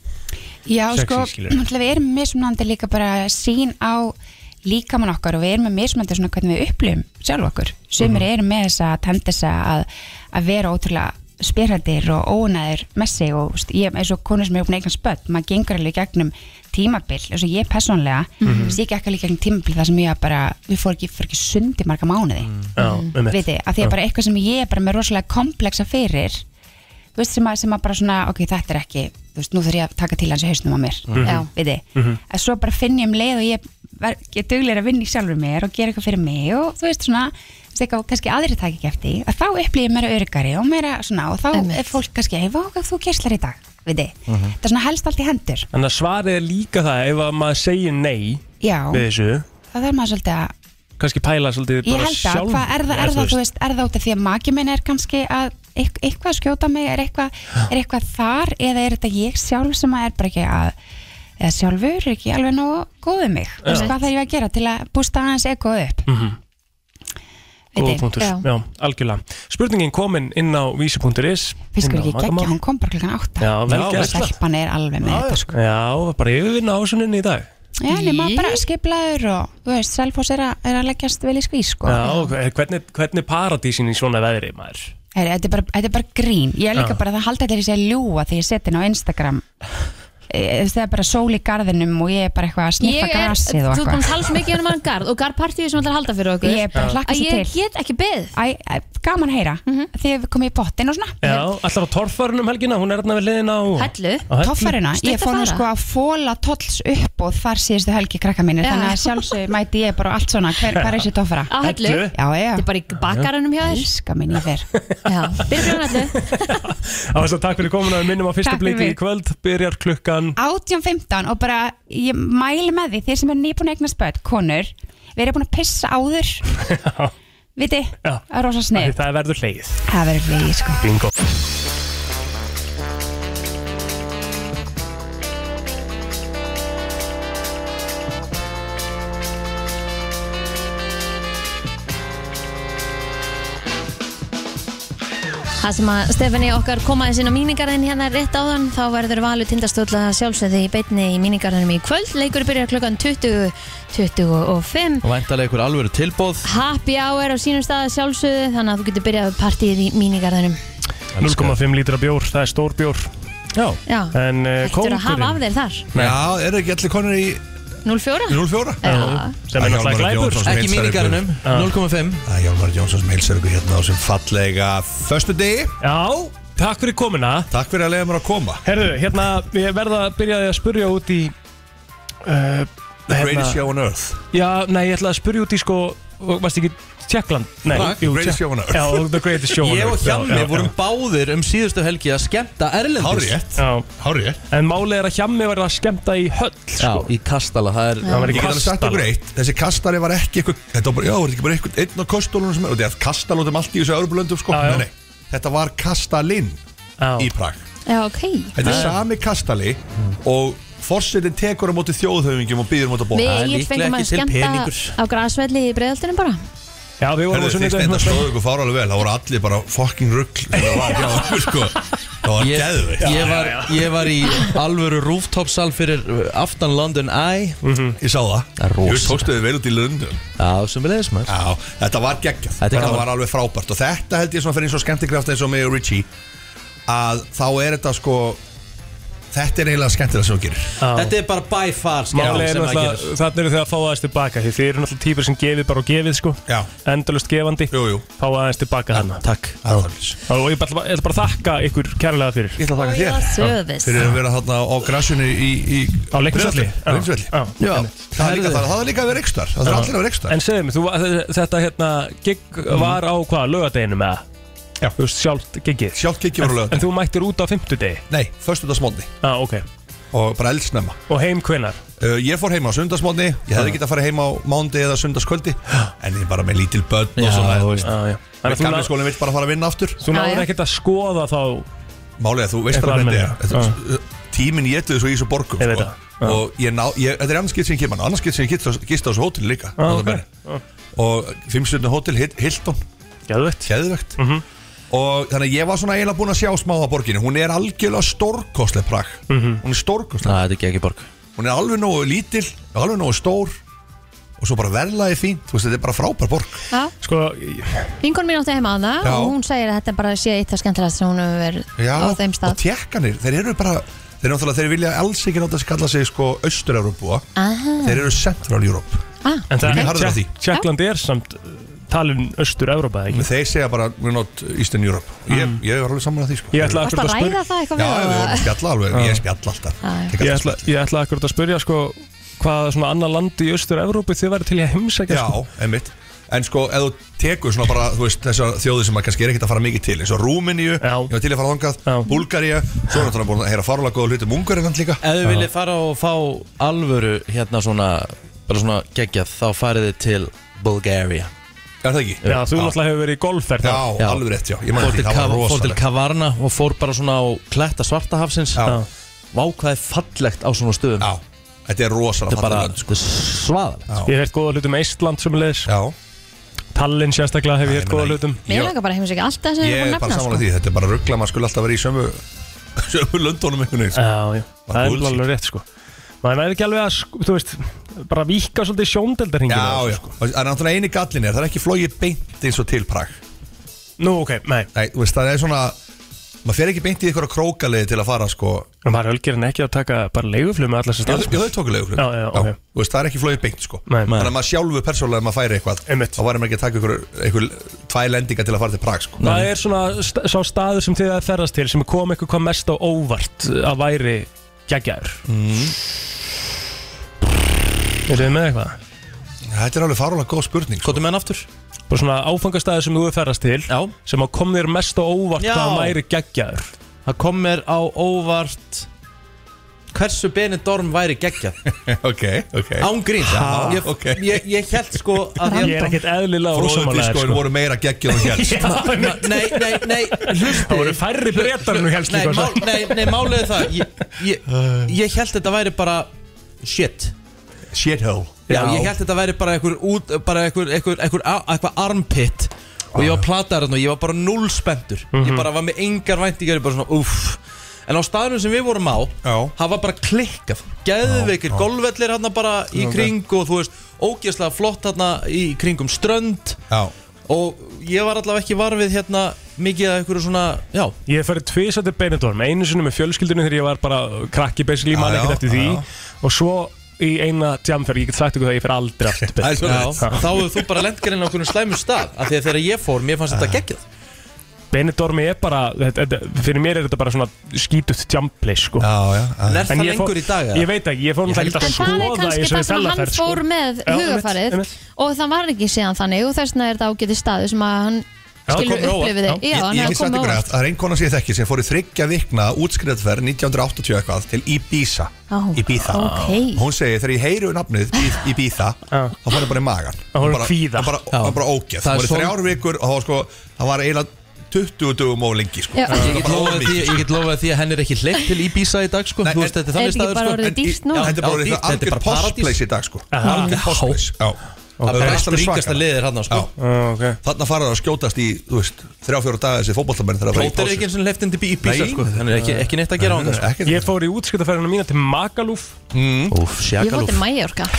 Speaker 10: Já,
Speaker 4: sexy,
Speaker 10: sko,
Speaker 4: skilur.
Speaker 10: náttúrulega við erum mismunandi líka bara sín á líkamann okkar og við erum með mismandi svona hvernig við upplifum sjálf okkur sumir
Speaker 6: Mhm.
Speaker 10: eru með þessa tendessa að, að vera ótrúlega spyrrandir og ónæður með sig og þú veist, ég er svo konu sem er uppnægna spött maður gengur alveg í gegnum tímabil eins og ég persónlega, mm
Speaker 4: Mhm.
Speaker 10: -hmm. ég gekk alveg í gegnum tímabil þar sem ég var bara, við fór ekki, fór ekki sund í marga mánuði
Speaker 4: Já, um
Speaker 10: Mm, veit þið, að því að bara eitthvað sem ég er bara með rosalega kompleksa fyrir þú veist, sem að, sem að bara svona, ok, þetta er ekki þú veist, nú þarf ég að taka til hans í hausnum á mér
Speaker 6: Mhm. Já.
Speaker 10: veit þið,
Speaker 6: Mhm.
Speaker 10: að svo bara finn ég um leið og ég, ver, ég duglir að vinna í sjálfur mér og gera eitthvað fyrir mig og þú veist svona, þú veist eitthvað kannski aðri takk ekki eftir að þá upplýði ég meira örgari og meira svona og þá er fólk kannski, hei, hvað þú gerslar í dag veit þið,
Speaker 4: Mhm.
Speaker 10: þetta er svona helst allt í hendur
Speaker 4: Þannig að svarið er líka það ef að maður segir nei
Speaker 10: Já.
Speaker 4: við þessu,
Speaker 10: það þarf maður svolítið að
Speaker 4: kannski pæla svolítið
Speaker 10: Ég
Speaker 4: bara
Speaker 10: held að,
Speaker 4: sjálf
Speaker 10: hvað er það, er það, þú veist, er það út af því að maki minn er kannski að eitth- eitthvað að skjóta mig, er eitthvað, er eitthvað þar eða er þetta ég sjálf sem að er bara ekki að, eða sjálfur er ekki alveg nógu góðið mig, þú veist,
Speaker 4: Já.
Speaker 10: hvað þarf ég að gera til að bústa aðeins eitthvað upp?
Speaker 4: mm -hmm. Góða
Speaker 10: Veit ég,
Speaker 4: punktur,
Speaker 10: já.
Speaker 4: já. algjörlega Spurningin komin inn á vísi.is
Speaker 10: Fiskur ekki geggja,
Speaker 4: hún
Speaker 10: hún kom bara klukkan átta.
Speaker 4: Já, vel gert.
Speaker 10: Stelpan er alveg með þetta, sko.
Speaker 4: Já, bara yfirvinna ásuninni í dag
Speaker 10: Já, nema bara skiplaður og, þú veist, Selfoss er, að- er að leggjast vel í skvís, sko.
Speaker 4: Já, ok, hvernig, hvernig paradísin í svona veðri maður?
Speaker 10: Heri, þetta, er bara, þetta er bara grín Ég er líka
Speaker 4: Já.
Speaker 10: bara að það halda þetta í sig að ljúa Þegar ég seti inn á Instagram Eh, Það er bara sól í garðinum Og ég er bara eitthvað að sniffa
Speaker 3: Ég er,
Speaker 10: grasið og
Speaker 3: þú
Speaker 10: eitthvað
Speaker 3: komst tala svo mikið um hann garð og garðpartíu sem ætlar að halda fyrir okkur
Speaker 10: Ég er bara að hlakka
Speaker 3: að
Speaker 10: svo til
Speaker 3: ég get ekki Mhm. beð
Speaker 10: Æ, æ, Gaman að heyra mm -hmm. Þegar við komum í pottin og svona
Speaker 4: Já, allar á torfarunum helgina, hún er hérna við liðina á
Speaker 10: Hellu.
Speaker 4: á
Speaker 10: Toffaruna, ég fór nú sko að fóla tolls upp og þar síðustu helgi krakka mínir
Speaker 3: Já.
Speaker 10: þannig að sjálfsög mæti ég bara á allt svona hver, hver er þessi toffara?
Speaker 3: Á Hellu. Hellu.
Speaker 10: Já, já Þetta
Speaker 3: er bara í bakaranum hjá þér.
Speaker 10: Elskar minn, ég fer
Speaker 4: Á þess að takk fyrir komuna, við minnum á fyrsta
Speaker 10: Takk fyrir
Speaker 4: bliki í
Speaker 10: mig.
Speaker 4: kvöld Byrjar klukkan
Speaker 10: 18.15 og bara ég mæli með því þeir sem er nýbúin að eignast börn, konur við erum búin að pissa áður viti,
Speaker 4: Já.
Speaker 10: það er rosa snið
Speaker 4: Það verður hleið
Speaker 10: það verður leið sko
Speaker 4: Bingo
Speaker 3: Það sem að Stefani okkar komaði sinna míningarðin hérna rétt áðan þá verður Valur tindastóla sjálfsögði í beinni í míningarðinum í kvöld leikur byrjar klukkan 20.25
Speaker 2: Og væntalega ykkur alvöru tilbóð
Speaker 3: Happy hour á sínum stað að sjálfsögðu þannig að þú getur byrjað partíið í míningarðinum
Speaker 4: 0,5 lítra bjór, það er stór bjór Já,
Speaker 3: Já,
Speaker 4: en uh,
Speaker 3: Þú eru að hafa af
Speaker 4: kókurinn
Speaker 3: þér þar
Speaker 4: Já,
Speaker 8: er ekki allir konur í
Speaker 3: 04
Speaker 8: 04?
Speaker 3: Já.
Speaker 4: Sem er náttúrulega glæpur.
Speaker 2: Ekki mínigarunum, 0,5
Speaker 8: Það er Hjálmar Jónsson sem heilsar ykkur hérna á sem fallega Föstu degi
Speaker 4: Já, takk fyrir komuna
Speaker 8: Takk fyrir að leiða mér að koma
Speaker 4: Herðu, hérna, ég verða að byrja að spurja út í uh,
Speaker 8: The greatest show on earth.
Speaker 4: Já, nei, ég ætla að spurja út í sko og varst ekki Tjekkland Nei,
Speaker 2: Prag,
Speaker 4: jú,
Speaker 2: greatest
Speaker 4: Tékk-
Speaker 2: show on earth.
Speaker 4: Já, og The Greatest Show on
Speaker 2: Ég og
Speaker 4: Earth, já,
Speaker 2: Hjálmi
Speaker 4: já,
Speaker 2: vorum
Speaker 4: já.
Speaker 2: báðir um síðustu helgi að skemmta Erlendis
Speaker 8: Hárrétt.
Speaker 4: Hárið En málið er að Hjammi var að skemmta í höll sko.
Speaker 2: Já, í kastala Það er
Speaker 4: Það var ekki
Speaker 8: Ég get alveg sagt
Speaker 4: kastala.
Speaker 8: okkur eitt Þessi kastari var ekki eitthvað Þetta var bara, já, var þetta ekki bara eitthvað Einn á kastálunum sem er Og þetta er kastal út um allt í þessu Örbulöndum sko
Speaker 4: Já, já.
Speaker 8: Nei, nei Þetta var kastalinn Í Prag
Speaker 3: Já, ok
Speaker 8: Þetta er sami kastali Og forsetin tekur á móti þjóðhauðingjum Og býður um á móti að
Speaker 3: Við eigin
Speaker 8: borða
Speaker 3: fengum að skemmta á grasvelli í breiðaldinu bara
Speaker 4: Já, við
Speaker 8: vorum
Speaker 4: á
Speaker 8: að sunna
Speaker 4: sunnudaginn
Speaker 8: Þetta
Speaker 4: hérna.
Speaker 8: stóðu ykkur fáralega vel Það voru allir bara fucking rugl þegar Það var hjá okkur, sko. Það var geðveikt.
Speaker 2: Ég var, ég var í alvöru rooftopsal fyrir uh, aftan London Eye
Speaker 8: Ég sá það
Speaker 2: Það er
Speaker 8: Þú veist,
Speaker 2: rosa
Speaker 8: tókstu þið vel út í Lundun
Speaker 2: Já, sem við leiðis maður
Speaker 8: Já, þetta var geggjað
Speaker 2: Þetta er
Speaker 8: Þetta
Speaker 2: gaman.
Speaker 8: var alveg frábært Og þetta held ég svona fyrir eins og skemmtikraft eins og mig og Richie Að þá er þetta sko Þetta er eiginlega skemmtilega sem þú gerir
Speaker 2: Þetta er bara by far
Speaker 4: Málið er
Speaker 2: sem að
Speaker 4: náttúrulega,
Speaker 2: gerir
Speaker 4: þannig eru þið að fá aðeins tilbaka Því þið eru náttúrulega típur sem gefið bara og gefið sko
Speaker 8: Já
Speaker 4: Endalust gefandi
Speaker 8: Jú, jú
Speaker 4: Fá aðeins tilbaka hana
Speaker 2: Takk
Speaker 4: Og ég bara- ég ætla bara að þakka ykkur kærlega fyrir
Speaker 8: Ég ætla að þakka
Speaker 4: þér.
Speaker 8: þér
Speaker 4: service.
Speaker 8: Fyrir að vera þarna á græsjunni í, í
Speaker 4: Á leiknisvelli.
Speaker 8: Á Leiknisvelli
Speaker 4: Já. Já.
Speaker 8: Það er líka það Það er líka að vera ekstar Það er allir að vera ekstar
Speaker 4: En segðu mig, þú, þetta hérna gig var á hvað, lögadeginu með það?
Speaker 8: Mhm. Já
Speaker 4: Þú veist, sjálft giggið
Speaker 8: Sjálft giggið var á laugardegi.
Speaker 4: En þú mættir út á fimmtudegi
Speaker 8: Nei, föstudagsmótni
Speaker 4: Já, ah, ok
Speaker 8: Og bara eldsnemma
Speaker 4: Og heim hvenar?
Speaker 8: Uh, ég fór heima á sundarsmótni Ég hefði
Speaker 4: Já.
Speaker 8: getað að fara heima á mándi eða sundarskvöldi En ég bara með lítil börn og
Speaker 4: Ah. Já,
Speaker 8: svona
Speaker 4: þú veist. Já, já. Þannig að þú
Speaker 8: Gamli
Speaker 4: ná-
Speaker 8: skólinn vill bara fara að vinna aftur
Speaker 4: Þú náður ekkert að skoða þá
Speaker 8: Málega, þú veist
Speaker 4: Eitthvað
Speaker 8: alveg hvernig
Speaker 4: almennilega. Ah.
Speaker 8: þetta er Þetta- Tíminn getur þessu í þessu borgum
Speaker 4: Ég veit
Speaker 8: sko.
Speaker 4: það. Ah.
Speaker 8: Og ég ná, ég, þetta er annars skitt sem ég kemur Annars skitt sem ég gist á gist á þessu hótel líka
Speaker 4: Já, Ah,
Speaker 8: nota
Speaker 4: ok.
Speaker 8: bene. Og fimmstjörnu hótel, Hil- Hilton
Speaker 4: Geðvegt
Speaker 8: Geðvegt
Speaker 4: Mhm.
Speaker 8: Og þannig að ég var svona eiginlega búin að sjá smá á borginni Hún er algjörlega stórkostleg prag
Speaker 4: Mhm.
Speaker 8: Hún er stórkostleg
Speaker 2: Þetta er ekki borg
Speaker 8: Hún er alveg nógu lítil, alveg nógu stór Og og svo bara verðlaði fínt, þú veist, þetta er bara frábær borg
Speaker 3: Já,
Speaker 4: Sko,
Speaker 3: vinkon mín átti heima hana
Speaker 8: Já.
Speaker 3: og hún segir að þetta bara sé eitt af skemmtilegast sem hún hefur verið
Speaker 8: já,
Speaker 3: á þeim
Speaker 8: og
Speaker 3: stað
Speaker 8: tjekkanir, þeir eru bara þeir eru náttúrulega, þeir vilja alls ekki náttúrulega að kalla sig sko austur-Európa, þeir eru Central Europe
Speaker 3: ah,
Speaker 4: En það
Speaker 8: Mjög harður á því.
Speaker 4: Tékk- Tékkland er samt uh, talin austur-Európa, ekki?
Speaker 8: Þeir segja bara, we're not Eastern Europe Ég, ég var alveg saman að því sko
Speaker 4: Mm. Ég ætla
Speaker 3: Varstu að ræða það eitthvað við
Speaker 8: Já,
Speaker 3: hana?
Speaker 8: við vorum að spjalla alveg,
Speaker 4: Já.
Speaker 8: ég spjalla
Speaker 3: Já,
Speaker 8: alltaf
Speaker 3: já.
Speaker 8: Ég
Speaker 4: Ég
Speaker 8: kalla-
Speaker 4: ætla, ég ætla akkurat að spyrja sko hvað svona annað land í austur-Európu þið væri til í að heimsækja
Speaker 8: Já,
Speaker 4: sko.
Speaker 8: einmitt En sko, ef þú tekur svona bara, þú veist, þessar þjóði sem maður kannski er ekkert að fara mikið til eins og Rúmeníu, ég var til að fara þangað Búlgaríu, svo er náttúrulega búin að heyra farulega góða hluti um Ungarinland líka
Speaker 2: Ef þið viljið fara og fá alvöru hérna svona, bara svona geggjað þá farið þið til Bulgaria
Speaker 8: Er það ekki?
Speaker 4: Já, þú náttúrulega hefur verið í golfferð
Speaker 8: Já, alveg rétt, já, ég man
Speaker 2: Fór
Speaker 8: eftir
Speaker 2: til,
Speaker 8: því, það var
Speaker 2: Kav- fór til
Speaker 8: rosalegt.
Speaker 2: Kavarna og fór bara svona á kletta svartahafsins Já Vá hvað er fallegt á svona stöðum
Speaker 8: Já, þetta er rosalega fallegt, sko.
Speaker 2: Þetta er bara svaðalegt
Speaker 4: Ég hef hægt góða hlutum Eistland sem leðis Tallinn sérstaklega hef ég hægt góða hlutum
Speaker 3: Mér langar bara heimsækja alltaf sem við
Speaker 8: Ég
Speaker 3: erum
Speaker 8: er
Speaker 3: búin
Speaker 8: bara
Speaker 3: að
Speaker 8: samanlega því,
Speaker 3: nefna sko.
Speaker 8: þetta er bara ruggla, maður skulle alltaf vera í sömu sömu löndunum einhvern veginn sko.
Speaker 4: Já, já,
Speaker 8: Bara
Speaker 4: það er
Speaker 8: bullshit.
Speaker 4: alveg rétt sko Maður er ekki alveg að, sk- þú veist, bara víka svolítið sjóndeldarhingin
Speaker 8: Já, já, sko. það er náttúrulega eini gallin er, það er ekki flogið beint eins og til Prag
Speaker 4: Nú, ok, nei
Speaker 8: Nei, þú veist, það er svona, maður fer ekki beint í einhverja krókaliði til að fara, sko
Speaker 4: En maður er ölgerinn ekki að taka bara leiguflug með allar sem
Speaker 8: Já,
Speaker 4: stað
Speaker 8: já, þau tóku leiguflug.
Speaker 4: Já, já, ok
Speaker 8: Já, Þú veist, það er ekki flogið beint, sko
Speaker 4: Nei.
Speaker 8: Þannig að maður sjálfu persónulega ef maður færi eitthvað Einmitt. Þá varum ekki að taka ykkur, ykkur tvær lendinga til að fara til Prag, sko
Speaker 4: Það er svona st sá staður sem þið að ferðast til sem kom eitthvað hvað mest á óvart eh, að væri geggjær mm. Er þið með eitthvað?
Speaker 8: Þetta er alveg farulega góð spurning sko.
Speaker 2: Kvotum enn aftur
Speaker 4: Bara svona áfangastæði sem þú hefur ferðast til Já. sem að kom þér mest á óvart
Speaker 2: Já.
Speaker 4: hvað hann væri geggjær
Speaker 2: Það kom mér á óvart Hversu Benidorm væri geggjað
Speaker 8: Ok, ok
Speaker 2: Ángrín
Speaker 8: Já,
Speaker 2: ég,
Speaker 8: ok.
Speaker 2: ég, ég held sko að
Speaker 4: Ég er ekkert eðlilega ósammála þér,
Speaker 8: Fróðutískoin
Speaker 4: sko.
Speaker 8: voru meira geggjum en helst
Speaker 2: Nei, nei, nei, nei hlusti Það
Speaker 4: voru færri breytar en þú hélst
Speaker 2: Nei,
Speaker 4: líka, sko.
Speaker 2: mál,
Speaker 4: svo.
Speaker 2: nei, nei máliði það ég, ég, ég held þetta væri bara shit
Speaker 8: Shithole
Speaker 2: Já, ég held þetta væri bara einhver út bara einhver, einhver, einhver, a- einhver armpit og ég var platarinn og ég var bara null spendur ég
Speaker 1: Mhm.
Speaker 2: bara var með engar væntingar ég bara svona uff en á staðnum sem við vorum á
Speaker 8: Já.
Speaker 2: það var bara klikkað geðveikir golfvellir hérna bara í
Speaker 8: Ok.
Speaker 2: kring og þú veist ógeðslega flott hérna í kringum strönd
Speaker 8: Já
Speaker 2: og ég var allavega ekki varfið hérna mikið að einhverju svona já
Speaker 4: Ég hef farið tvisað til Benidorm, einu sinni með fjölskyldunni þegar ég var bara krakki basically, man
Speaker 2: Já,
Speaker 4: ekkert
Speaker 2: já,
Speaker 4: eftir því
Speaker 2: já.
Speaker 4: og svo í eina jamferð, ég get sagt ykkur það, ég fer aldrei aftur
Speaker 2: Já,
Speaker 4: til Benidorm.
Speaker 2: þá
Speaker 4: Já.
Speaker 2: hefur þú bara lendgarinn á einhvern slæmum stað af því að þegar ég fór, mér fannst þetta geggjað
Speaker 4: Benidormi er bara, þetta, þetta, fyrir mér er þetta bara svona skítut tjampli sko.
Speaker 8: já, já.
Speaker 2: Nerð það lengur í dag, eða?
Speaker 4: Ég veit ekki, ég fór
Speaker 2: Ég
Speaker 4: náttúrulega
Speaker 2: held
Speaker 4: ekki að
Speaker 2: að-
Speaker 3: En það er
Speaker 4: skoða
Speaker 3: kannski það sem hann
Speaker 4: ferð,
Speaker 3: fór með
Speaker 4: Já, einmitt,
Speaker 3: hugafarið
Speaker 4: einmitt.
Speaker 3: og það var ekki síðan þannig og þess vegna er þetta ágæti staðu sem að hann skilur upplifiði Já,
Speaker 8: Ég,
Speaker 3: hann
Speaker 8: ég
Speaker 3: hefði
Speaker 8: get sagt
Speaker 3: komið
Speaker 8: ykkur að
Speaker 3: óvart
Speaker 8: það er ein kona sem ég þekki sem fór í þryggja vikna útskriðatverð 1980 eitthvað til Ibiza
Speaker 3: Já,
Speaker 8: Ibiza
Speaker 3: ok.
Speaker 8: Hún segir þegar ég heyri nafnið Bi- Ibiza þá fann ég bara í magan
Speaker 4: Þá var hún
Speaker 8: bara-
Speaker 4: kvíða.
Speaker 8: Það bara, það var bara ógeð
Speaker 2: Það
Speaker 8: Það
Speaker 2: er
Speaker 8: var
Speaker 2: svol-
Speaker 8: þrjár vikur og það var sko það var eiginlega 20 dugum og lengi sko.
Speaker 3: Já.
Speaker 8: Það
Speaker 2: Ég
Speaker 8: var
Speaker 2: get
Speaker 8: bara
Speaker 2: lofað því,
Speaker 8: ómikið,
Speaker 2: ég
Speaker 8: sko.
Speaker 2: get lofað því að henn er ekki hleypt til Ibiza í dag sko. Nei, veist, þetta er þannig
Speaker 3: Er þetta ekki
Speaker 2: staður
Speaker 3: bara
Speaker 2: sko.
Speaker 3: orðið
Speaker 2: En-
Speaker 3: dýrt nú?
Speaker 2: Já,
Speaker 8: Þetta er bara
Speaker 2: já,
Speaker 8: orðið
Speaker 2: dýrt, þetta
Speaker 8: algjör
Speaker 2: paradís.
Speaker 8: postplace í dag sko
Speaker 2: Já.
Speaker 8: Algjör
Speaker 2: Já.
Speaker 8: postplace Já
Speaker 2: Það er
Speaker 8: er
Speaker 2: alltaf
Speaker 8: alveg
Speaker 2: ríkasta
Speaker 8: svakalega.
Speaker 2: liðir hann sko.
Speaker 4: okay.
Speaker 8: Þarna fara það að skjótast í, þú veist, þrjá fjóra daga þessi fótballtamenn þegar það var í
Speaker 2: Plóter er
Speaker 8: pásu.
Speaker 2: ekki eins og hleypt inn til Ibiza
Speaker 8: Nei.
Speaker 2: sko. Hann er ekki, ekki neitt að gera á hann sko.
Speaker 4: Ég fór í útskiptaferðina mína til Magaluf
Speaker 2: Úf,
Speaker 3: Ég fótti Mæjorka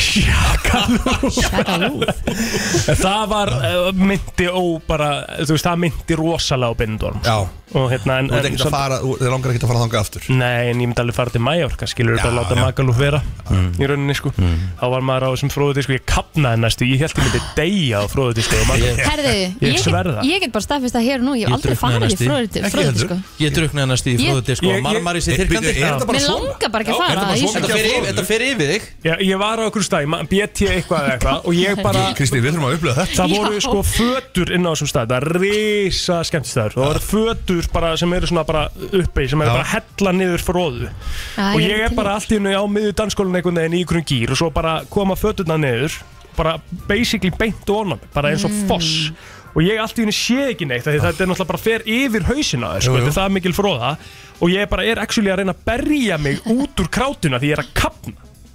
Speaker 3: Sjakalú
Speaker 4: Það var uh, myndi ó bara, þú veist, það myndi rosalega á Benidorm sko. og hérna en,
Speaker 8: Þú ert ekkert að fara, þú- þið langar ekkert að fara þangað aftur
Speaker 4: Nei, en ég myndi alveg fara til Mallorca, skilur þetta að láta Magaluf vera í rauninni, sko Þá var maður á þessum fróðutísku, ég kapnaði næstu, ég held ég myndi deyja á sko, fróðutísku
Speaker 3: Herðu,
Speaker 4: Ég
Speaker 3: ég, get-
Speaker 4: sverða.
Speaker 3: ég get bara staðfist að hér og nú Ég hef aldrei farið í fróðið sko.
Speaker 2: Ég druknaði hennast í
Speaker 3: Ég-
Speaker 2: fróðuti sko.
Speaker 4: Ég- ég-
Speaker 2: Marmaris í
Speaker 4: Ég-
Speaker 2: þyrkandi
Speaker 4: bíddu, er þetta bara
Speaker 3: Mér langar bara ekki að fara í svona-
Speaker 2: Þetta fer yfir þig
Speaker 4: Já, ég var á okkur stæð, BT eitthvað eða eitthvað og ég bara
Speaker 8: Kristi, við þurfum að upplega þetta
Speaker 4: Það voru
Speaker 3: Já.
Speaker 4: sko fötur inn á þessum stað Það er risa skemmtistæður Það voru fötur bara sem eru svona bara uppi sem eru bara að hella niður fróðu Og
Speaker 3: ég er
Speaker 4: ég er
Speaker 3: til
Speaker 4: bara
Speaker 3: í.
Speaker 4: allt í hennu á miðju dansskólan einhvern veginn í ykkurum gýr og svo bara koma föturna niður bara basically beint og mig, bara eins og
Speaker 1: Mm.
Speaker 4: foss og ég allt í hennu sé ekki neitt af því þetta er náttúrulega bara fer yfir hausina þér, sko,
Speaker 1: Jú, jú.
Speaker 4: þetta er það mikil fróða og ég bara er actually að reyna að berja mig út úr krátuna því ég er að kapna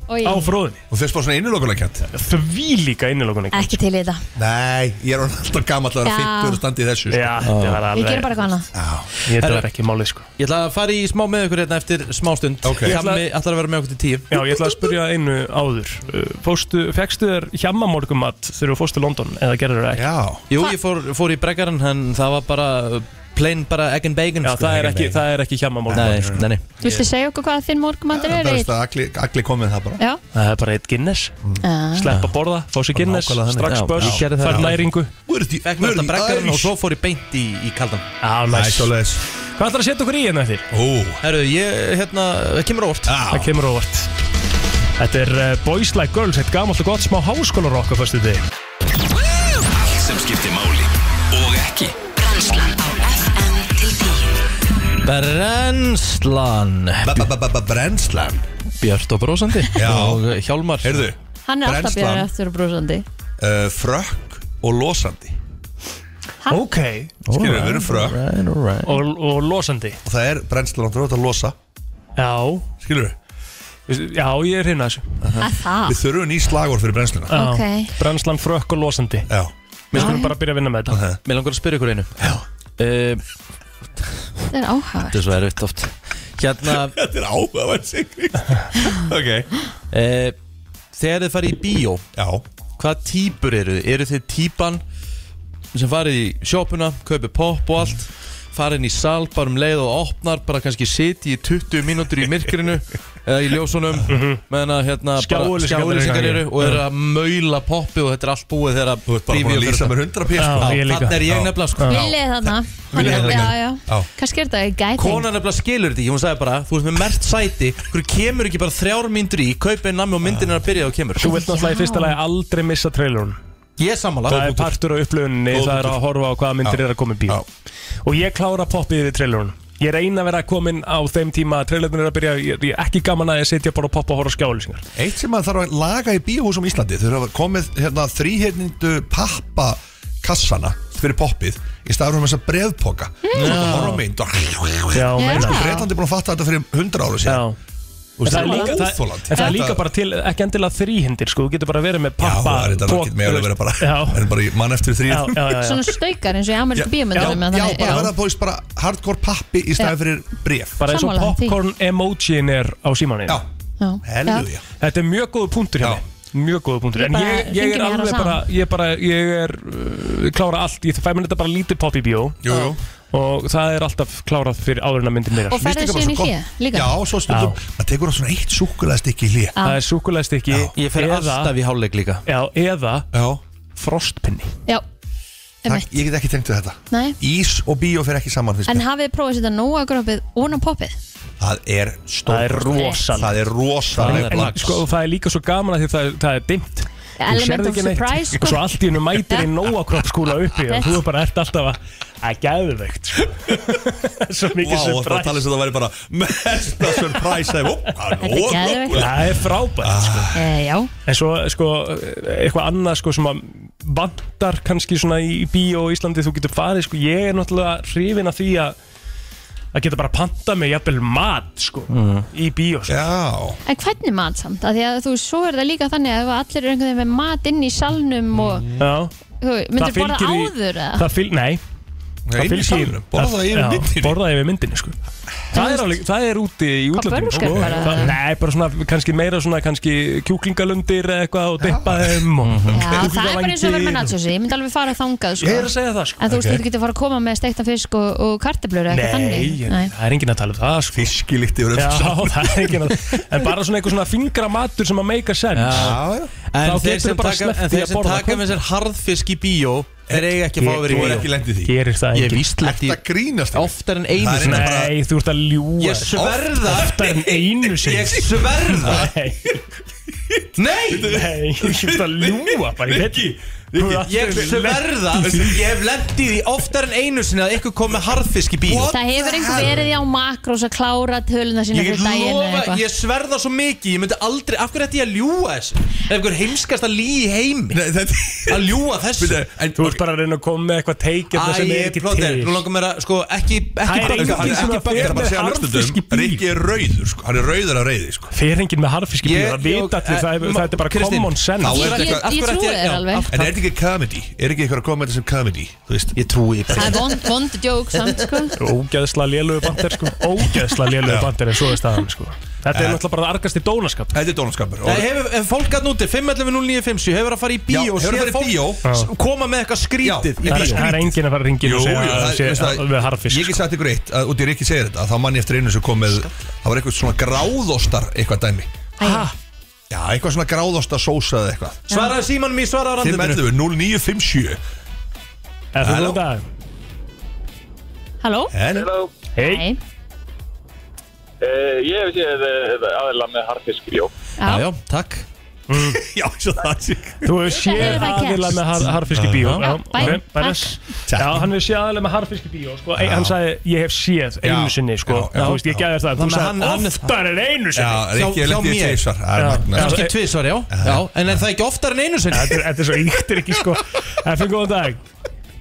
Speaker 3: Oj.
Speaker 4: á fróðinni
Speaker 8: Og fyrst bara svona innilokunarkjönd
Speaker 4: Því líka innilokunarkjönd
Speaker 3: Ekki til í þetta
Speaker 8: Nei, ég er orðinn alltaf gammal að vera
Speaker 3: Já.
Speaker 8: 50 og standi í þessu sko.
Speaker 4: Já, þetta var
Speaker 3: Við gerum bara eitthvað annað
Speaker 4: Ég þetta er ekki málið sko
Speaker 2: Ég ætla að fara í smá með ykkur hérna eftir smá stund
Speaker 4: Ég ætla-
Speaker 2: Hjammi ætlar að vera með okkur til tíu
Speaker 4: Já, ég ætla að spyrja einu áður Uh, Fórstu, fegstu þér hjamma morgumat þegar þú fórstu í London eða gerður það ekki?
Speaker 2: Já Jú, ég fór, fór í breggaran en það var bara uh, plain bara egg and bacon Já, sko,
Speaker 4: það er ekki- það er ekki hjamma
Speaker 2: Nei, nei, nei
Speaker 3: Viltu segja okkur hvað þinn morgumandur er? Egill?
Speaker 8: allir, allir komið það bara
Speaker 3: Já
Speaker 4: Það er bara eitt Guinness
Speaker 3: Ah.
Speaker 4: Slepp að borða, fá sér Guinness
Speaker 2: Nákvæmlega þannig.
Speaker 4: Strax
Speaker 2: Já,
Speaker 4: börs,
Speaker 2: ég gerði það.
Speaker 4: fær
Speaker 2: Já.
Speaker 4: næringu
Speaker 2: Fekk mér alltaf breggaran og svo fór ég beint í, í kaldan
Speaker 4: Já,
Speaker 8: Næs,
Speaker 4: næs
Speaker 8: svoleiðis.
Speaker 4: Hvað ætlar að setja okkur í hérna eftir?
Speaker 8: Ó
Speaker 2: Herru, ég, hérna, það kemur óvart
Speaker 4: Það kemur óvart Þetta er uh, Boys Like Girls, eitt gamalt og gott smá háskólarokk á föstu degi
Speaker 1: Allt sem skiptir máli og ekki
Speaker 20: Brennslan á FM til 10
Speaker 2: Brennslan
Speaker 8: Brennslan
Speaker 2: Björt og brósandi Já Og Hjálmar
Speaker 8: Heyrðu
Speaker 3: Hann er alltaf björn eftir og brúsandi
Speaker 8: uh, Frökk og losandi
Speaker 3: Ha?
Speaker 4: Ok
Speaker 8: Skilur við, við erum frökk
Speaker 2: right, right.
Speaker 4: og, og losandi
Speaker 8: Og það er brennslan og þú ert að losa
Speaker 4: Já
Speaker 8: Skilur
Speaker 4: við Já, ég er hinn að þessu
Speaker 3: Að það?
Speaker 8: Við þurfum ný slagor fyrir brennsluna
Speaker 4: Já.
Speaker 3: Ok.
Speaker 4: Brennslan frökk og losandi
Speaker 8: Já
Speaker 4: Við skulum bara byrja að vinna með þetta
Speaker 2: Mér langar að spyrja ykkur einu Eh, Já
Speaker 3: Þetta er áhagast
Speaker 2: Þetta er svo erfitt oft Hérna
Speaker 8: Þetta er áhugaverð sigring Ok
Speaker 2: eh, Þegar þið farið í bíó
Speaker 8: Já
Speaker 2: Hvað típur eru þið? Eru þið típan sem farið í sjópuna, kaupið popp og allt farið inn í sal, bara um leið og opnar bara kannski sitið í 20 mínútur í myrkrinu eða í ljósunum meðan að hérna bara
Speaker 8: Skjáauglýsingarnar Mhm. eru í
Speaker 2: skjáauglýsingar
Speaker 8: gangi.
Speaker 2: eru og eru að maula poppi og þetta er allt búið þegar að
Speaker 8: bara búin að lýsa mér 100 pí, sko. Já, ég líka.
Speaker 2: Þannig er ég
Speaker 8: Já.
Speaker 2: nefnilega sko
Speaker 3: Villið þarna
Speaker 2: Villi er
Speaker 3: Hann-
Speaker 2: þarna.
Speaker 3: Já, já
Speaker 2: Já.
Speaker 3: Kannski er þetta í gæting
Speaker 2: Konan nefnilega skilur þetta ekki, hún sagði bara Þú veist með mert sæti, hverju kemur ekki bara þrjár myndur í Kaupið nammi og myndin er að byrja og kemur
Speaker 4: Þú vilt náttúrulega í fyrsta lagi aldrei missa trailrun
Speaker 2: Ég sammála
Speaker 4: Það er partur af upplöfunni,
Speaker 2: Góð
Speaker 4: það er að horfa á hvaða myndir
Speaker 2: Já.
Speaker 4: er að koma í bíó Og ég klára poppið við trailrun Ég reyna að vera komin á þeim tíma að trailrun er að byrja Ég ég er ekki gaman að ég setja bara að poppa og horfa skjálisingar
Speaker 8: Eitt sem maður þarf að laga í bíóhúsum í Íslandi Þau hafa komið hérna þrýhyrnindu pappa kassana fyrir poppið í staður um þessa brefpoka mm.
Speaker 4: Já.
Speaker 8: horfa á mynd og
Speaker 4: Hmm. Já, meina.
Speaker 8: sko Breitlandi er búin að fatta þetta fyrir 100 ára síðan
Speaker 4: En það, er líka, það,
Speaker 8: óþolandi.
Speaker 4: en það er líka bara til, ekki endilega þrýhindir sko, þú getur bara verið með pappa
Speaker 8: það er þetta
Speaker 4: pop-
Speaker 8: ekki með að vera bara,
Speaker 4: Já.
Speaker 8: en bara í mann eftir þrý
Speaker 4: Já, já, já,
Speaker 3: Svona staukar eins og í amerísku bíómyndunum
Speaker 8: já, já, bara verða bóist bara hardcore pappi í
Speaker 3: Já.
Speaker 8: staði fyrir bref
Speaker 4: bara eins og
Speaker 3: Sammála því.
Speaker 4: popcorn emojín er á símaninu
Speaker 8: Já,
Speaker 3: Helvíði. Já.
Speaker 4: Þetta er mjög góður punktur hjá mig. Mjög góður
Speaker 3: Ég
Speaker 4: punktur En
Speaker 3: bara
Speaker 4: ég,
Speaker 3: hringi
Speaker 4: ég
Speaker 3: mér
Speaker 4: er alveg
Speaker 3: saman.
Speaker 4: bara Ég, bara, ég er uh, klára allt Ég fæ mér þetta bara lítið popp í bjó jú, jú. Og það er alltaf klárað fyrir áður en að myndin meira
Speaker 3: Og færðu síðan í hlé líka?
Speaker 8: Já, svo stundum, maður tekur á svona eitt súkulæðstikki í hlé
Speaker 4: Það er súkulæðstikki
Speaker 2: Ég fer alltaf í hálfleik líka
Speaker 4: Já, eða
Speaker 8: já.
Speaker 4: frostpinni
Speaker 3: Já
Speaker 8: Það, ég get ekki tengt við þetta
Speaker 3: Nei
Speaker 8: Ís og bíó fer ekki saman fyrst
Speaker 3: En hafið þið prófað að setja nóa grópið og ná poppið?
Speaker 8: Það er stór
Speaker 4: Það er rosalegt.
Speaker 8: Það er
Speaker 4: Það
Speaker 8: rosalega
Speaker 4: er, en, sko, það er líka svo gaman að því það, það er dimmt Þú
Speaker 3: Element
Speaker 4: sérð
Speaker 3: of
Speaker 4: ekki neitt.
Speaker 3: surprise, sko.
Speaker 4: Og svo allt í hennu mætir í nóa kroppskúla uppi Og þú er bara ert alltaf að að gæðuveikt sko. Svo mikið
Speaker 8: Vá,
Speaker 4: surprise.
Speaker 8: og það talið sem það væri bara mesta surprise Það er ó, það er
Speaker 3: Þetta er geðveikt.
Speaker 8: rosalega.
Speaker 4: Það er frábært sko.
Speaker 3: E, já
Speaker 4: En svo sko, eitthvað annað sko, sem að vantar kannski svona í bíó í Íslandi þú getur farið sko, ég er náttúrulega hrifin af því að að geta bara panta mig jafnvel mat sko,
Speaker 8: Mhm.
Speaker 4: í bíó sko.
Speaker 8: Já
Speaker 3: En hvernig mat samt? Af því að þú, svo er það líka þannig að ef allir eru einhvern veginn með mat inn í salnum og
Speaker 4: Mm.
Speaker 3: þú, myndir borða áður eða?
Speaker 4: það fylg, Nei
Speaker 8: Nei, inn í salnum, borða
Speaker 4: það-
Speaker 8: yfir
Speaker 4: já,
Speaker 8: myndinni.
Speaker 4: Borða yfir myndinni sko. það, er alveg, það er úti í
Speaker 3: Hvað,
Speaker 4: útlöndum sko.
Speaker 3: burger bara,
Speaker 4: Það-
Speaker 3: eða?
Speaker 4: Nei, bara svona kannski meira svona kannski kjúklingalundir eða eitthvað og dippa þeim og
Speaker 8: Mhm.
Speaker 3: Já, það er bara eins og að vera með nachosi, ég myndi alveg fara þangað sko.
Speaker 4: Ég er að segja það, sko.
Speaker 3: En þú veist,
Speaker 4: Ok.
Speaker 3: þú getur fara að koma með steiktan fisk og, og karteblur eða eitthvað
Speaker 4: Nei,
Speaker 3: þannig
Speaker 4: ég- það er enginn að tala um það sko.
Speaker 8: Fiskilíkt yfir
Speaker 4: Já,
Speaker 8: öllu saman.
Speaker 4: það er enginn að En bara svona einhver svona fingra matur sem að make a sense
Speaker 2: Já,
Speaker 8: já
Speaker 2: En
Speaker 4: Þá
Speaker 2: þeir
Speaker 4: getur
Speaker 2: sem
Speaker 4: bara
Speaker 2: taka,
Speaker 4: sleppt
Speaker 2: en
Speaker 4: því
Speaker 2: þeir
Speaker 4: að
Speaker 2: sem
Speaker 4: borða
Speaker 2: taka með sér harðfisk í bíó Þeir eiga ekki að fá að vera í
Speaker 8: Þú er
Speaker 2: bíó
Speaker 8: ekki lendið því
Speaker 4: Gerir það
Speaker 2: Ég
Speaker 4: enginn.
Speaker 2: víst lendi
Speaker 8: Þetta grínast
Speaker 2: oftar en einu
Speaker 8: Það er
Speaker 2: sinni.
Speaker 8: eina bara-
Speaker 4: Nei, þú ert að ljúa
Speaker 2: Ég sverða
Speaker 4: Oftar en einu sinni
Speaker 2: Ég sverða
Speaker 4: Nei
Speaker 2: Nei
Speaker 4: Nei, þú ert að ljúa bara, ég veit
Speaker 8: Rikki,
Speaker 2: Ég sverða, ég hef lendið í því oftar en einu sinni að ykkur kom með harðfisk í bíl
Speaker 3: Það hefur einhver verið í á makrós að klára töluna sína
Speaker 2: Ég get
Speaker 3: fyrir daginn eða
Speaker 2: lofa,
Speaker 3: eitthvað
Speaker 2: ég sverða svo mikið Ég myndi aldrei, af hverju ætti ég að ljúa þessu? Það er einhver heimskast að lí í heimi Að ljúa þessu
Speaker 4: en, Þú ert bara að reyna að koma með eitthvað teikja
Speaker 2: Æ,
Speaker 4: sem er
Speaker 2: ég
Speaker 4: ekki
Speaker 2: plóter,
Speaker 4: til
Speaker 2: nú langar mér að, sko, ekki
Speaker 4: Það
Speaker 2: Ekki
Speaker 4: er enginn
Speaker 2: bakka,
Speaker 4: sem að
Speaker 2: ekki bakka
Speaker 4: fer
Speaker 8: Ég er bara að segja
Speaker 4: með
Speaker 8: hlustundum Rikki er rauður sko Hann er rauður af reyði sko
Speaker 4: Fer enginn með harfiski bíl,
Speaker 8: Ég-
Speaker 4: það vita allir,
Speaker 8: ég-
Speaker 4: það, er- það er bara
Speaker 8: Kristín,
Speaker 4: common sense
Speaker 8: þá er þetta Ég- eitthvað- ég
Speaker 3: trúi þér alveg.
Speaker 8: En er þetta ekki comedy? Er ekki eitthvað að koma með þetta sem comedy? Þú veist
Speaker 2: Ég trúi
Speaker 3: Það er vond, vond djók samt sko
Speaker 4: Ógæðsla lélugu bandir sko Ógæðsla lélugu
Speaker 8: Já.
Speaker 4: bandir en svo er staðan sko Þetta er
Speaker 8: Ja.
Speaker 4: náttúrulega bara argast í dónaskap
Speaker 8: Þetta er dónaskapur
Speaker 2: Nei, hefur ef fólk að núti, 5.11.09.50 hefur að fara í
Speaker 4: Já,
Speaker 2: bíó og
Speaker 4: hefur
Speaker 2: séð
Speaker 4: farið í
Speaker 2: fólk
Speaker 4: bíó.
Speaker 2: s- koma með eitthvað skrítið í
Speaker 4: Það er-
Speaker 2: bíó
Speaker 4: það er enginn að fara að ringin
Speaker 8: Jú,
Speaker 4: og segja
Speaker 8: jú,
Speaker 4: að
Speaker 8: það-
Speaker 4: það sé
Speaker 8: veist það,
Speaker 4: alveg harfisk
Speaker 8: Ég get sagt ykkur eitt, að út í Rikki segir þetta að Þá mann ég eftir einu sem kom með Það var eitthvað svona gráðostar eitthvað dæmi
Speaker 3: Æ.
Speaker 8: Já, eitthvað svona gráðostar sósa eða eitthvað
Speaker 2: Svaraði símanum í svaraði á randinu
Speaker 8: 511 0957
Speaker 4: Er
Speaker 8: Halló.
Speaker 4: þú dag?
Speaker 3: Halló
Speaker 8: Hello
Speaker 4: Hei
Speaker 19: Eh,
Speaker 21: Uh, ég hef séð uh, aðla með harfisk, já.
Speaker 3: Já,
Speaker 2: já, takk
Speaker 8: Já, svo það sé
Speaker 4: Þú
Speaker 21: Þetta
Speaker 4: hefur séð
Speaker 21: hefur það
Speaker 4: aðila
Speaker 21: gerst.
Speaker 4: með har, harfisk í bíó
Speaker 21: Já,
Speaker 4: Já,
Speaker 21: bæ,
Speaker 4: ok,
Speaker 21: takk.
Speaker 4: bæres. Já, hann hefur séð aðila með harfisk í bíó sko. Ein- Hann sagði, ég hef séð einu sinni sko.
Speaker 8: já,
Speaker 4: Þú veist, ég
Speaker 8: já.
Speaker 4: gæði
Speaker 2: Þannig
Speaker 4: það Þú
Speaker 2: að hann-
Speaker 4: sagði, oftar en einu
Speaker 8: Já,
Speaker 4: sinni
Speaker 8: Rikki er lendið í tveisvar Það er magnað.
Speaker 2: Kanski tvisvar, e- já, já En er það ekki oftar en einu sinni?
Speaker 4: Þetta er- þetta er svo yktir ekki sko Það fyrir góðan dag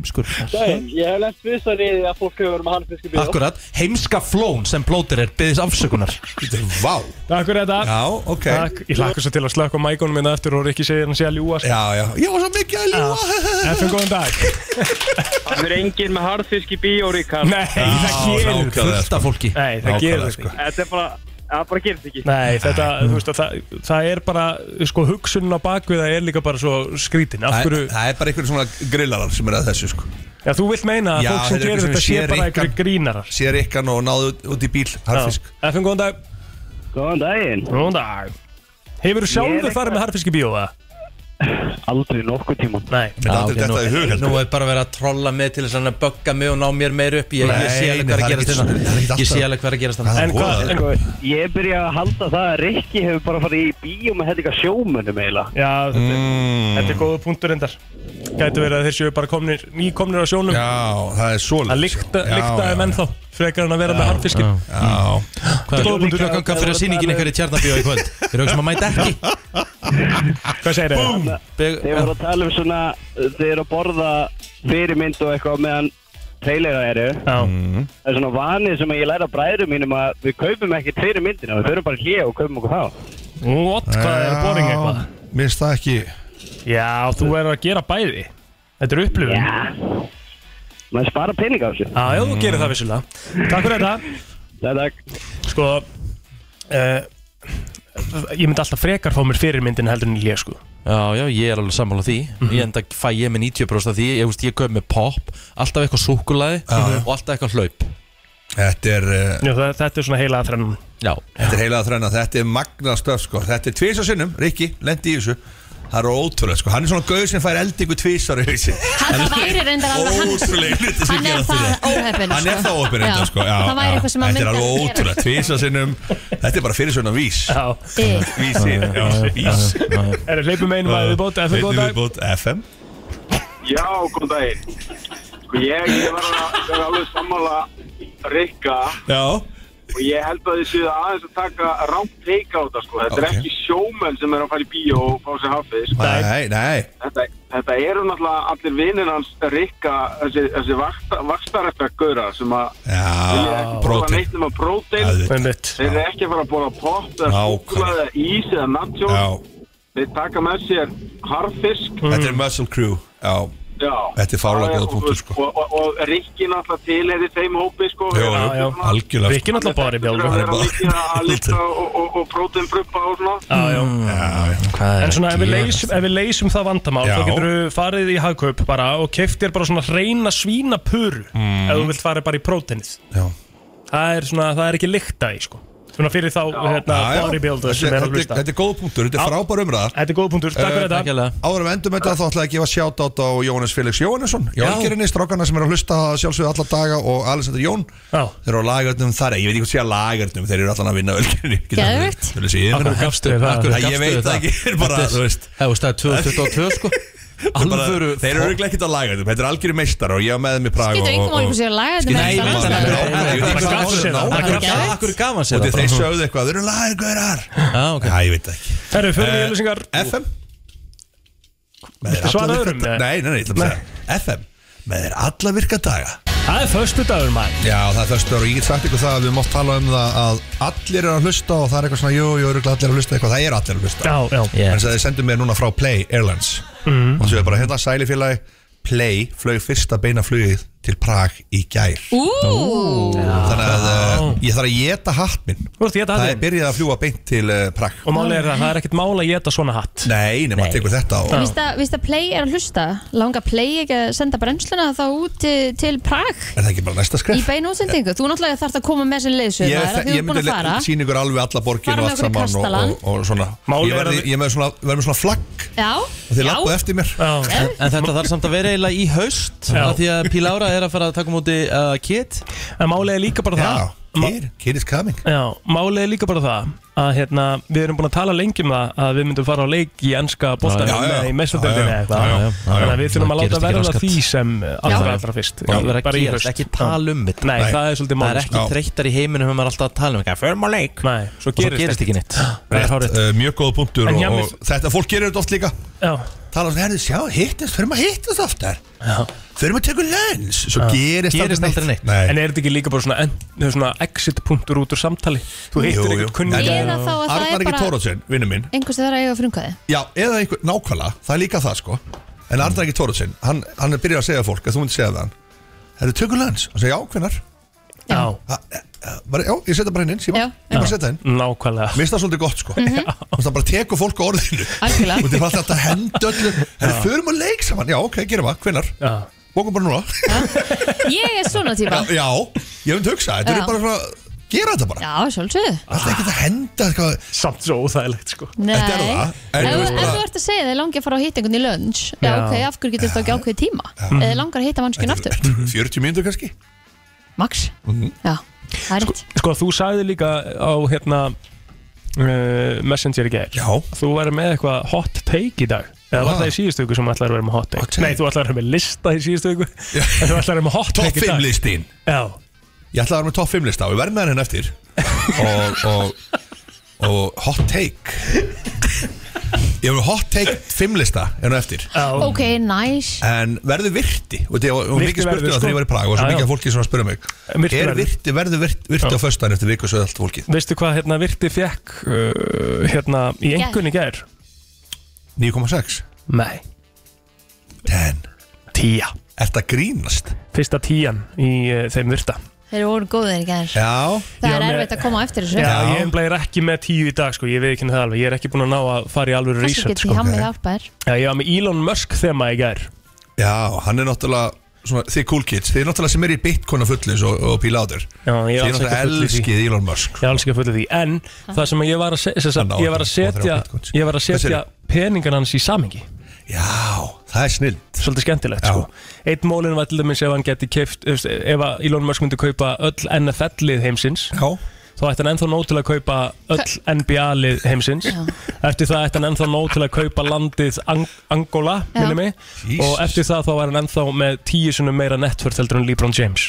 Speaker 2: Skur
Speaker 17: Daginn, ég hef lent vissar í því að fólk hefur verið með harfisk í bíó
Speaker 2: Akkurat, heimska flón sem plóter er byggðis afsökunar
Speaker 8: Vá
Speaker 4: Takk fyrir þetta
Speaker 8: Já, ok
Speaker 4: Takk, ég hlakka svo til að slökka mækonum minna eftir hérna og Rikki segir hann sé að ljúa sko.
Speaker 8: Já, já, ég var svo mikið að ljúa
Speaker 4: Eftir góðan dag
Speaker 17: Það er enginn með harfisk í bíó, Ríkard
Speaker 4: Nei, það gerir
Speaker 2: fullt af fólki
Speaker 4: Nei, það gerir
Speaker 8: sko. Nákvæmlega,
Speaker 4: þetta
Speaker 8: sko.
Speaker 4: ekki
Speaker 17: Þetta er bara, það bara gerist ekki
Speaker 4: Nei, þetta, þú veist að það, það er bara, sko, hugsunin á bakvið það er líka bara svo skrítin Af
Speaker 8: Það
Speaker 4: hverju,
Speaker 8: er- það er bara einhverjum svona grillarar sem er að þessu sko
Speaker 4: já, þú vilt meina að
Speaker 8: Já,
Speaker 4: fólk sem
Speaker 8: þetta er
Speaker 4: gerir
Speaker 8: eitthvað
Speaker 4: þetta
Speaker 8: sem
Speaker 4: sé
Speaker 8: sér
Speaker 4: bara
Speaker 8: engan-
Speaker 4: einhverju grínarar
Speaker 8: Sér ykkan og náðu út í bíl Harfisk
Speaker 4: Efum, góðan dag
Speaker 17: Góðan daginn
Speaker 4: Góðan dag Hefur
Speaker 17: Ég
Speaker 4: þú
Speaker 17: er
Speaker 4: sjálfur
Speaker 17: eitthvað-
Speaker 4: farið með harfiski bíó, það?
Speaker 17: Aldrei nokkuð tíma
Speaker 4: Nei
Speaker 8: myndi aldrei detta í hug, heldur.
Speaker 2: Nú er bara verið að trolla mig til þess að bögga mig og ná mér meir upp Ég, ég sé
Speaker 8: Nei,
Speaker 2: alveg
Speaker 8: nei,
Speaker 2: hvað er
Speaker 8: það
Speaker 2: að
Speaker 8: er
Speaker 2: gerast
Speaker 8: ekki svona- það er ekki
Speaker 2: hérna Ég
Speaker 8: alltaf-
Speaker 2: sé alveg hvað er að gerast hérna
Speaker 8: En hvað- en-
Speaker 17: Sko, ég byrja að halda það að Rikki hefur bara farið í bíó með hellinga sjómönnum eiginlega
Speaker 4: Já, þetta, mm. þetta er góða punktur endar Gæti verið að þeir séu bara komnir, nýkomnir á sjónum
Speaker 8: Já, það er svolítið
Speaker 4: Að lykta,
Speaker 8: Já, já,
Speaker 4: lyktaði menn þá, frekar en að vera með harfiski
Speaker 8: Já
Speaker 2: Hvað er
Speaker 4: Góða punktur.
Speaker 2: Hvað ganga fyrir að sýningin eitthvað í Tjarnabíó í kvöld? Við erum sem að mæta ekki
Speaker 4: Hvað segir
Speaker 2: Búm! Beg-
Speaker 17: Þeir voru að tala um svona, þeir eru að borða fyrirmynd og eitthvað meðan trailera eru
Speaker 4: Já
Speaker 17: Það er svona vanið sem ég læra bræðurum mínum að við kaupum ekki fyrirmyndina, við förum bara hlið og kaupum okkur þá
Speaker 4: What, hvað er boring eitthvað?
Speaker 8: Mér finnst það ekki
Speaker 4: Já, þú er að gera bæði Þetta er upplifun
Speaker 17: Já Maður spara pening á þessu
Speaker 4: Já, já, þú gerir það vissulega Takk fyrir þetta
Speaker 17: Takk,
Speaker 4: takk Sko uh, Ég myndi alltaf frekar fá mér fyrirmyndin heldur en ég sko
Speaker 2: Já, já, ég er alveg sammála því Ég enda fæ ég með 90% af því Ég, veist, ég köp með pop, alltaf eitthvað súkulaði og alltaf eitthvað hlaup
Speaker 8: Þetta er uh,
Speaker 4: Já, það, Þetta er svona heila að þrennum
Speaker 2: Já
Speaker 8: Þetta er heilaða þrenna, þetta er magna stöf sko. Þetta er tvisar sinnum, Rikki, lendi í þessu Það er ótrúlega, sko. hann er svona gauð sem fær eldingu tvisar í hausi
Speaker 3: Hann væri reyndar alveg hann
Speaker 8: Ótrúlega hluti sem
Speaker 3: Hann er
Speaker 8: gerast
Speaker 3: það
Speaker 8: í þetta.
Speaker 3: óhefinn
Speaker 8: Hann er það opinn þetta sko Já,
Speaker 3: Það væri
Speaker 8: já.
Speaker 3: eitthvað sem að
Speaker 8: Þetta er
Speaker 3: myndi
Speaker 8: alveg ótrúlega, tvisar sinnum Þetta er bara fyrir svona vís
Speaker 3: Þig.
Speaker 8: Vísi,
Speaker 4: Já,
Speaker 8: já,
Speaker 4: já,
Speaker 8: vís
Speaker 4: já, já. Er það hleypum einum að við bóta FM góðan dag
Speaker 8: Viðbót FM
Speaker 21: Já, góðan daginn. Sko, ég, ég var að vera alveg sammála Rikka
Speaker 8: Já
Speaker 21: og ég held að þið séu aðeins að taka rámt teika á þetta, sko. Þetta
Speaker 8: Ok.
Speaker 21: er ekki sjómenn sem er að fara í bíó og fá sér hafið, sko.
Speaker 8: Nei, nei
Speaker 21: Þetta, þetta eru náttúrulega allir vinnin hans Rikka, þessi, þessi vakstarrættar gauðra sem að vilja ekki borða
Speaker 8: prótein.
Speaker 21: neitt nema prótein
Speaker 4: Einmitt.
Speaker 21: þeir eru ekki að fara að borða pop eða
Speaker 8: Nákvæmlega.
Speaker 21: súkkulaði eða ís eða nacho
Speaker 8: Já. Mm.
Speaker 21: þeir taka með sér harfisk
Speaker 8: Þetta er muscle crew Já,
Speaker 21: Já.
Speaker 8: Þetta er fárlega
Speaker 21: Já, já,
Speaker 8: góð
Speaker 21: og-
Speaker 8: punktur, sko.
Speaker 21: og, og, og Rikki náttúrulega tilheyri þeim hópi sko
Speaker 8: Jú, jú, algjörlega, sko.
Speaker 4: Rikki náttúrulega bara í
Speaker 21: Það
Speaker 4: bjálfa
Speaker 21: er að líka að lita og, og, og prótein brumpa og svona
Speaker 4: Já, já.
Speaker 2: Mm. Hvað
Speaker 4: En svona
Speaker 2: að
Speaker 4: ef við,
Speaker 2: gerast?
Speaker 4: leysum, ef við leysum það vandamál
Speaker 8: Já.
Speaker 4: þá getur við farið í hagkaup bara og keftir bara svona reyna svínapuru ef þú vilt fara bara í prótenið
Speaker 8: Já.
Speaker 4: það er svona, það er ekki lykta í sko svona fyrir þá hérna,
Speaker 8: Já, já.
Speaker 4: bodybuilder
Speaker 8: Þetta
Speaker 4: sem er að
Speaker 8: þetta
Speaker 4: hlusta
Speaker 8: Þetta er góð punktur, þetta er frábær umræða
Speaker 4: Þetta er góð punktur, takk
Speaker 2: Eh,
Speaker 4: fyrir þetta
Speaker 8: Áður við endum þetta þá ætla ég að gefa sjátátt á Jóhannes Felix Jóhannesson
Speaker 4: Já.
Speaker 8: Jálgerinni, strákana sem er að hlusta sjálfsögðu alla daga og Alessandr Jón
Speaker 4: Já.
Speaker 8: Þeir eru á lagardnum þar, ég veit ekki hvað sé að lagardnum Þeir eru allan að vinna ölgerinni
Speaker 3: Geðveikt.
Speaker 8: Þeir eru að segja
Speaker 2: Akkur gafstu
Speaker 8: það
Speaker 2: það
Speaker 8: Ég veit það ekki, er bara,
Speaker 2: Þetta er-
Speaker 8: þú veist
Speaker 2: Það er 2022 sko
Speaker 1: Alvöru Þeir eru örugglega ekkert að laga þetta Þetta er algjöru meistar og ég var með þeim í Praga
Speaker 3: Getur engum alveg sér að laga þetta með þetta
Speaker 1: Nei,
Speaker 3: annars?
Speaker 1: ég veit ekki hvað
Speaker 2: sér það. Bara gæðveikt.
Speaker 1: Og þeir þeir sögðu eitthvað, þeir eru lagið gaurar Já, ok Já, ég veit það ekki
Speaker 4: Herru, förum
Speaker 1: Eh,
Speaker 4: í auðlýsingar.
Speaker 1: FM
Speaker 4: Viltu svara öðrum,
Speaker 1: Nei, nei, nei, ég
Speaker 4: nei?
Speaker 1: ætla að segja FM Með þeir alla virka daga
Speaker 4: Það er förstu dagur maður
Speaker 1: Já, það er förstu dagur og ég get sagt ykkur það að við mátt tala um það að allir eru að hlusta og það er eitthvað svona, jú, jú, örugglega allir að hlusta eitthvað, það er allir að hlusta
Speaker 4: Já,
Speaker 1: yeah. en þess að þið sendu mér núna frá Play Airlines
Speaker 4: Mhm.
Speaker 1: og þessu er bara hérna sæli félagi Play flög fyrsta beina flugið til Prag í gær
Speaker 3: Ú.
Speaker 1: þannig að uh, ég þarf að geta hatt minn
Speaker 4: geta hatt
Speaker 1: það er
Speaker 4: þinn?
Speaker 1: byrjað að fljúa beint til uh, Prag
Speaker 4: Og málið er það, það er ekkert mála að geta svona hatt
Speaker 1: Nei, nema að tekur þetta
Speaker 3: En Víst að, víst að play er að hlusta Langa play ekki að senda brennsluna þá út til, til Prag
Speaker 1: er það ekki bara næsta
Speaker 3: Í
Speaker 1: skref
Speaker 3: beinu útsendingu Þú náttúrulega þarf að koma með sem leiðsögum
Speaker 1: Ég,
Speaker 3: Því þú
Speaker 1: ég
Speaker 3: er búin
Speaker 1: myndi
Speaker 3: að fara
Speaker 1: sína ykkur alveg alla borgin
Speaker 3: Fara
Speaker 1: og
Speaker 3: með
Speaker 1: allt saman og, og, og
Speaker 3: okkur í kastalann.
Speaker 1: svona
Speaker 2: Málið
Speaker 1: Ég
Speaker 2: er að
Speaker 1: verði
Speaker 2: við-
Speaker 1: ég er með svona, verð með svona flagg
Speaker 3: Já
Speaker 1: og þið lappuð eftir mér
Speaker 2: En, en þetta þarf samt að vera eiginlega í haust
Speaker 1: Já.
Speaker 2: af Því að Pílára er að fara að taka múti uh, Kit
Speaker 4: En málega líka bara
Speaker 2: það
Speaker 1: Kid, kid is coming
Speaker 4: Já, málið er líka bara það að hérna, við erum búin að tala lengi um það að við myndum fara á leik í enska
Speaker 2: Já, já,
Speaker 4: bóttanum
Speaker 2: já.
Speaker 4: eða í mestadeldinni
Speaker 2: Já, já,
Speaker 4: eða
Speaker 2: já, já,
Speaker 4: eitthvað
Speaker 2: já.
Speaker 4: þannig að við þurfum að
Speaker 2: Það
Speaker 4: láta
Speaker 2: gerist ekki
Speaker 4: verða
Speaker 2: raskat.
Speaker 4: því sem
Speaker 2: Já.
Speaker 4: allra allra fyrst
Speaker 2: Bara vera að
Speaker 4: Bara í
Speaker 2: gerast,
Speaker 4: haust.
Speaker 2: ekki tala um þetta
Speaker 4: Nei, það er svolítið
Speaker 2: Það er
Speaker 4: málið
Speaker 2: ekki þreyttar í heiminum hefur maður alltaf að tala um eitthvað Förum á leik
Speaker 4: Nei, svo
Speaker 2: Og
Speaker 4: gerist
Speaker 2: gerist
Speaker 4: ekki.
Speaker 2: ekki neitt
Speaker 1: Rétt, uh, Mjög góða punktur
Speaker 2: En
Speaker 1: og,
Speaker 2: Jamis-
Speaker 1: og þetta, fólk gerir þetta oft líka
Speaker 2: eh,
Speaker 4: Já.
Speaker 1: Tala svona, herðu, sjá, hittast, fyrir maður að hittast oftar Fyrir maður að teka lens Svo gerist, Nei.
Speaker 4: En er þetta ekki líka bara svona, en, svona exit punktur út úr samtali Þú hittir eitthvað kunningja
Speaker 3: Eða þá að það er
Speaker 1: Arnar
Speaker 3: bara-
Speaker 1: ekki Tórótsen, vinnu minn
Speaker 3: Einhvers þeirra eiga frumkvæði
Speaker 1: Já, eða einhver, nákvæmlega, það er líka það sko En Arnar ekki Tórótsen, hann, hann er byrjað að segja fólk að þú myndir segja það hann Herðu, tökum lens, og segja, já, hvenar
Speaker 4: Já,
Speaker 1: bara, Já, ég setja bara henni inn, síma
Speaker 4: Já.
Speaker 1: Ég bara setja henni
Speaker 4: nákvæmlega
Speaker 1: Mér finnst það svolítið gott sko mm Það bara tekur fólk á orðinu
Speaker 3: Algjörlega.
Speaker 1: Og það er bara þetta hendu öllu Herðu, förum að leik saman, já, ok, gerum það, hvenar Bókum bara núna
Speaker 3: Ég er svona típa
Speaker 1: Já, ég hef um hugsa, þetta
Speaker 3: Já.
Speaker 1: er bara svona, gera þetta bara
Speaker 3: Já, sjálfsögðu
Speaker 1: Alltaf ekki að henda eitthvað
Speaker 4: Samt svo óþægilegt sko
Speaker 3: Nei,
Speaker 1: Þetta er það, en
Speaker 3: ef
Speaker 1: þú veist
Speaker 3: ef
Speaker 1: bara-
Speaker 3: þú ert að segja þið langi að fara á hýtingun í lunch Já,
Speaker 1: Já.
Speaker 3: ok, af hverju getur þetta ekki ákveðið tíma Eða langar að hýta mannskjön aftur
Speaker 1: 40 mínútur kannski Mhm.
Speaker 3: Max, já, það er rétt
Speaker 4: Sko þú sagði líka á hérna uh, Messenger í gær
Speaker 1: Já
Speaker 4: Þú væri með eitthvað hot take í dag Eða var
Speaker 1: Ah.
Speaker 4: það í síðustu viku sem ætlaði að vera með hot take, Nei, þú ætlaði að vera með lista í síðustu viku En þú ætlaði að vera með hot
Speaker 1: Top
Speaker 4: take í
Speaker 1: 5
Speaker 4: dag
Speaker 1: listin
Speaker 4: Já
Speaker 1: Ég ætla að vera með top 5 lista og við verðum með hann hérna eftir og, og, og hot take Ég verður hot take 5 lista hérna eftir
Speaker 3: Ok, nice
Speaker 1: En verður virti og þetta var- og
Speaker 4: Virti
Speaker 1: mikið spurning að
Speaker 4: verður, sko.
Speaker 1: þegar ég var í Prag og
Speaker 4: Já,
Speaker 1: svo
Speaker 4: já.
Speaker 1: mikið að fólki sem að spyrja mig
Speaker 4: Virti
Speaker 1: Er
Speaker 4: verður.
Speaker 1: virti, verður virti, virti
Speaker 4: Já.
Speaker 1: á föstudaginn eftir viku og svo allt fólki
Speaker 4: Veistu hvað hérna Virti fekk uh, hérna í
Speaker 3: Gær.
Speaker 4: engunni gær?
Speaker 1: 9,6
Speaker 4: Nei
Speaker 1: 10
Speaker 4: 10
Speaker 1: Ertu að grínast?
Speaker 4: Fyrsta 10 í uh, þeim Virta
Speaker 3: Þeir eru orðin góðir í gær
Speaker 1: Já
Speaker 3: Það er erfitt að koma á eftir þessu
Speaker 4: Já, ég er bara ekki með 10 í dag sko, ég veit ekki það alveg Ég er ekki búin að ná að fara í alvöru
Speaker 3: Þessu
Speaker 4: research
Speaker 3: getur
Speaker 4: sko
Speaker 3: ég hann með hjálpa þér
Speaker 4: Já, ég var með Elon Musk þema í gær
Speaker 1: Já, hann er náttúrulega svona, þið cool kids, þið er náttúrulega sem er í bitcoin og fullis og, og pílátur
Speaker 4: Já, ég
Speaker 1: Þið
Speaker 4: er
Speaker 1: er
Speaker 4: alls ekki
Speaker 1: náttúrulega
Speaker 4: fullur í því.
Speaker 1: elskið Elon Musk
Speaker 4: Ég er alls ekki að fulla því En það sem ég var að, se sem
Speaker 1: Hann á
Speaker 4: sagt, ég var
Speaker 1: ekki
Speaker 4: að
Speaker 1: tvo,
Speaker 4: setja
Speaker 1: þrjá bitcoins.
Speaker 4: Ég var að
Speaker 1: Hvað
Speaker 4: setja
Speaker 1: segirðu?
Speaker 4: peningan hans í samhengi
Speaker 1: Já, það er snillt
Speaker 4: Svolítið skemmtilegt
Speaker 1: Já.
Speaker 4: sko Eitt mólin var til dæmis ef hann geti keift Ef ef að Elon Musk myndi kaupa öll NFL-lið heimsins
Speaker 1: Já
Speaker 4: Þá ætti hann ennþá nóg til að kaupa öll NBA-lið heimsins Eftir það ætti hann ennþá nóg til að kaupa landið Ang Angola,
Speaker 1: Já.
Speaker 4: minni mig Og eftir það þá var hann ennþá með tíu sunum meira nettvörð heldur en LeBron James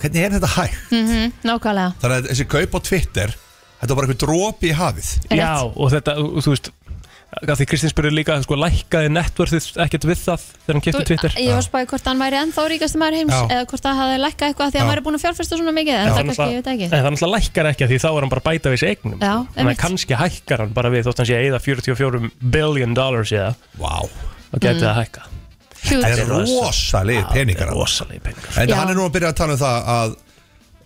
Speaker 1: Hvernig er þetta hægt?
Speaker 3: Mhm, Nákvæmlega
Speaker 1: Þannig að þessi kaup á Twitter, þetta var bara eitthvað dropi í hafið
Speaker 4: Já, og þetta, og þú veist að Því Kristinn spurði líka, sko, lækkaði nettvörðið ekkert við það þegar hann kipti
Speaker 3: Þú-
Speaker 4: Twitter
Speaker 3: Ég var spáði hvort hann væri ennþá ríkasti maður heims
Speaker 4: Já.
Speaker 3: eða hvort það hafði lækkað eitthvað því að hann
Speaker 4: Já.
Speaker 3: væri búin að fjárfesta svona mikið en
Speaker 4: Já,
Speaker 3: það
Speaker 4: hann
Speaker 3: kannski, ég veit
Speaker 4: náttúrulega-
Speaker 3: ekki
Speaker 4: Nei, það náttúrulega lækkar ekki að því þá er hann bara að bæta við þessi eignum
Speaker 3: Já,
Speaker 4: Þannig
Speaker 3: einmitt.
Speaker 4: að kannski hækkar hann bara við þótt hann sé að eyða 44 billion dollars eða
Speaker 1: Vá
Speaker 4: Og geti
Speaker 1: Mm.
Speaker 4: það hækka
Speaker 1: Huge. Þetta er rosalegir peningar.
Speaker 4: Rosalegir peningar
Speaker 1: En
Speaker 4: Já.
Speaker 1: hann er nú að byrja að tala um það að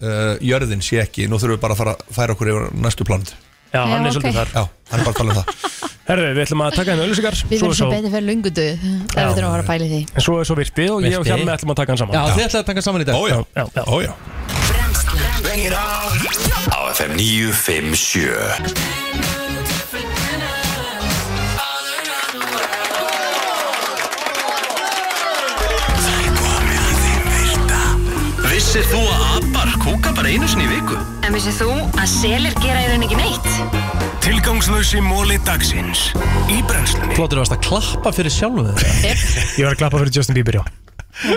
Speaker 1: uh, jörðin sé ekki, nú þurfum við bara að fara að færa okkur yfir á næstu planet
Speaker 4: Já, hann er Já, ok. svolítið þar.
Speaker 1: Já, hann er bara að tala um það
Speaker 4: Herðu, við ætlum að taka henni öllusikar
Speaker 3: Við
Speaker 4: Svo
Speaker 3: verðum
Speaker 4: er
Speaker 3: sem
Speaker 4: svo,
Speaker 3: betur fyrir lungudu ef við þurfum að fara að pæli því
Speaker 4: en svo, er svo virti og ég og
Speaker 2: Virti.
Speaker 4: Hjalmi ætlum að taka hann saman
Speaker 2: Já, þið ætlaði að taka saman í dag
Speaker 1: Ójá,
Speaker 4: já, já.
Speaker 1: ójá
Speaker 8: Á FM 957
Speaker 1: Það er komið að þeim virta Vissir þú að abar kúka bara einu sinni í viku?
Speaker 22: En vissið þú að selir gera í raun ekki neitt?
Speaker 1: Tilgangslösi móli dagsins Í brennslunni
Speaker 2: Plótur varst að klappa fyrir sjálfu þetta
Speaker 4: Ég var að klappa fyrir Justin Bieber, já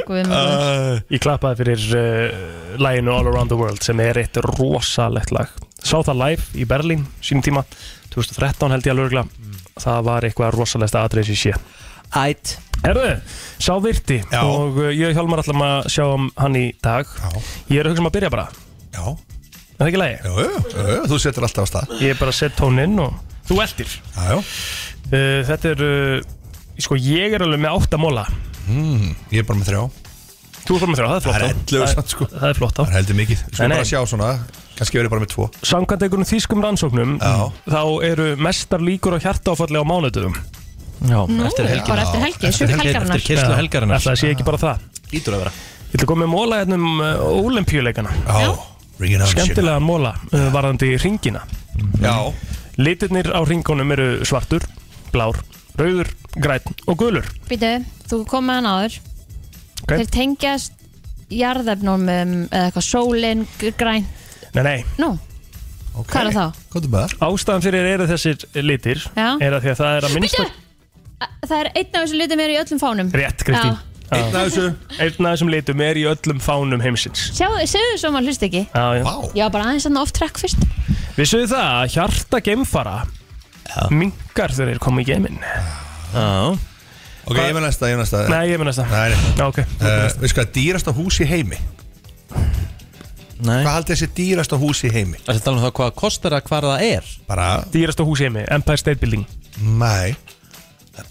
Speaker 3: Guð minn góður.
Speaker 4: uh, Ég klappaði fyrir uh, læginu All Around the World sem er eitt rosalegt lag Sá það live í Berlín sínum tíma 2013 held ég að lörgla Það var eitthvað rosalegsta atrið sem ég sé Ætt Herðu, sá virti Já. og uh, ég og Hjálmar allam að sjá um hann í dag Já. Ég er að hugsa um að byrja bara Já Er það ekki lægi?
Speaker 8: Jú, jú, jú, jú, þú setur alltaf á stað
Speaker 4: Ég er bara að setja tóninn og þú eldir Já, já uh, Þetta er, uh, sko ég er alveg með átta móla
Speaker 8: mm, Ég er bara með þrjá
Speaker 4: Þú er bara með þrjá, það er flott á.
Speaker 8: Það er ellefu samt,
Speaker 4: sko Það er flott á
Speaker 8: Það er heldur mikið Við
Speaker 4: Nei,
Speaker 8: skulum
Speaker 4: nei.
Speaker 8: bara sjá svona Kannski verið bara með tvo
Speaker 4: Samkvæmt einhvern þýskum rannsóknum já. Þá eru mestar líkur á hjartáfalli á mánuðum Já,
Speaker 2: Nú, eftir helgina. bara eftir helgi, Eftir helgi- helgarinnar. eftir keyrslu helgarinnar.
Speaker 4: Það sé ekki bara það Lítur að vera Ég ætla að koma með móla hérna um uh, olimpíuleikana Já,
Speaker 8: Ringin á
Speaker 4: skemmtilega móla uh, varðandi ringina Mhm. Já Litirnir á ringunum eru svartur, blár, rauður, grænn og gulur
Speaker 3: Býtu, þú kom með hann áður
Speaker 4: Ok.
Speaker 3: Þeir tengjast jarðefnumum eða eitthvað sólin, græn
Speaker 4: Nei, nei
Speaker 3: Nú, hvað er það?
Speaker 8: Kóttu með
Speaker 4: Ástæðan fyrir eru þessir litir
Speaker 3: Já.
Speaker 4: er að því að það er að minnsta
Speaker 3: Það er einn af þessu litum er í öllum fánum
Speaker 4: Rétt, Kristín
Speaker 3: Já.
Speaker 4: Einn af þessu Einn af þessum litum er í öllum fánum heimsins
Speaker 3: Sjá, segðu svo maður hlust ekki
Speaker 4: Já, já.
Speaker 3: Já, bara aðeins hann off track fyrst
Speaker 4: Vissuðu það að hjarta geimfara mingar þegar þeir koma í geiminn Já
Speaker 8: Ok, ég með næsta, ég með næsta
Speaker 4: Nei, ég með næsta
Speaker 8: Nei, nei.
Speaker 4: Ok
Speaker 8: uh, Veistu hvað, er dýrasta hús í heimi
Speaker 2: Nei
Speaker 8: Hvað haldið þessi dýrasta hús í heimi?
Speaker 2: Það er talað um það hvað kostar að hvar það er
Speaker 8: Bara
Speaker 4: Dýrasta hús heimi, Empire State Building
Speaker 8: Nei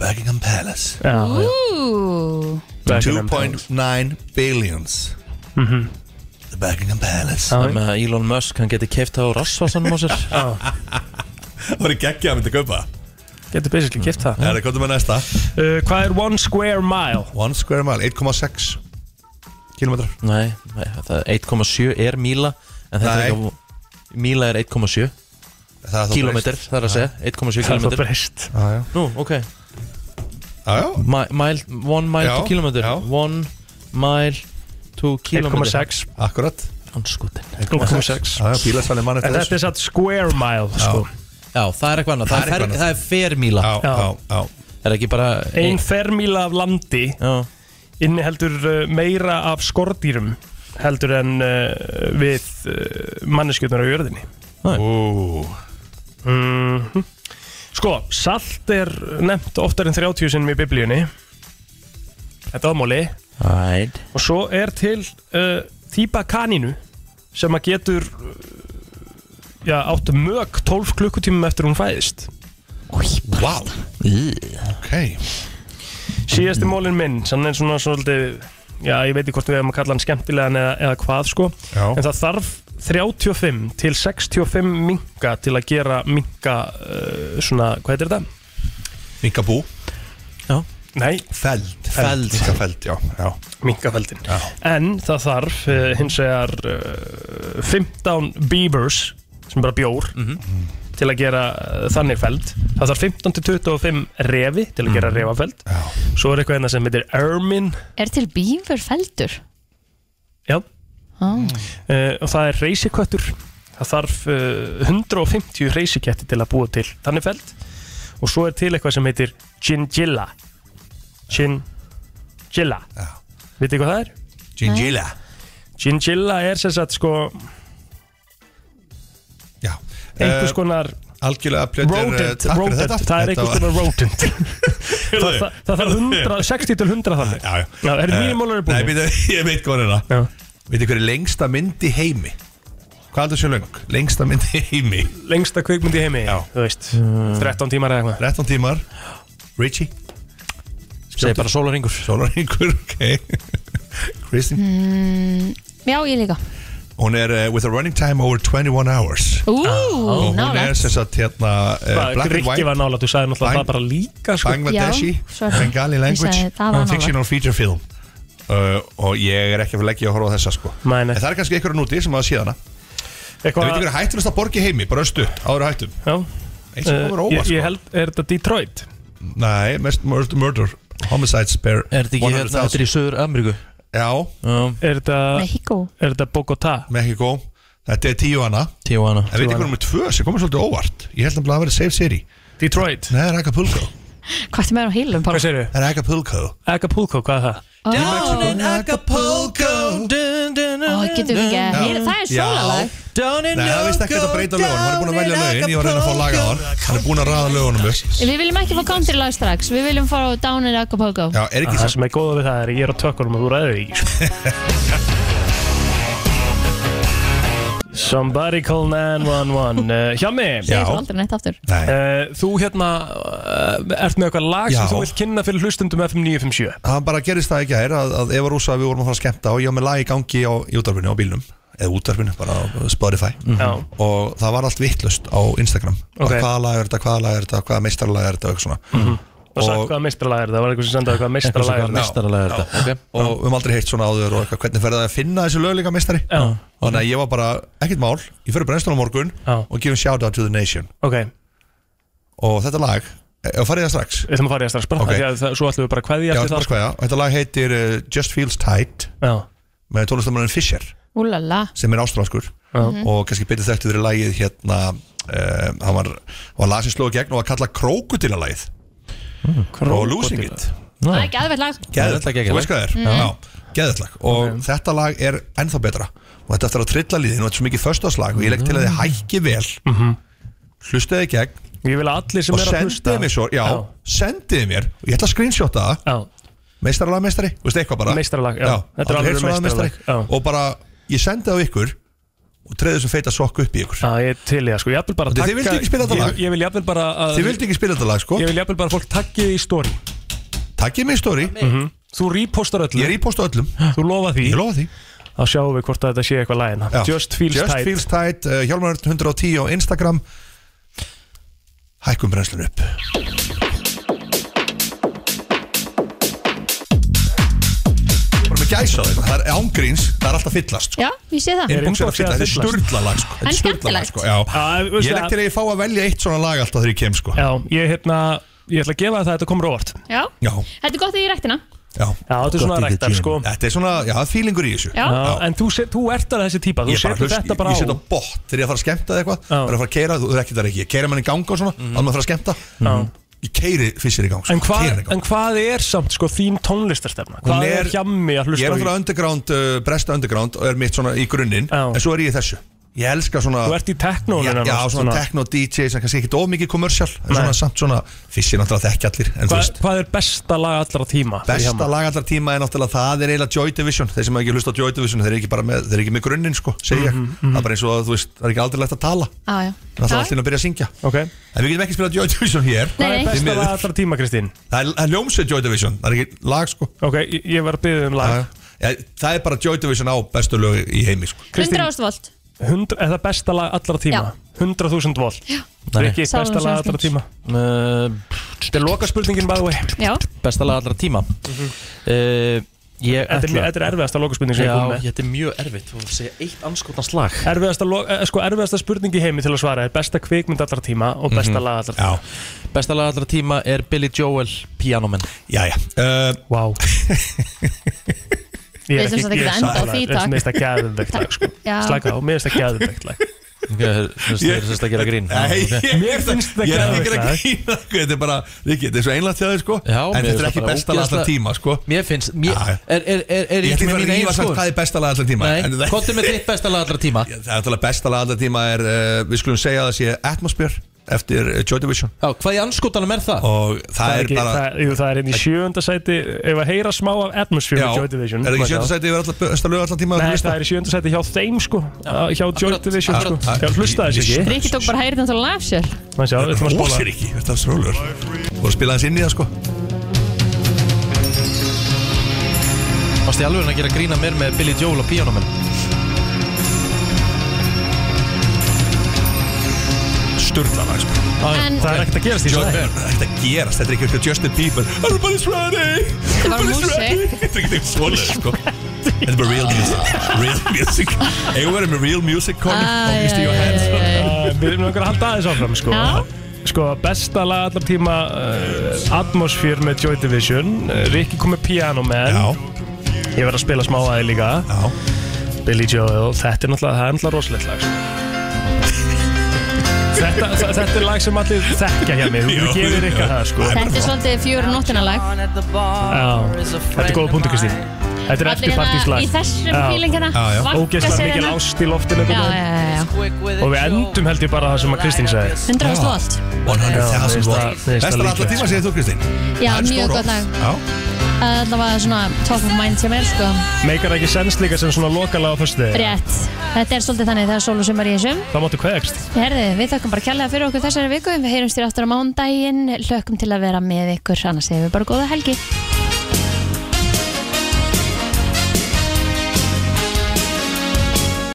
Speaker 8: Buckingham Palace
Speaker 4: Já,
Speaker 3: Ú,
Speaker 8: 2.9 billions
Speaker 4: Mhm. Ah.
Speaker 8: The Buckingham Palace
Speaker 2: Það með að Elon Musk, hann geti keift það á rassvarsanum á sér
Speaker 8: Það voru geggja að myndi kaupa
Speaker 4: Getur basically kipt það
Speaker 8: Það er komið með næsta
Speaker 4: uh, Hvað er one square mile?
Speaker 8: One square mile, 1,6 Kilometrar
Speaker 2: Nei, nei, það er 1,7 er míla En þetta er
Speaker 8: Nei.
Speaker 2: ekki Míla er 1,7
Speaker 8: Það er þó
Speaker 2: Kilometer,
Speaker 8: breyst.
Speaker 2: það er að segja
Speaker 8: Já.
Speaker 2: 1,7
Speaker 8: Það er þó
Speaker 2: kilometer
Speaker 8: breyst. Já, já.
Speaker 2: Nú, ok
Speaker 8: Já, já
Speaker 2: Mile, one mile
Speaker 8: Já,
Speaker 2: to kilometer One mile to kilometer
Speaker 4: 1,6.
Speaker 8: Akkurat
Speaker 2: Anskutin
Speaker 4: 1,6. Já, já, bílasali mann eftir En þessu. þetta er satt square mile sko.
Speaker 2: Já, það er eitthvað annað Það,
Speaker 4: Það
Speaker 2: er,
Speaker 4: er eitthvað
Speaker 2: fer,
Speaker 4: annað.
Speaker 2: það er fermíla
Speaker 4: Já, já,
Speaker 8: já
Speaker 2: Það er ekki bara
Speaker 4: Ein fermíla af landi
Speaker 2: Já.
Speaker 4: inniheldur uh, meira af skordýrum heldur en uh, við uh, manneskjötnar á jörðinni
Speaker 8: Ó.
Speaker 4: Mhm. Sko, salt er nefnt oftar en 30 sinnum í biblíunni Þetta var móli
Speaker 2: Æt
Speaker 4: Og svo er til uh, típa kanínu sem að getur uh, já, átt mög 12 klukkutímum eftir hún fæðist
Speaker 8: Vá Ok
Speaker 4: Síðasti mólin minn, sann er svona svolítið Já, ég veit ekki hvort við hefum að kalla hann skemmtilegan eða, eða hvað sko
Speaker 8: Já.
Speaker 4: En það þarf 35 til 65 minka til að gera minka uh, svona, hvað heitir þetta?
Speaker 8: Minkabú
Speaker 2: Já
Speaker 4: Nei
Speaker 8: Feld
Speaker 4: Feld.
Speaker 8: Minkafeld, já, já
Speaker 4: Minkafeldin En það þarf uh, hins vegar uh, 15 beavers sem er bara bjór til að gera uh, þannig feld það þarf 15 til 25 refi til að gera refafeld Já. svo er eitthvað hérna sem heitir ermin
Speaker 3: Er til bífur feldur?
Speaker 4: Já.
Speaker 3: Ah.
Speaker 4: uh, og það er reysiköttur það þarf uh, 150 reysiketti til að búa til þannig feld og svo er til eitthvað sem heitir gingilla gingilla vitið hvað það er?
Speaker 8: Gingilla
Speaker 4: Gingilla er sem sagt sko
Speaker 8: Já
Speaker 4: Einhvers
Speaker 8: Eh,
Speaker 4: konar
Speaker 8: Algjörlega plötur
Speaker 4: rodent,
Speaker 8: Takk fyrir
Speaker 4: rodent,
Speaker 8: þetta
Speaker 4: það er einhvers konar rodent það, það, það þarf 100, 60 til 100 þannig
Speaker 8: Já, Eh,
Speaker 4: já Er það mínum mólur
Speaker 8: Nei,
Speaker 4: búin?
Speaker 8: býta, ég veit hvað er
Speaker 4: það
Speaker 8: Veitir hver er lengsta mynd í heimi? Hvað heldur sér löng? Lengsta mynd í heimi
Speaker 4: Lengsta kvikmynd í heimi, já. þú veist 13 tímar eða eitthvað
Speaker 8: 13 tímar Richie
Speaker 2: Segir bara sólaringur
Speaker 8: Sólaringur, ok Kristín
Speaker 3: Mm, já, ég líka
Speaker 8: Hún er uh, with a running time over 21 hours
Speaker 3: Ú,
Speaker 8: Og hún er
Speaker 3: nálægt
Speaker 8: sem sagt hérna uh,
Speaker 4: Hvað, Rikki var nálægt, þú sagði náttúrulega það bara líka sko.
Speaker 8: Bangladeshi,
Speaker 4: Já, sorry.
Speaker 8: Bengali
Speaker 4: Ég
Speaker 8: language
Speaker 4: sagði, það var nálægt.
Speaker 8: Fictional feature film uh, Og ég er ekki að fara að leggja að horfa á þessa sko
Speaker 4: Nei, nei.
Speaker 8: En það er kannski einhverjum núti sem hafa séð hana
Speaker 4: Eitthvað-
Speaker 8: Ég veit ekki hver hættunast að borgi heimi, bara östu, áður hættum
Speaker 4: Já
Speaker 8: Eitt sem komur
Speaker 4: Eh,
Speaker 8: óvart
Speaker 4: ég,
Speaker 8: sko
Speaker 4: ég held, er þetta Detroit?
Speaker 8: Nei, mest murder, murder Homicides per
Speaker 2: Er þetta ekki hérna
Speaker 8: 100,000.
Speaker 2: Þetta er í Söður Ameríku
Speaker 8: Já
Speaker 4: Er þetta
Speaker 3: Mexíkó.
Speaker 4: Er þetta Bogotá?
Speaker 8: Mexíkó Þetta er Tijuana
Speaker 2: Tijuana
Speaker 8: En veit ykkur um tvö sem komið svolítið óvart Ég held nefnilega að það verið Safe City
Speaker 4: Detroit
Speaker 8: Nei, það er Acapulco
Speaker 3: Hvað ertu með á heilum? Hvað
Speaker 4: segir
Speaker 8: Það er Acapulco
Speaker 4: Acapulco, hvað er það?
Speaker 3: Down in
Speaker 2: Acapulco Ó,
Speaker 3: getum við um ekki að heyra- Það er
Speaker 8: Já.
Speaker 3: sólalag
Speaker 2: Down
Speaker 8: Nei, það veist ekkert að breyta lögunum Hann er búin að velja lögin Ég var að reyna að fá að laga á hann Hann er búin að raða lögunum upp
Speaker 3: Við viljum ekki fá country lag strax Við viljum fá Down in Acapulco
Speaker 8: Já, er
Speaker 4: Það sem er góða við það er að ég er á tökkunum og þú ræður því sko. ekki. Somebody call 911 uh, Hjami
Speaker 3: Segir þú aldrei neitt aftur
Speaker 4: Uh, þú hérna uh, ert með eitthvað lag
Speaker 8: Já.
Speaker 4: sem þú vilt kynna fyrir hlustundum FM 957
Speaker 8: Hann bara gerist það ekki að er að, að Eva Rúsa við vorum að fara að skemmta og ég var með lag í gangi á í útarfinu á bílnum eða útarfinu, bara á Spotify
Speaker 4: Já.
Speaker 8: og það var allt vittlust á Instagram
Speaker 4: Mm. Ok.
Speaker 8: okay. hvaða lag er þetta, hvaða lag er þetta, hvaða meistarlag er þetta og eitthvað svona
Speaker 4: og sagt hvaða meistaralag er það, var eitthvað sem sendaði hvaða meistaralag er það
Speaker 2: meistaralag er þetta
Speaker 8: og við höfum aldrei heyrt svona áður og eitthvað, hvernig ferði það að finna þessi lögleika meistari
Speaker 4: Já.
Speaker 8: og þannig að ég var bara, ekkert mál ég fyrir brennstun á morgun
Speaker 4: Já.
Speaker 8: og gefum shout out to the nation
Speaker 4: ok,
Speaker 8: og þetta lag, e- og farið það strax
Speaker 4: við ætlum að fara í það strax bara
Speaker 8: Ok.
Speaker 4: okay. að það, svo ætlum við bara að
Speaker 8: Já,
Speaker 4: kveðja
Speaker 8: þetta
Speaker 4: eftir
Speaker 8: bara
Speaker 4: það sko.
Speaker 8: skoja, þetta lag heitir uh, Just Feels Tight
Speaker 4: Já.
Speaker 8: með tónlistamannin Fisher
Speaker 3: Úlala
Speaker 8: sem er ástralskur
Speaker 3: Já.
Speaker 8: og kannski betur þekktu fyrir lagið hérna uh, hann var, var lag sem sló í gegn og var kallað Krókudilalagið og Losing It
Speaker 3: Það er geðveld lag
Speaker 8: Geðvett lag, þú veist hvað það
Speaker 3: Mm.
Speaker 8: er Já, geðvett lag og þetta lag er ennþá betra og þetta eftir að trilla liðin og þetta er svo mikið föstaslag og ég legg til að þið hækki vel mm -hmm. hlustaði gegn
Speaker 4: Ég vil að allir sem
Speaker 8: og
Speaker 4: eru að hlusta-
Speaker 8: sendiði mér svo, já,
Speaker 4: Já.
Speaker 8: sendiði mér og ég ætla að screenshotta
Speaker 4: það
Speaker 8: meistaralag meistari, þú veist eitthvað bara
Speaker 4: Meistaralag, já. Þetta er
Speaker 8: allir
Speaker 4: alveg
Speaker 8: heyrt svona
Speaker 4: meistaralag,
Speaker 8: meistari. og bara, ég sendi það á ykkur og treði þessum feita sokk upp í ykkur
Speaker 4: Já, ég til ég sko, ég vil bara
Speaker 8: Og þið vildu ekki spila þetta lag?
Speaker 4: Ég, ég vil jafnvel bara að
Speaker 8: Þið vildi ekki spila þetta lag sko
Speaker 4: Ég vil jafnvel bara að fólk takkið í story
Speaker 8: Takkið mig í story
Speaker 4: -hmm. Þú repostar öllum
Speaker 8: Ég reposta öllum
Speaker 4: Þú lofa því
Speaker 8: Ég lofa því
Speaker 4: Þá sjáum við hvort að þetta sé eitthvað lægina
Speaker 8: Já.
Speaker 4: Just feels
Speaker 8: Just
Speaker 4: tight
Speaker 8: Feels Tight uh, Hjálmar Örn 110 á Instagram Hækkum brennslun upp Bara með gæsa þeim Það er ángríns, það er alltaf fyllast sko.
Speaker 3: Já, ég sé það
Speaker 8: Inbox er að fylla, þetta er sturla lag sko. Þetta
Speaker 3: En
Speaker 8: er sturla lag,
Speaker 3: skemmtilegt.
Speaker 8: sko. Já. Ég legg til að ég fá að velja eitt svona lag alltaf þegar ég kem sko.
Speaker 4: Já, ég, hérna, ég ætla að gefa það að þetta komur óvart
Speaker 3: Já,
Speaker 8: Já,
Speaker 3: þetta er gott í rektina
Speaker 8: já,
Speaker 4: Já, þetta er svona
Speaker 8: Gott í
Speaker 4: ræktar,
Speaker 8: gym.
Speaker 4: sko.
Speaker 8: Þetta er svona, já, það er feelingur í þessu
Speaker 3: Já.
Speaker 4: En þú, set, þú ert alveg þessi típa Þú
Speaker 8: Ég bara
Speaker 4: setur
Speaker 8: hlust,
Speaker 4: þetta
Speaker 8: ég,
Speaker 4: bara á
Speaker 8: ég setja á bótt þegar ég að fara að skemmta eða eitthvað Það er að fara að keira, þú rekkir það ekki Ég keira mann í ganga og svona, mm. maður að fara að skemmta Ég keiri fyrst í gang sko.
Speaker 4: en, hva,
Speaker 8: Keyri hann í gang.
Speaker 4: en hvað er samt sko, þín tónlistarstefna?
Speaker 8: Hún
Speaker 4: Hvað er hjammi að
Speaker 8: Ég er
Speaker 4: hlusta
Speaker 8: náttúrulega underground, uh, bresta underground og er mitt svona í grunninn En svo er ég í þessu Ég elska svona
Speaker 4: Þú ert í technónu
Speaker 8: Já,
Speaker 4: nánast,
Speaker 8: já svona,
Speaker 4: svona.
Speaker 8: techno DJ sem kannski ekkit of mikið kommersial En
Speaker 4: Nei.
Speaker 8: svona samt svona, fyrst ég náttúrulega þekki allir En þú
Speaker 4: Hva,
Speaker 8: veist
Speaker 4: Hvað er besta lag allra tíma? fyrir
Speaker 8: Besta
Speaker 4: Hjamma?
Speaker 8: lag allar tíma er náttúrulega það er eiginlega Joy Division Þeir sem hafa ekki hlust á Joy Division þeir eru ekki, bara með, þeir eru ekki með grunninn sko, segi ég
Speaker 2: Mhm,
Speaker 8: Það er bara eins og þú veist, það er ekki aldrei legt að tala
Speaker 3: Já, já
Speaker 8: Það er allir að byrja að syngja
Speaker 4: okay.
Speaker 8: En við getum ekki spilað Joy Division hér
Speaker 3: Hvað er Nei. besta
Speaker 8: Því miður.
Speaker 4: lag allra tíma, Kristín?
Speaker 8: Það er, það er ljómsveit Joy Division, það er ekki lag sko
Speaker 4: Ok, ég- ég var að byggja um lag
Speaker 8: ja, Það er bara Joy Division á bestu lög í heimi sko
Speaker 3: 100.000 volt
Speaker 4: 100, er það besta lag allra tíma?
Speaker 3: Já.
Speaker 4: 100.000 volt
Speaker 2: Nei.
Speaker 4: Rikki,
Speaker 3: Sálin
Speaker 4: besta lag
Speaker 3: sem
Speaker 4: allra tíma Þetta er loka spurningin by the way
Speaker 3: Já,
Speaker 2: Besta lag allra tíma Eh, Ég
Speaker 4: Þetta er mjög-
Speaker 2: ætla
Speaker 4: þetta er erfiðasta lokaspurning sem ég
Speaker 2: Já,
Speaker 4: kom með.
Speaker 2: þetta er mjög erfitt Þú sé eitt anskotnast lag
Speaker 4: Erfiðasta, lo- eh, sko, erfiðasta spurningi heimi til að svara er besta kvikmynd allra tíma og besta
Speaker 2: Mhm.
Speaker 4: lag allra tíma
Speaker 2: Besta lag allra tíma er Billy Joel Pianoman
Speaker 8: Jæja uh,
Speaker 4: Wow
Speaker 3: Við þurfum samt ekki að enda á því, takk.
Speaker 4: Mér finnst það gæðundögt lag sko.
Speaker 3: Já.
Speaker 4: Slaka á, mér finnst það gæðundögt lag
Speaker 2: Það er sérst að gera grín
Speaker 8: Nei, ég-
Speaker 4: Mér finnst það
Speaker 8: Ég er ekki
Speaker 4: geðveikt lag.
Speaker 8: að grína sko, Þetta er bara, Riki, þetta er svo einlægt hjá þér sko
Speaker 2: Já, mér
Speaker 8: En þetta er
Speaker 2: finnst
Speaker 8: ekki
Speaker 2: það bara
Speaker 8: besta lag allra
Speaker 2: ógeðslega-
Speaker 8: tíma sko
Speaker 2: Mér finnst mér,
Speaker 8: Já.
Speaker 2: er, er, er, er
Speaker 8: Ég
Speaker 2: ég
Speaker 8: ætla
Speaker 2: ekki
Speaker 8: ekki að
Speaker 2: með
Speaker 8: fara
Speaker 2: mín
Speaker 8: að rífa
Speaker 2: eigin
Speaker 8: sagt
Speaker 2: skoðun?
Speaker 8: hvað er besta lag allra tíma en
Speaker 2: Nei,
Speaker 8: það-
Speaker 2: hvort er með þitt besta lag allra tíma?
Speaker 8: Það er alltaf besta lag allra tíma er, uh, við skulum segja að það sé Atmosphere eftir uh, Joy Division
Speaker 2: Já, hvað í anskotanum er það?
Speaker 8: Og það,
Speaker 4: Það er,
Speaker 8: er
Speaker 4: ekki,
Speaker 8: bara
Speaker 4: það, jú, það er inn í sjöunda sæti Ef að heyra smá af Atmosphere
Speaker 8: Já,
Speaker 4: með Joy Division
Speaker 8: er það ekki
Speaker 4: Má
Speaker 8: sjönda
Speaker 4: sjá.
Speaker 8: sæti yfir alltaf besta lög allra tíma á
Speaker 4: Nei,
Speaker 8: lista?
Speaker 4: það er í sjönda sæti hjá þeim sko Á- Hjá Joy Division sko
Speaker 8: akkurat.
Speaker 4: Já, hlusta þess ekki
Speaker 3: Rikki tók bara hægirinn þannig að laf sér
Speaker 4: Man sjá, við ætlum að
Speaker 8: Ó,
Speaker 4: spóla
Speaker 8: sér ekki, þetta er svölur Voru að spila hans inn í það sko
Speaker 2: Mást ég alveg að gera grína mér með Billy Joel og Pianoman
Speaker 8: Sturla lag sko
Speaker 3: En- Það er
Speaker 4: ekkert að gerast í
Speaker 8: Joy-
Speaker 4: þessu lagi.
Speaker 8: Það er ekkert að gerast, þetta er ekki eitthvað Justin Bieber Everybody's ready
Speaker 3: Þetta var
Speaker 8: Everybody's
Speaker 3: músík.
Speaker 8: ready Þetta er ekki eitthvað svölur sko Þetta er bara real music Real music Eigum við verið með real music Conor
Speaker 3: Æ,
Speaker 8: Obviously your hands sko.
Speaker 4: Uh, Við erum okkur að halda aðeins áfram sko.
Speaker 3: Já.
Speaker 4: Sko, besta lag allar tíma eh, uh, Atmosphere með Joy Division uh, Rikki kom með Piano Man Já. Ég verð að spila smá aðeins líka
Speaker 8: Já.
Speaker 4: Billy Joel, þetta er náttúrulega, það er náttúrulega rosalegt lag sko. þetta, þa- þetta er lag sem allir þekkja hjá mig Þú gefur ykkar það sko
Speaker 3: Þetta er svolítið fjögur og nóttina lag
Speaker 4: Já, þetta er góða punktu Kristín Þetta er
Speaker 3: Allir
Speaker 4: eftir
Speaker 3: hérna
Speaker 4: partíslag
Speaker 3: í þessum feeling hérna, vakka
Speaker 4: Ógeðslega
Speaker 3: sér
Speaker 4: mikil
Speaker 3: hérna.
Speaker 4: ást í loftinu
Speaker 3: Já,
Speaker 4: einhvern veginn.
Speaker 3: já, já, já.
Speaker 4: Og við endum held ég bara það sem að Kristín sagði
Speaker 3: 100% volt.
Speaker 8: 100,000 volt. Besta lag allra tíma, segir þú, Kristín?
Speaker 3: Já,
Speaker 4: Það er sko
Speaker 3: mjög
Speaker 4: stór
Speaker 3: gott
Speaker 4: orð.
Speaker 3: lag
Speaker 8: Já.
Speaker 3: Alltaf að svona top of mind sem er sko
Speaker 4: Meikar ekki sens líka sem svona lokala á fyrstu
Speaker 3: Rétt, þetta er svolítið þannig það er sól og sumar í þessum
Speaker 4: Það máttu kveða Kristín
Speaker 3: Herði, við þakkum bara kærlega fyrir okkur þessari viku Við heyrumst þér aftur á mándaginn Hlökkum til að vera með ykkur Annars hefur við bara góða helgi